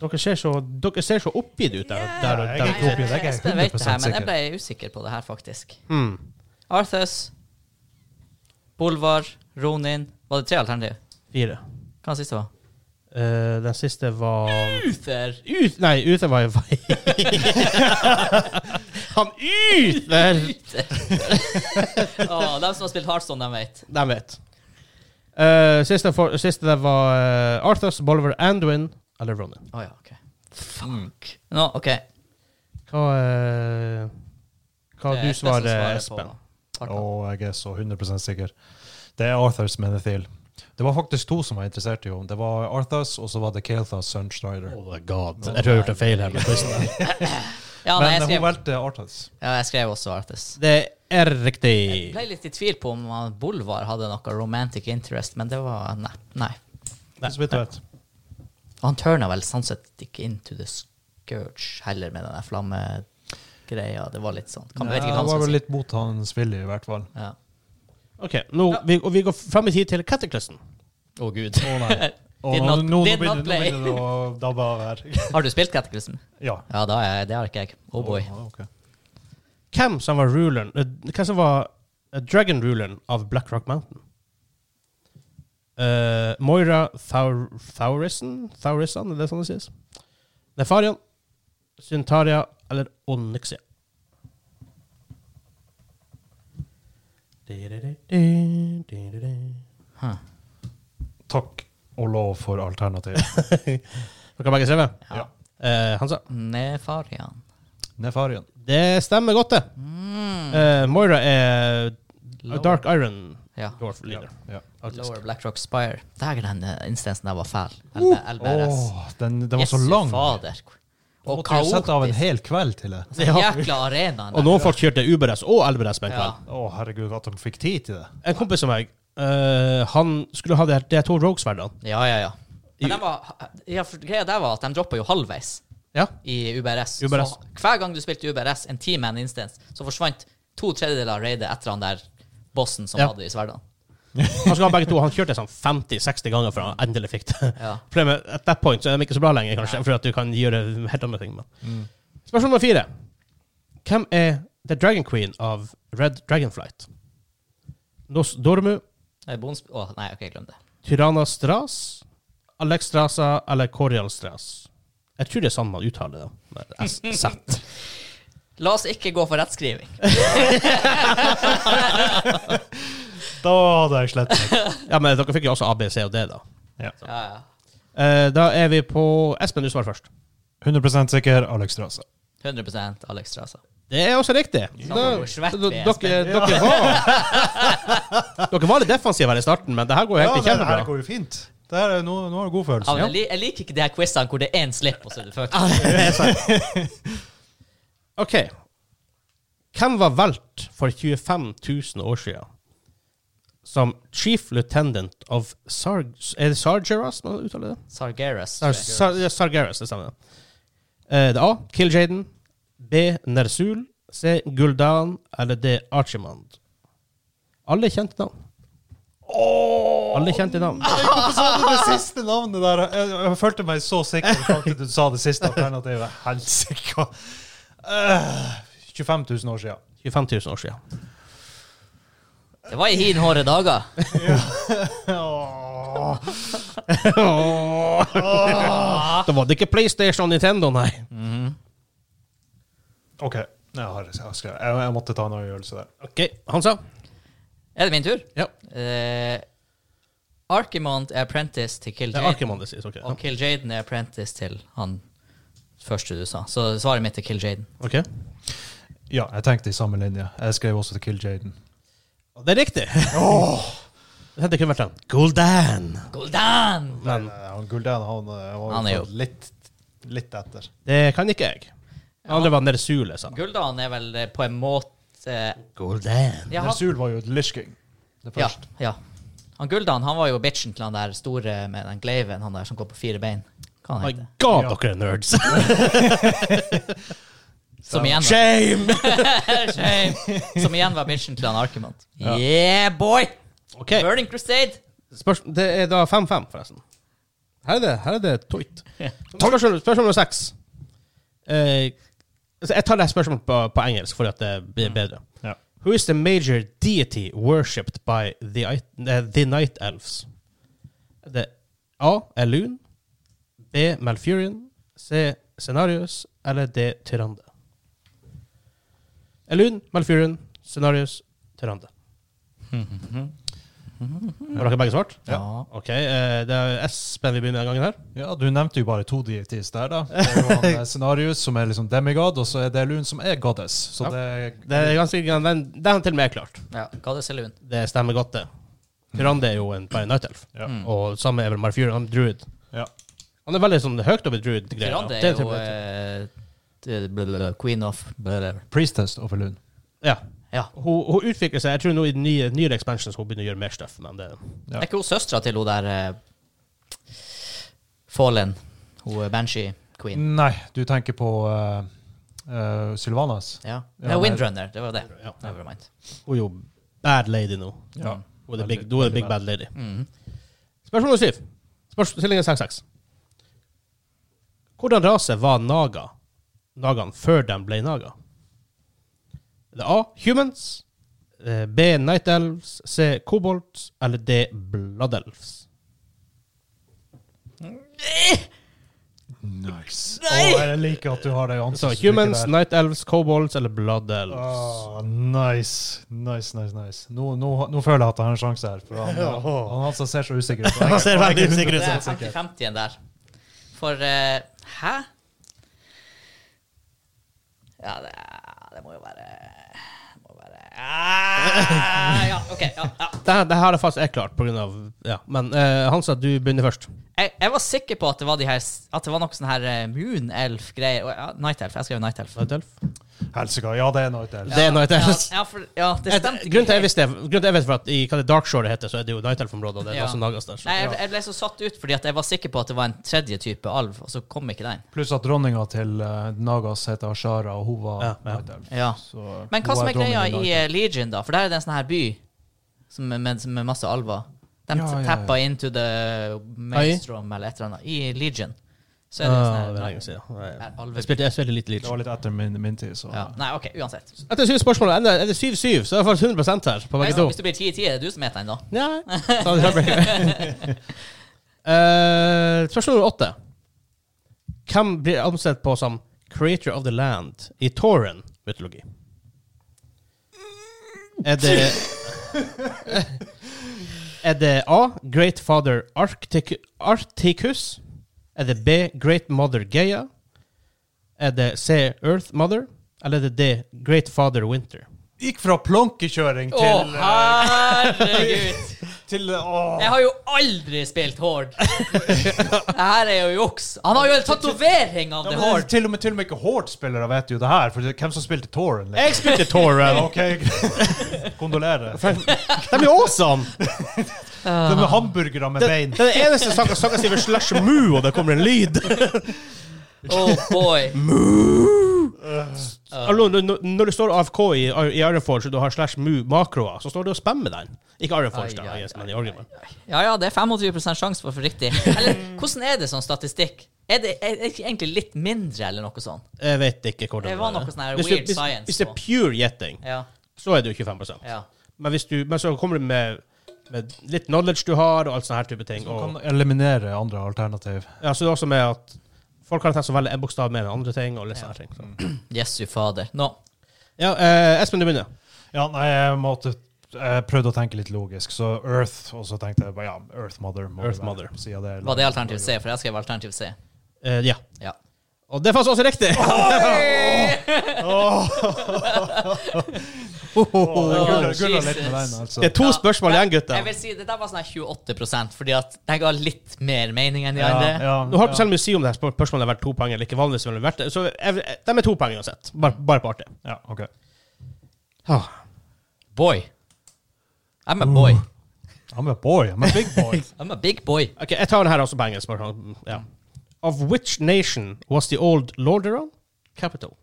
[SPEAKER 1] Dere ser så, dere ser så oppgitt ut der.
[SPEAKER 2] Ja,
[SPEAKER 1] der,
[SPEAKER 3] jeg
[SPEAKER 1] der,
[SPEAKER 3] er ikke
[SPEAKER 1] der.
[SPEAKER 3] oppgitt. det er ikke
[SPEAKER 2] Espen vet det her,
[SPEAKER 3] 100%
[SPEAKER 2] men jeg ble usikker på det her, faktisk.
[SPEAKER 1] Hmm.
[SPEAKER 2] Arthus, Bolvar, Ronin Var det tre alternativ?
[SPEAKER 1] Fire.
[SPEAKER 2] Hva var det siste? var?
[SPEAKER 1] Eh, den siste var
[SPEAKER 2] Uther!
[SPEAKER 1] Ut, nei, Uther var jo Han Uther!
[SPEAKER 2] Å, de som har spilt Heartstone, de vet.
[SPEAKER 1] De vet. Eh, siste, for, siste der var eh, Arthurs, Bolver, Anduin eller Ronin.
[SPEAKER 2] Å ja, OK. Fuck. Nå, OK.
[SPEAKER 1] Hva, eh, hva
[SPEAKER 2] Det er
[SPEAKER 1] du
[SPEAKER 2] Espen som
[SPEAKER 1] svarer,
[SPEAKER 2] svarer på
[SPEAKER 1] Espen?
[SPEAKER 2] Farta.
[SPEAKER 3] Og jeg er så 100 sikker. Det er Arthurs Menethil. Det var faktisk to som var interessert i henne. Det var Arthurs, og så var det Kael'thas Sunstrider.
[SPEAKER 1] Oh my god. Jeg tror jeg har gjort en feil her. med quizen her.
[SPEAKER 2] Ja, nei,
[SPEAKER 3] Men
[SPEAKER 2] jeg
[SPEAKER 3] hun
[SPEAKER 2] skrev,
[SPEAKER 3] valgte Arthurs.
[SPEAKER 2] ja, jeg skrev også Arthus.
[SPEAKER 1] Det er
[SPEAKER 2] Jeg ble
[SPEAKER 1] riktig.
[SPEAKER 2] litt i tvil på om han Bolvar hadde noe romantic interest, men det var Nei. nei.
[SPEAKER 3] Så vidt jeg vet.
[SPEAKER 2] Og han turna vel sånn sett ikke into the scourge heller, med den der flammegreia. Det var litt sånn kan, Jeg vet
[SPEAKER 3] Ja,
[SPEAKER 2] ikke hva han
[SPEAKER 3] Han var vel
[SPEAKER 2] skal si.
[SPEAKER 3] litt mot hans vilje, i hvert fall.
[SPEAKER 2] Ja.
[SPEAKER 1] Ok, nå, vi, og vi går fram i tid til Cateclisten.
[SPEAKER 2] Å, gud.
[SPEAKER 3] Og
[SPEAKER 2] Did
[SPEAKER 3] nå,
[SPEAKER 2] not-
[SPEAKER 3] nå, nå,
[SPEAKER 2] did
[SPEAKER 3] begynner,
[SPEAKER 2] not
[SPEAKER 3] nå
[SPEAKER 2] play.
[SPEAKER 3] begynner det å dabbe av her.
[SPEAKER 2] Har du spilt Catechism?
[SPEAKER 3] Ja.
[SPEAKER 2] Ja, da er, det har ikke jeg. Oh boy.
[SPEAKER 3] Ja, ok.
[SPEAKER 1] Hvem som var ruleren eh, Hvem som var eh, dragon-ruleren av Black Rock Mountain? Eh, Moira Thaur Thaurison? Thaurison, er det sånn det sies? Nefarian, Syntaria eller Onyxia? Dere
[SPEAKER 2] Huh.
[SPEAKER 3] Takk og lov for alternativ.
[SPEAKER 1] kan begge CV?
[SPEAKER 3] Ja.
[SPEAKER 1] Eh, Hansa?
[SPEAKER 2] Nefarian.
[SPEAKER 3] Nefarien.
[SPEAKER 1] Det stemmer godt, det. Eh, Moira er
[SPEAKER 2] Lower.
[SPEAKER 1] Dark Iron
[SPEAKER 2] Ja.
[SPEAKER 1] Dwarf Leader.
[SPEAKER 3] Ja.
[SPEAKER 1] faktisk.
[SPEAKER 2] Lower Black Rock Spire. Dægen, den eh, instansen der var fæl. Elbe, LBRS.
[SPEAKER 3] Åh, den, den var så
[SPEAKER 2] Jesu
[SPEAKER 3] lang.
[SPEAKER 2] Fader. Og
[SPEAKER 3] Måtte jo sette av en
[SPEAKER 2] kaotisk. Altså,
[SPEAKER 3] hel kveld til det.
[SPEAKER 2] Den jækla arenaen.
[SPEAKER 1] Og
[SPEAKER 2] der.
[SPEAKER 1] noen folk kjørte Uber-S og Elber-S på en
[SPEAKER 2] Ja.
[SPEAKER 1] kveld.
[SPEAKER 3] Å, herregud, at de fikk tid til det.
[SPEAKER 1] En kompis av meg, eh, han skulle ha de, her- de her to Rogue-sverdene.
[SPEAKER 2] Ja, ja, ja. Men den var, ja, for greia der var at de droppa jo halvveis
[SPEAKER 1] Ja.
[SPEAKER 2] i UBRS.
[SPEAKER 1] UBRS.
[SPEAKER 2] Så hver gang du spilte UBRS, en ti man instance, så forsvant to tredjedeler av raidet etter han der bossen som
[SPEAKER 1] Ja.
[SPEAKER 2] hadde i sverdene.
[SPEAKER 1] Han skulle ha begge to. Han kjørte sånn 50-60 ganger før han endelig fikk det.
[SPEAKER 2] Ja.
[SPEAKER 1] Problemet at that point så er de ikke så bra lenger, kanskje, for at du kan gjøre helt andre ting. Men.
[SPEAKER 2] Mm.
[SPEAKER 1] Spørsmål nummer fire. Hvem er The Dragon Queen av Red Dragonflight? Nos Dormu,
[SPEAKER 2] Nei, Bons Å, Eh, nei, OK, glem det.
[SPEAKER 1] Tyrana Stras, Alex Strasa eller Corial Stras? Jeg tror det er sånn man uttaler det. med SZ.
[SPEAKER 2] La oss ikke gå for rettskriving.
[SPEAKER 3] Da hadde jeg slettet meg.
[SPEAKER 1] Ja, men dere fikk jo også A, B, C og D, da.
[SPEAKER 3] Ja.
[SPEAKER 2] Ja, ja.
[SPEAKER 1] Eh, da er vi på Espen, du svarer først.
[SPEAKER 3] 100 sikker, Alex Strasa.
[SPEAKER 2] 100 Alex Strasa.
[SPEAKER 1] Det er også riktig.
[SPEAKER 2] Nå var du svett,
[SPEAKER 1] dere,
[SPEAKER 2] Espen.
[SPEAKER 1] dere, var, dere var litt defensive her i starten, men det her går jo helt kjempebra.
[SPEAKER 3] går jo fint. Det her er, nå, nå har du god
[SPEAKER 2] Ja,
[SPEAKER 3] følelse.
[SPEAKER 2] men jeg, li jeg liker ikke de her quizene hvor det er én slipp, og så er det fuck.
[SPEAKER 1] OK. Hvem var valgt for 25 000 år siden som chief lieutenant of Sarg... Er det Sargeras man uttaler det?
[SPEAKER 2] Sargeras.
[SPEAKER 1] Sar
[SPEAKER 2] tror jeg.
[SPEAKER 1] Sar ja, Sargeras, det stemmer. Eh, det er A. Kiljaden. B. Nersul. C. Guldan. Eller D. Archimand. Alle kjente navn. Alle kjente navn.
[SPEAKER 3] Hvorfor sa du det siste navnet der? Jeg, jeg følte meg så sikker fram til du sa det siste alternativet. Helsike. øh, 25 000 år siden.
[SPEAKER 1] 25 000 år siden.
[SPEAKER 2] Det var i hin hårde dager.
[SPEAKER 3] Åh.
[SPEAKER 1] Da var det ikke PlayStation og Nintendo, nei.
[SPEAKER 2] Mm.
[SPEAKER 3] OK. Jeg har, jeg, har skrevet. jeg, jeg måtte ta en avgjørelse der.
[SPEAKER 1] OK, Hansa.
[SPEAKER 2] Er det min tur?
[SPEAKER 1] Ja.
[SPEAKER 2] Eh, Archimond er apprentice til Kill
[SPEAKER 1] Det er
[SPEAKER 2] Jade.
[SPEAKER 1] Arkimon det sies. OK.
[SPEAKER 2] Og Kill Jaden er apprentice til han første du sa. Så svaret mitt er Kill Jaden.
[SPEAKER 1] Ok.
[SPEAKER 3] Ja, jeg tenkte i samme linje. Jeg skrev også til Kill Jaden.
[SPEAKER 1] Og Det er riktig. Det hadde ikke vært den. Goldan.
[SPEAKER 2] Goldan!
[SPEAKER 1] Men
[SPEAKER 3] Han Gulden han, eh, var
[SPEAKER 2] Han er jo-
[SPEAKER 3] litt, litt etter.
[SPEAKER 1] det kan ikke jeg. Den andre var Nersule, sa han.
[SPEAKER 2] Guldan er vel eh, på en måte eh,
[SPEAKER 1] Goldan.
[SPEAKER 2] ja, han,
[SPEAKER 3] Nersul var jo et Lish King. Det
[SPEAKER 2] ja,
[SPEAKER 3] første.
[SPEAKER 2] ja. Han Guldan han var jo bitchen til han der store med den gleiven, han der som går på fire bein. Hva han
[SPEAKER 1] My
[SPEAKER 2] heter
[SPEAKER 1] god,
[SPEAKER 3] Ja.
[SPEAKER 1] dere er nerds.
[SPEAKER 2] Som igjen var,
[SPEAKER 1] Shame!
[SPEAKER 2] Shame. som igjen var bitchen til han Archimond. Yeah, boy!
[SPEAKER 1] OK.
[SPEAKER 2] Burning Crusade!
[SPEAKER 1] Spørs det er da 5-5, forresten. Her er det, her er det tøyt. Spørsmål, spørsmål nummer seks. Eh, altså, jeg tar det her spørsmålet på, på engelsk for at det blir bedre.
[SPEAKER 3] Ja.
[SPEAKER 1] Who is the major deity worshipped by the, i- eh, the Night Elves? Er Det A. Elun. B. Malfurion. C. Scenarius. Eller D. Tyrande. Elun, Malfurion, Scenarius, Tyrande. Har dere begge svart?
[SPEAKER 2] Ja.
[SPEAKER 1] Ok, eh, det er Espen vi begynner denne gangen her.
[SPEAKER 3] Ja, Du nevnte jo bare to deities der, da. Det er jo han eh, Scenarius, som er liksom demigod, og så er det Lun, som er goddess. Så
[SPEAKER 1] Ja.
[SPEAKER 3] det
[SPEAKER 1] Det er ganske, den, den til og med er klart.
[SPEAKER 2] Ja, Goddess Elun.
[SPEAKER 1] Det stemmer godt, det. Tyrande er jo en bare night elf,
[SPEAKER 3] Ja.
[SPEAKER 2] Mm.
[SPEAKER 1] og samme er vel Marfjord, han er druid.
[SPEAKER 3] ja.
[SPEAKER 1] Han er veldig sånn høyt oppe i druid-greia.
[SPEAKER 2] Tyrande
[SPEAKER 1] Det
[SPEAKER 2] er
[SPEAKER 1] er til
[SPEAKER 2] jo
[SPEAKER 1] og med-
[SPEAKER 2] eh, det- blah, blah, blah, queen of whatever.
[SPEAKER 3] Priestess over Lun.
[SPEAKER 1] Ja.
[SPEAKER 2] Ja.
[SPEAKER 1] Hun, hun utvikler seg. Jeg tror nå i den nye, nyere expansions hun begynner å gjøre mer stuff, men det
[SPEAKER 3] Ja.
[SPEAKER 2] Er ikke hun søstera til hun der eh, Fallen? Hun er Banshee Queen.
[SPEAKER 3] Nei, du tenker på eh, eh, Sylvanas.
[SPEAKER 2] Ja.
[SPEAKER 3] Ja,
[SPEAKER 2] ja,
[SPEAKER 3] nei.
[SPEAKER 2] Windrunner, det var det.
[SPEAKER 1] Ja.
[SPEAKER 2] Never mind. Mm.
[SPEAKER 1] Hun er jo bad lady nå.
[SPEAKER 3] Ja.
[SPEAKER 1] Hun er the big,
[SPEAKER 3] Veldig-
[SPEAKER 1] hun er the
[SPEAKER 3] veldig
[SPEAKER 1] big
[SPEAKER 3] bad.
[SPEAKER 1] bad lady. Mm-hmm. Spørsmål nummer syv. Spørsmål- Stillingen 6-6. Hvordan rase var naga, nagaen før de ble naga? Er det A. Humans. eh, B. Night Elves. C. Kobolds. Eller D. Blood Elves.
[SPEAKER 3] Nice.
[SPEAKER 2] Nei!
[SPEAKER 3] Å, jeg liker at du har det i
[SPEAKER 1] Så
[SPEAKER 3] ansiktet.
[SPEAKER 1] Humans, Night Elves, Kobolds eller Blood Elves.
[SPEAKER 3] Ah, nice, nice, nice. nice. Nå, nå, nå føler jeg at jeg har en sjanse her. For han, han, han som ser så usikker ut.
[SPEAKER 1] Han ser veldig usikker
[SPEAKER 2] Det
[SPEAKER 1] ut.
[SPEAKER 2] er
[SPEAKER 1] sånn.
[SPEAKER 2] 50-50-en der. For eh, Hæ? Ja, det, det må jo være det må være ah, Ja, OK. Ja, ja.
[SPEAKER 1] Det her, det her er faktisk jeg klart, på grunn av ja. Men eh, Hansa, du begynner først.
[SPEAKER 2] Jeg, jeg var sikker på at det var de her s- At det var noe sånn her eh, Moon Elf-greier. Og, Ja, Night Elf. Jeg skrev Night Elf.
[SPEAKER 1] Night Elf?
[SPEAKER 3] Helsika. Ja, det er Night Elf.
[SPEAKER 1] Det er Night Elves.
[SPEAKER 2] Ja, ja, for, ja det
[SPEAKER 1] Et-
[SPEAKER 2] stemte.
[SPEAKER 1] Grunnen til jeg visste det, grunnen til jeg vet for at i hva det Dark Shore det heter, så er det jo Night Elf-området, og det er
[SPEAKER 2] Ja.
[SPEAKER 1] også Nagas der. Så.
[SPEAKER 2] Nei, jeg, jeg ble så satt ut fordi at jeg var sikker på at det var en tredje type alv, og så kom ikke den.
[SPEAKER 3] Pluss at dronninga til eh, Nagas heter Ashara, og hun var
[SPEAKER 1] Ja, ja.
[SPEAKER 3] Night Elf.
[SPEAKER 2] Ja.
[SPEAKER 3] Så
[SPEAKER 2] Men hva
[SPEAKER 3] hun
[SPEAKER 2] som er
[SPEAKER 3] dronning
[SPEAKER 2] greia i
[SPEAKER 3] Night Elf.
[SPEAKER 2] eh, Legion, da? For der er det en sånn her by som er med, som er masse alver. De
[SPEAKER 3] Ja, ja, ja.
[SPEAKER 2] tappa into the mainstream eller et eller annet. I Legion. Så er det
[SPEAKER 1] Ah,
[SPEAKER 2] en sånn
[SPEAKER 1] det er
[SPEAKER 2] her
[SPEAKER 1] lenge siden. Nei.
[SPEAKER 2] er alve...
[SPEAKER 1] Jeg spilte, jeg spilte litt
[SPEAKER 3] Det
[SPEAKER 1] Legion.
[SPEAKER 3] var litt etter min, min tid, så
[SPEAKER 2] Ja. Nei, OK, uansett.
[SPEAKER 1] Etter syv spørsmål er det- er det 7-7, så er det faktisk 100 her på
[SPEAKER 2] Nei,
[SPEAKER 1] begge
[SPEAKER 2] så
[SPEAKER 1] to.
[SPEAKER 2] hvis du blir 10 i 10, er det du som heter den, da?
[SPEAKER 1] Nei. Ta det tilbake. Eh, Spørsmål nummer åtte. Hvem blir ansett på som creator of the land i Toren-mytologi? Er det Er det A. Great Father Arctic, Articus? Er det B. Great Mother Gaia? Er det C. Earth Mother? Eller er det D. Great Father Winter?
[SPEAKER 3] Gikk fra plankekjøring
[SPEAKER 2] Å,
[SPEAKER 3] til eh,
[SPEAKER 2] herregud!
[SPEAKER 3] til, åh.
[SPEAKER 2] Jeg har jo aldri spilt Horde. Det her er jo juks. Han har jo en tatovering av det
[SPEAKER 3] Ja, men det er
[SPEAKER 2] Horde.
[SPEAKER 3] til, og med, til og med ikke Horde-spillere vet jo det her. For det, hvem som spilte Toren? Liksom.
[SPEAKER 1] Jeg spilte Toren!
[SPEAKER 3] Ok, Kondolerer.
[SPEAKER 1] De er jo awesome!
[SPEAKER 3] Det med hamburgere med bein.
[SPEAKER 1] Det er den eneste sangen sangen sier vel slash moo, og det kommer en lyd.
[SPEAKER 2] Oh boy.
[SPEAKER 1] Hallo, når- når- når du står AFK i, i Ironforge og du har slash moo makroer, så står du og spammer den. Ikke Ironforge, da,
[SPEAKER 2] Ai, ai,
[SPEAKER 1] I guess, men i Orgrimmar.
[SPEAKER 2] Ja ja, det er 25 sjanse for å få riktig. Eller hvordan er det sånn statistikk? Er det er det ikke egentlig litt mindre, eller noe sånt?
[SPEAKER 1] Jeg vet ikke hvordan
[SPEAKER 2] Det var noe sånn her
[SPEAKER 1] Hvis du-
[SPEAKER 2] weird
[SPEAKER 1] hvis,
[SPEAKER 2] science
[SPEAKER 1] Hvis det
[SPEAKER 2] på.
[SPEAKER 1] er pure gjetting,
[SPEAKER 2] Ja.
[SPEAKER 1] så er det jo 25
[SPEAKER 2] ja.
[SPEAKER 1] men, hvis du, men så kommer du med, med litt knowledge du har, og alt sånne her type ting.
[SPEAKER 3] Så
[SPEAKER 1] Og,
[SPEAKER 3] kan eliminere andre alternativ.
[SPEAKER 1] ja, så det er også med at folk har en tendens til å velge en bokstav mer enn andre ting. og litt sånne her ting. Så.
[SPEAKER 2] Jesu fader. Nå.
[SPEAKER 1] Ja, eh, Espen, du begynner.
[SPEAKER 3] Ja, nei, jeg måtte jeg prøvde å tenke litt logisk, så Earth, og så tenkte jeg bare ja, Earth Mother. må det
[SPEAKER 1] Earth
[SPEAKER 3] være,
[SPEAKER 1] Mother.
[SPEAKER 3] siden det er-
[SPEAKER 2] Var det alternativ C? For jeg skrev alternativ C.
[SPEAKER 1] Eh, ja.
[SPEAKER 2] Ja.
[SPEAKER 1] Og det er faktisk også riktig!
[SPEAKER 3] Åh, gulla-
[SPEAKER 2] Jesus.
[SPEAKER 3] gulla litt med den, altså.
[SPEAKER 1] Det er to
[SPEAKER 2] Ja,
[SPEAKER 1] spørsmål igjen,
[SPEAKER 2] Jeg
[SPEAKER 1] gutter.
[SPEAKER 2] vil si det der var sånn her 28 fordi at den ga litt mer mening enn de
[SPEAKER 3] Ja,
[SPEAKER 2] andre.
[SPEAKER 3] ja,
[SPEAKER 1] Nå har
[SPEAKER 3] ja.
[SPEAKER 1] ikke selv om du sier om det her spør- spørsmålet har vært to poeng eller ikke vanligvis ville det vært det, så jeg, de er to poeng uansett. Bare, bare på artig.
[SPEAKER 3] Ja, ok.
[SPEAKER 1] Ah.
[SPEAKER 2] Boy. I'm a
[SPEAKER 1] Mm.
[SPEAKER 2] boy.
[SPEAKER 3] I'm a boy. I'm a big boy.
[SPEAKER 2] I'm a big boy.
[SPEAKER 1] Ok, jeg tar den her også på engelsk. bare sånn, Ja. Of which nation was the old Lordaeron capital?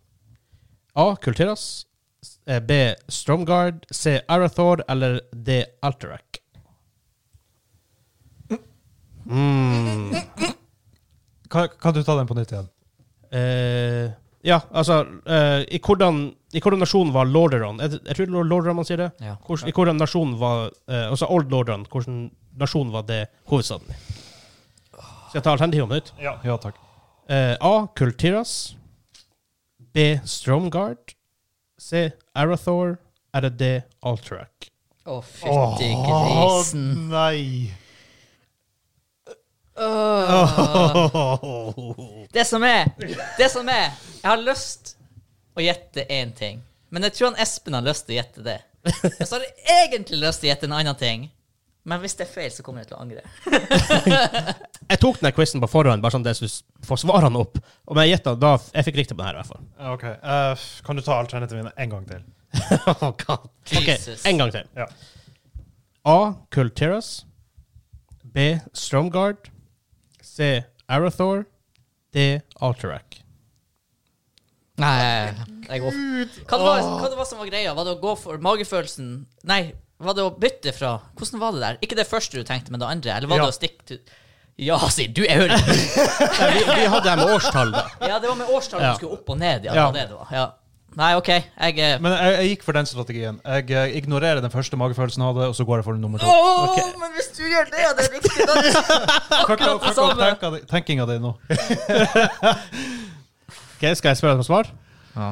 [SPEAKER 1] A. Kultiras. S- eh, B. Stromgard. C. Arathor. Eller D. Alterac. Mm.
[SPEAKER 3] kan, kan du ta den på nytt igjen?
[SPEAKER 1] Eh, ja, altså eh, i, hvordan, I hvordan nasjon var Lordaeron? Jeg, jeg tror det var Lordaeron man sier det.
[SPEAKER 2] Ja.
[SPEAKER 1] Hvordan, I hvordan nasjon var eh, Altså Old Lordaeron, hvordan nasjon var det hovedstaden i? Skal jeg ta alternativet om minutt?
[SPEAKER 3] Ja, takk.
[SPEAKER 1] Eh, A. Kultiras. B. Stromgard. C. Arathor. Eller D. Alterac.
[SPEAKER 2] Å, fytti grisen.
[SPEAKER 3] nei!
[SPEAKER 2] Det som er Det som er Jeg har lyst å gjette én ting, men jeg tror han Espen har lyst til å gjette det. Og så har jeg egentlig lyst til å gjette en annen ting, men hvis det er feil, så kommer jeg til å angre.
[SPEAKER 1] Jeg tok denne quizen på forhånd, bare sånn at jeg skulle få svarene opp. Og men jeg gjetta da Jeg fikk riktig på den her, i hvert fall.
[SPEAKER 3] Ok, eh, Kan du ta alternativene en gang til?
[SPEAKER 1] oh, God. Ok,
[SPEAKER 2] Jesus.
[SPEAKER 1] en gang til.
[SPEAKER 3] Ja.
[SPEAKER 1] A. Kultiras. B. Stromgard. C. Arathor. D. Alterac.
[SPEAKER 2] Nei, jeg går hva det, var, hva det var som var greia? Var det å gå for magefølelsen Nei, var det å bytte fra Hvordan var det der? Ikke det første du tenkte, men det andre? Eller var
[SPEAKER 3] Ja.
[SPEAKER 2] det å stikke til Ja, sier du! Jeg hører ikke.
[SPEAKER 1] Nei, vi, vi hadde det her med årstall, da.
[SPEAKER 2] Ja, det var med årstall
[SPEAKER 1] Ja.
[SPEAKER 2] du skulle opp og ned. Ja, det
[SPEAKER 1] Ja.
[SPEAKER 2] var det det var. Ja. Nei, OK. Jeg eh,
[SPEAKER 3] Men jeg, jeg gikk for den strategien. Jeg eh, ignorerer den første magefølelsen jeg hadde, og så går jeg for nummer to.
[SPEAKER 2] Åh, men hvis du gjør det, ja, det er riktig. Da er det akkurat det samme.
[SPEAKER 3] Tenkinga di nå.
[SPEAKER 1] Ok, Skal jeg spørre deg om svar?
[SPEAKER 3] Ja.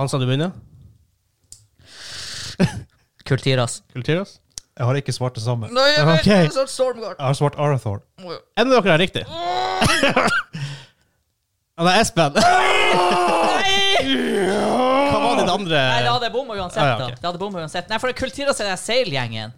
[SPEAKER 1] Han sa du begynner?
[SPEAKER 2] Kultiras.
[SPEAKER 1] Kultiras?
[SPEAKER 3] Jeg har ikke svart det samme.
[SPEAKER 2] Nei, jeg
[SPEAKER 1] vet, Ok. det er
[SPEAKER 2] sånn Stormgard.
[SPEAKER 3] Jeg har svart Arathor.
[SPEAKER 1] En av dere er riktig. Han er Espen.
[SPEAKER 2] Nei!
[SPEAKER 1] Hva var ditt andre?
[SPEAKER 2] Nei, det hadde jeg bomma uansett.
[SPEAKER 1] Ah, ja,
[SPEAKER 2] da.
[SPEAKER 1] ok.
[SPEAKER 2] Det hadde jeg bommet uansett. Nei, for det er Kultiras er den seilgjengen.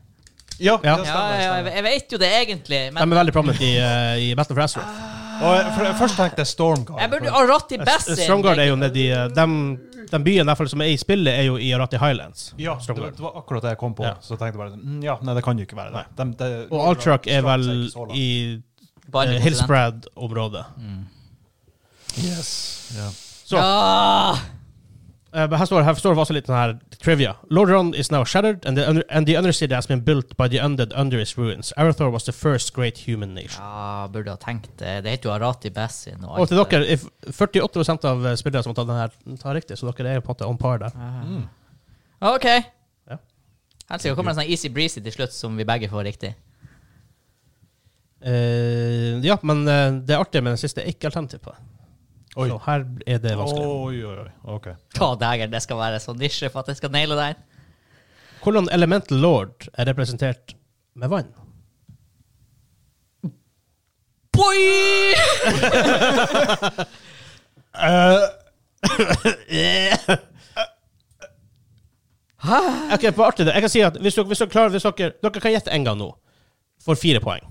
[SPEAKER 3] Ja,
[SPEAKER 1] Ja.
[SPEAKER 3] det
[SPEAKER 2] Ja,
[SPEAKER 3] stemmer.
[SPEAKER 2] ja,
[SPEAKER 3] stemmer.
[SPEAKER 2] jeg, jeg vet jo det egentlig,
[SPEAKER 1] De
[SPEAKER 2] men
[SPEAKER 1] er veldig prominent i, eh, i Battle for
[SPEAKER 2] Ah,
[SPEAKER 1] Azeroth.
[SPEAKER 3] Og jeg, for, jeg først tenkte jeg Stormguard.
[SPEAKER 2] jeg burde Arati Bassin.
[SPEAKER 1] Stromgard er jo nedi uh, Den byen i hvert fall som er i spillet, er jo i Arati Highlands.
[SPEAKER 3] ja, det, var-
[SPEAKER 1] Stromgard.
[SPEAKER 3] det var akkurat det jeg kom på.
[SPEAKER 1] Ja.
[SPEAKER 3] Så tenkte jeg bare mm, Ja, nei, det kan jo ikke være det. Dem- det-
[SPEAKER 1] Og Altruck er vel
[SPEAKER 3] Strand seg ikke så langt.
[SPEAKER 1] i
[SPEAKER 2] Bare
[SPEAKER 1] eh,
[SPEAKER 2] kontinent.
[SPEAKER 1] Hillsprad-området.
[SPEAKER 3] Yes. Ja.
[SPEAKER 1] Så
[SPEAKER 2] Ah,
[SPEAKER 1] eh, her står her står det også litt sånn her trivia. Lordaeron is now shattered, and the, under, and the undercity has been built by the undead under its ruins. Arathor was the first great human nation.
[SPEAKER 2] ja, burde ha tenkt det. Det heter jo Arati Bassin. Og,
[SPEAKER 1] Og
[SPEAKER 2] alt
[SPEAKER 1] til
[SPEAKER 2] det.
[SPEAKER 1] dere, if 48 av eh, spillere som har tatt den her, tar riktig, så dere er på en måte on par der.
[SPEAKER 2] Ah, OK.
[SPEAKER 1] Ja.
[SPEAKER 2] Helsike, det kommer en sånn easy breezy til slutt som vi begge får riktig.
[SPEAKER 1] Eh, ja, men eh, det artige med den siste er ikke alternativ på det.
[SPEAKER 3] Oi.
[SPEAKER 1] Så her er det vanskelig.
[SPEAKER 3] Oi, oi, oi. Ok.
[SPEAKER 2] Å, dæger, det skal være sånn nisje for at jeg skal naile den.
[SPEAKER 1] Hvordan Elemental Lord er representert med vann?
[SPEAKER 2] Boy!
[SPEAKER 1] Ah. Ok, på artig det. Jeg kan si at hvis dere, hvis dere klarer hvis dere, dere kan gjette en gang nå, for fire poeng.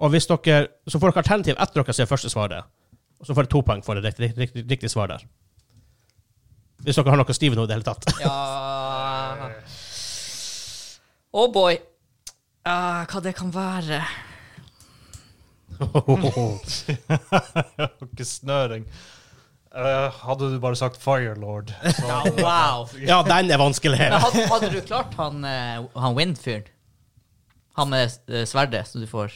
[SPEAKER 1] Og hvis dere, Så får dere alternativ etter dere ser første svaret. Og så får dere to poeng for det riktige riktig, riktig, riktig svar der. Hvis dere har noe å skrive nå i det hele tatt.
[SPEAKER 2] Ja Oh boy. Ah, hva det kan være
[SPEAKER 3] Ikke snøring. Eh, hadde du bare sagt Firelord
[SPEAKER 2] Ja, Wow.
[SPEAKER 1] Ja, den er vanskelig.
[SPEAKER 2] Men hadde, hadde du klart han, eh, han Wind-fyren? Han med eh, sverdet som du får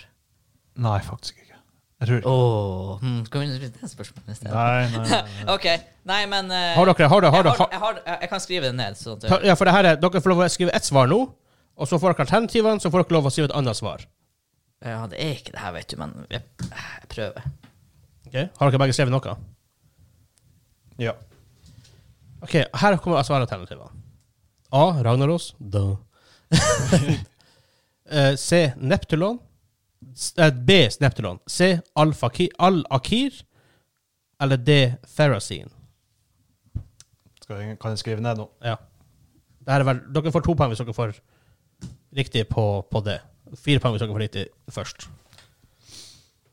[SPEAKER 3] Nei, faktisk ikke. Jeg tror ikke.
[SPEAKER 2] Åh, hmm, Skal vi begynne det spørsmålet i stedet?
[SPEAKER 3] Nei, nei, nei. nei.
[SPEAKER 2] OK. Nei, men eh,
[SPEAKER 1] Har dere har dere, har
[SPEAKER 2] jeg,
[SPEAKER 1] dere,
[SPEAKER 2] har,
[SPEAKER 1] har,
[SPEAKER 2] jeg, har, jeg, jeg kan skrive det ned. Sånn at
[SPEAKER 1] Ja, for det her er, Dere får lov å skrive ett svar nå, og så får dere alternativene, så får dere lov å skrive et annet svar.
[SPEAKER 2] ja, det Eh, er ikke det her, vet du, men jeg, jeg prøver.
[SPEAKER 1] Ok? Har dere begge skrevet noe?
[SPEAKER 3] Ja.
[SPEAKER 1] Ok, her kommer svaralternativene. A. Ragnaros. Da. Eh, C. Neptulon. S- eh, B. Neptulon. C. Al-Fakir. Al-Akir. Eller D. Ferrazine.
[SPEAKER 3] Skal jeg, kan jeg skrive ned nå?
[SPEAKER 1] Ja. Det her er vel, dere får to poeng hvis dere får riktig på, på det. Fire poeng hvis dere får riktig først.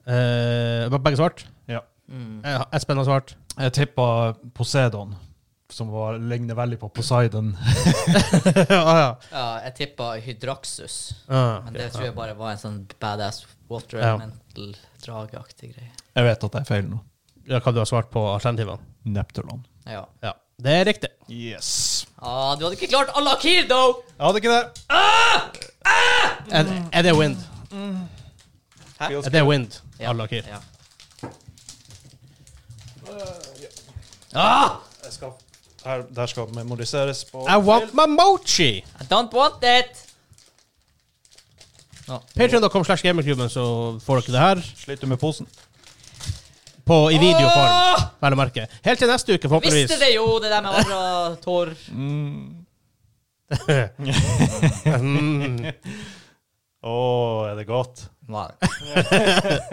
[SPEAKER 1] Eh, var begge svart?
[SPEAKER 3] Ja.
[SPEAKER 1] Eh, Espen har svart.
[SPEAKER 3] Jeg tippa Poseidon, som var, ligner veldig på Poseidon.
[SPEAKER 1] ah, ja.
[SPEAKER 2] Ja, jeg tippa Hydraxus,
[SPEAKER 1] Ah,
[SPEAKER 2] men
[SPEAKER 1] ok,
[SPEAKER 2] det tror jeg bare var en sånn badass water
[SPEAKER 1] Ja.
[SPEAKER 2] elemental drageaktig greie.
[SPEAKER 3] Jeg vet at det er feil nå.
[SPEAKER 1] ja. Hva du har svart på alternativene?
[SPEAKER 3] Neptulon.
[SPEAKER 2] Ja.
[SPEAKER 1] Ja. Det er riktig.
[SPEAKER 3] Yes.
[SPEAKER 2] Ah, du hadde ikke klart Al-Akir, though!
[SPEAKER 3] Jeg hadde ikke det.
[SPEAKER 1] Er, er det wind? Er det wind?
[SPEAKER 2] Ja.
[SPEAKER 1] Alle akir.
[SPEAKER 2] Ja. Ah!
[SPEAKER 3] Jeg skal, her, det her skal memoriseres på
[SPEAKER 1] I want my mochi!
[SPEAKER 2] I don't want it! Nå.
[SPEAKER 1] Patreon.com slash gamingklubben, så får dere det her.
[SPEAKER 3] Sliter med posen.
[SPEAKER 1] På, I videoform,
[SPEAKER 2] Åh!
[SPEAKER 1] vel å merke. Helt til neste uke,
[SPEAKER 2] Visste
[SPEAKER 1] forhåpentligvis.
[SPEAKER 2] det jo, det der med andre tår.
[SPEAKER 1] Mm,
[SPEAKER 3] Å, er det godt?
[SPEAKER 2] Nei.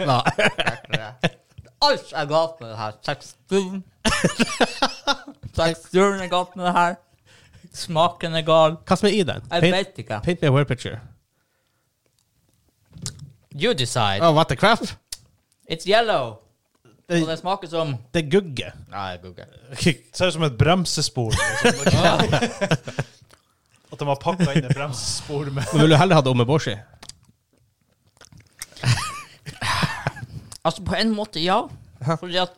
[SPEAKER 2] Nei. det er ikke det. Alt er galt med det her. Teksturen. Teksturen er galt med det her. Smaken er gal.
[SPEAKER 1] Hva som er i den?
[SPEAKER 2] Jeg
[SPEAKER 1] Paint,
[SPEAKER 2] vet ikke.
[SPEAKER 1] paint me a word picture.
[SPEAKER 2] You decide.
[SPEAKER 1] Oh, what the crap?
[SPEAKER 2] It's yellow.
[SPEAKER 1] Det,
[SPEAKER 2] Og det smaker som
[SPEAKER 1] det gugger.
[SPEAKER 2] Nei, Google.
[SPEAKER 3] Ser ut som et bremsespor. Liksom. At de har pakka inn et bremsespor med
[SPEAKER 1] Men vil du heller ha det omeboshi?
[SPEAKER 2] Altså, på en måte, ja. Fordi at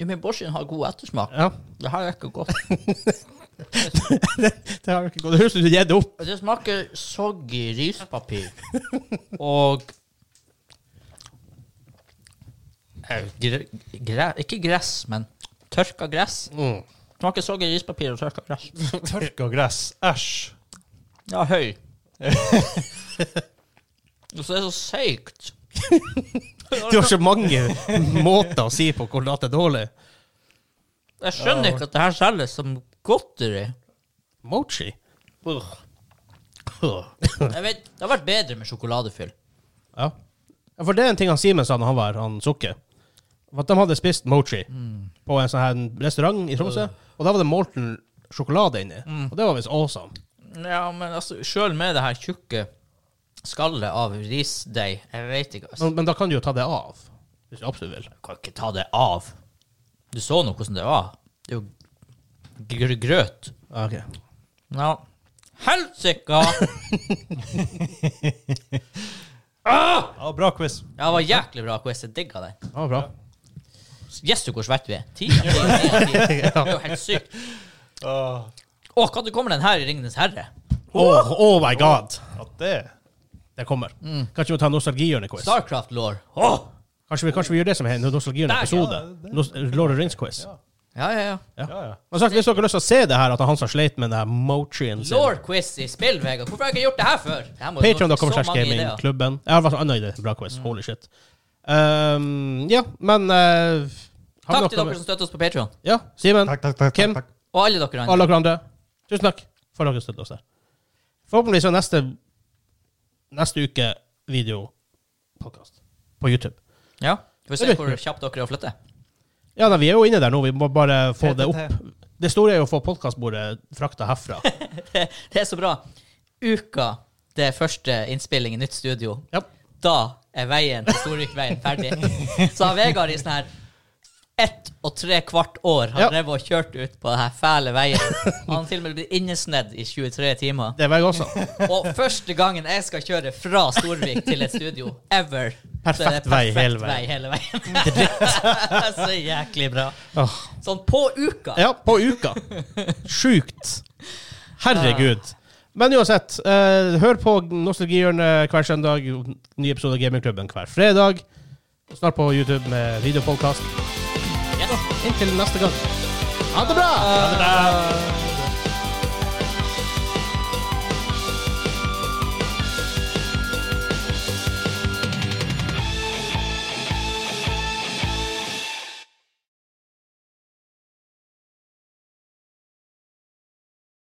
[SPEAKER 2] Umeboshien har god ettersmak.
[SPEAKER 1] Ja.
[SPEAKER 2] Det her er ikke godt.
[SPEAKER 1] Det har ikke gått. Det høres ut som du gir det opp.
[SPEAKER 2] Og Det smaker soggy rispapir. Og Eh, gre, gre, Ikke gress, men tørka gress.
[SPEAKER 1] Mm.
[SPEAKER 2] Smaker soggy rispapir og tørka gress.
[SPEAKER 3] tørka gress. Æsj.
[SPEAKER 2] Ja, høy. Og så er det så seigt.
[SPEAKER 1] Du har så mange måter å si på hvor lat det er dårlig.
[SPEAKER 2] Jeg skjønner ikke at det her selges som godteri.
[SPEAKER 1] Mochi?
[SPEAKER 2] Jeg vet, det har vært bedre med sjokoladefyll.
[SPEAKER 1] Ja. ja. For det er en ting han Simen sa når han var her, han Sukke. At de hadde spist mochi på en sånn her restaurant i Tromsø. Og da var det Molten sjokolade inni. Og det var visst awesome.
[SPEAKER 2] Ja, men altså, sjøl med det her tjukke skallet av risdeig Jeg vet ikke. Altså.
[SPEAKER 1] Men, men da kan du jo ta det av. Hvis du absolutt vil.
[SPEAKER 2] kan ikke ta det av. Du så nå hvordan det var. Det er jo gr grøt.
[SPEAKER 1] Ja, ok.
[SPEAKER 2] Ja. Helsike!
[SPEAKER 3] Ja, bra quiz.
[SPEAKER 2] Ja, det var jæklig bra quiz. Jeg digga den.
[SPEAKER 1] Ja, bra.
[SPEAKER 2] Gjetter du hvor svette vi er? Ti av ti. ti av ti. Det er jo helt sykt.
[SPEAKER 3] Åh,
[SPEAKER 2] Å, når kommer den her i Ringenes herre?
[SPEAKER 1] Oh, oh my god!
[SPEAKER 3] ja, det
[SPEAKER 1] Det kommer. Kanskje vi må ta en nostalgihjørne-quiz?
[SPEAKER 2] Starcraft Law. Åh!
[SPEAKER 1] Kanskje, vi- kanskje vi gjør det som en nostalgihjørne-episode?
[SPEAKER 3] Der, ja, det-
[SPEAKER 1] Nos- eh, Lord of the Rings-quiz.
[SPEAKER 3] Ja.
[SPEAKER 2] Ja, ja, ja.
[SPEAKER 3] Ja, ja.
[SPEAKER 1] Men sagt, Hvis dere har lyst til å se det her, at han som sleit med den her mochien sin
[SPEAKER 2] Law-quiz i spill, Vegard. Hvorfor har jeg ikke gjort det her før? Det her må jo-
[SPEAKER 1] Patreon.com
[SPEAKER 2] så
[SPEAKER 1] slash
[SPEAKER 2] mange ideer. Mm.
[SPEAKER 1] gamingklubben. Jeg har vært annet i det. Bra quiz. Holy shit. Um, ja, men eh, har
[SPEAKER 2] Takk
[SPEAKER 1] vi noe
[SPEAKER 2] til dere
[SPEAKER 1] med-
[SPEAKER 2] som støtter oss på Patreon.
[SPEAKER 1] Ja, Simen,
[SPEAKER 3] Takk, takk, takk.
[SPEAKER 1] Kim?
[SPEAKER 3] takk, takk.
[SPEAKER 2] Og alle dere andre.
[SPEAKER 1] alle dere andre. Tusen takk for at dere støtter oss der. Forhåpentligvis er neste neste uke videopodkast på YouTube.
[SPEAKER 2] Ja. Får vi
[SPEAKER 1] Det
[SPEAKER 2] se
[SPEAKER 1] blir
[SPEAKER 2] hvor kjapt dere har flyttet.
[SPEAKER 1] Ja, nei, vi er jo inne der nå. Vi må bare få det
[SPEAKER 3] PTT.
[SPEAKER 1] opp. Det store er jo å få podkastbordet frakta herfra.
[SPEAKER 2] det, det er så bra. Uka det er første innspilling i nytt studio.
[SPEAKER 1] Ja.
[SPEAKER 2] Da er veien til Storvikveien ferdig. Så har Vegard i sånn her ett og tre kvart år har
[SPEAKER 1] Ja.
[SPEAKER 2] drevet og kjørt ut på denne fæle veien. Han har til og med blitt innesnedd i 23 timer.
[SPEAKER 1] Det var jeg også.
[SPEAKER 2] Og første gangen jeg skal kjøre fra Storvik til et studio ever, så er
[SPEAKER 1] Perfekt
[SPEAKER 2] det
[SPEAKER 1] vei hele
[SPEAKER 2] vei
[SPEAKER 1] veien.
[SPEAKER 2] hele veien. så jæklig bra.
[SPEAKER 1] Åh.
[SPEAKER 2] Sånn på uka.
[SPEAKER 1] Ja, på uka. Sjukt. Herregud. Men uansett, eh, hør på Nostalgihjørnet hver søndag. Ny episode av Gamingklubben hver fredag. Snart på YouTube med videopodkast.
[SPEAKER 2] Yes.
[SPEAKER 1] Inntil neste gang. Ha det bra!
[SPEAKER 2] Ha det bra.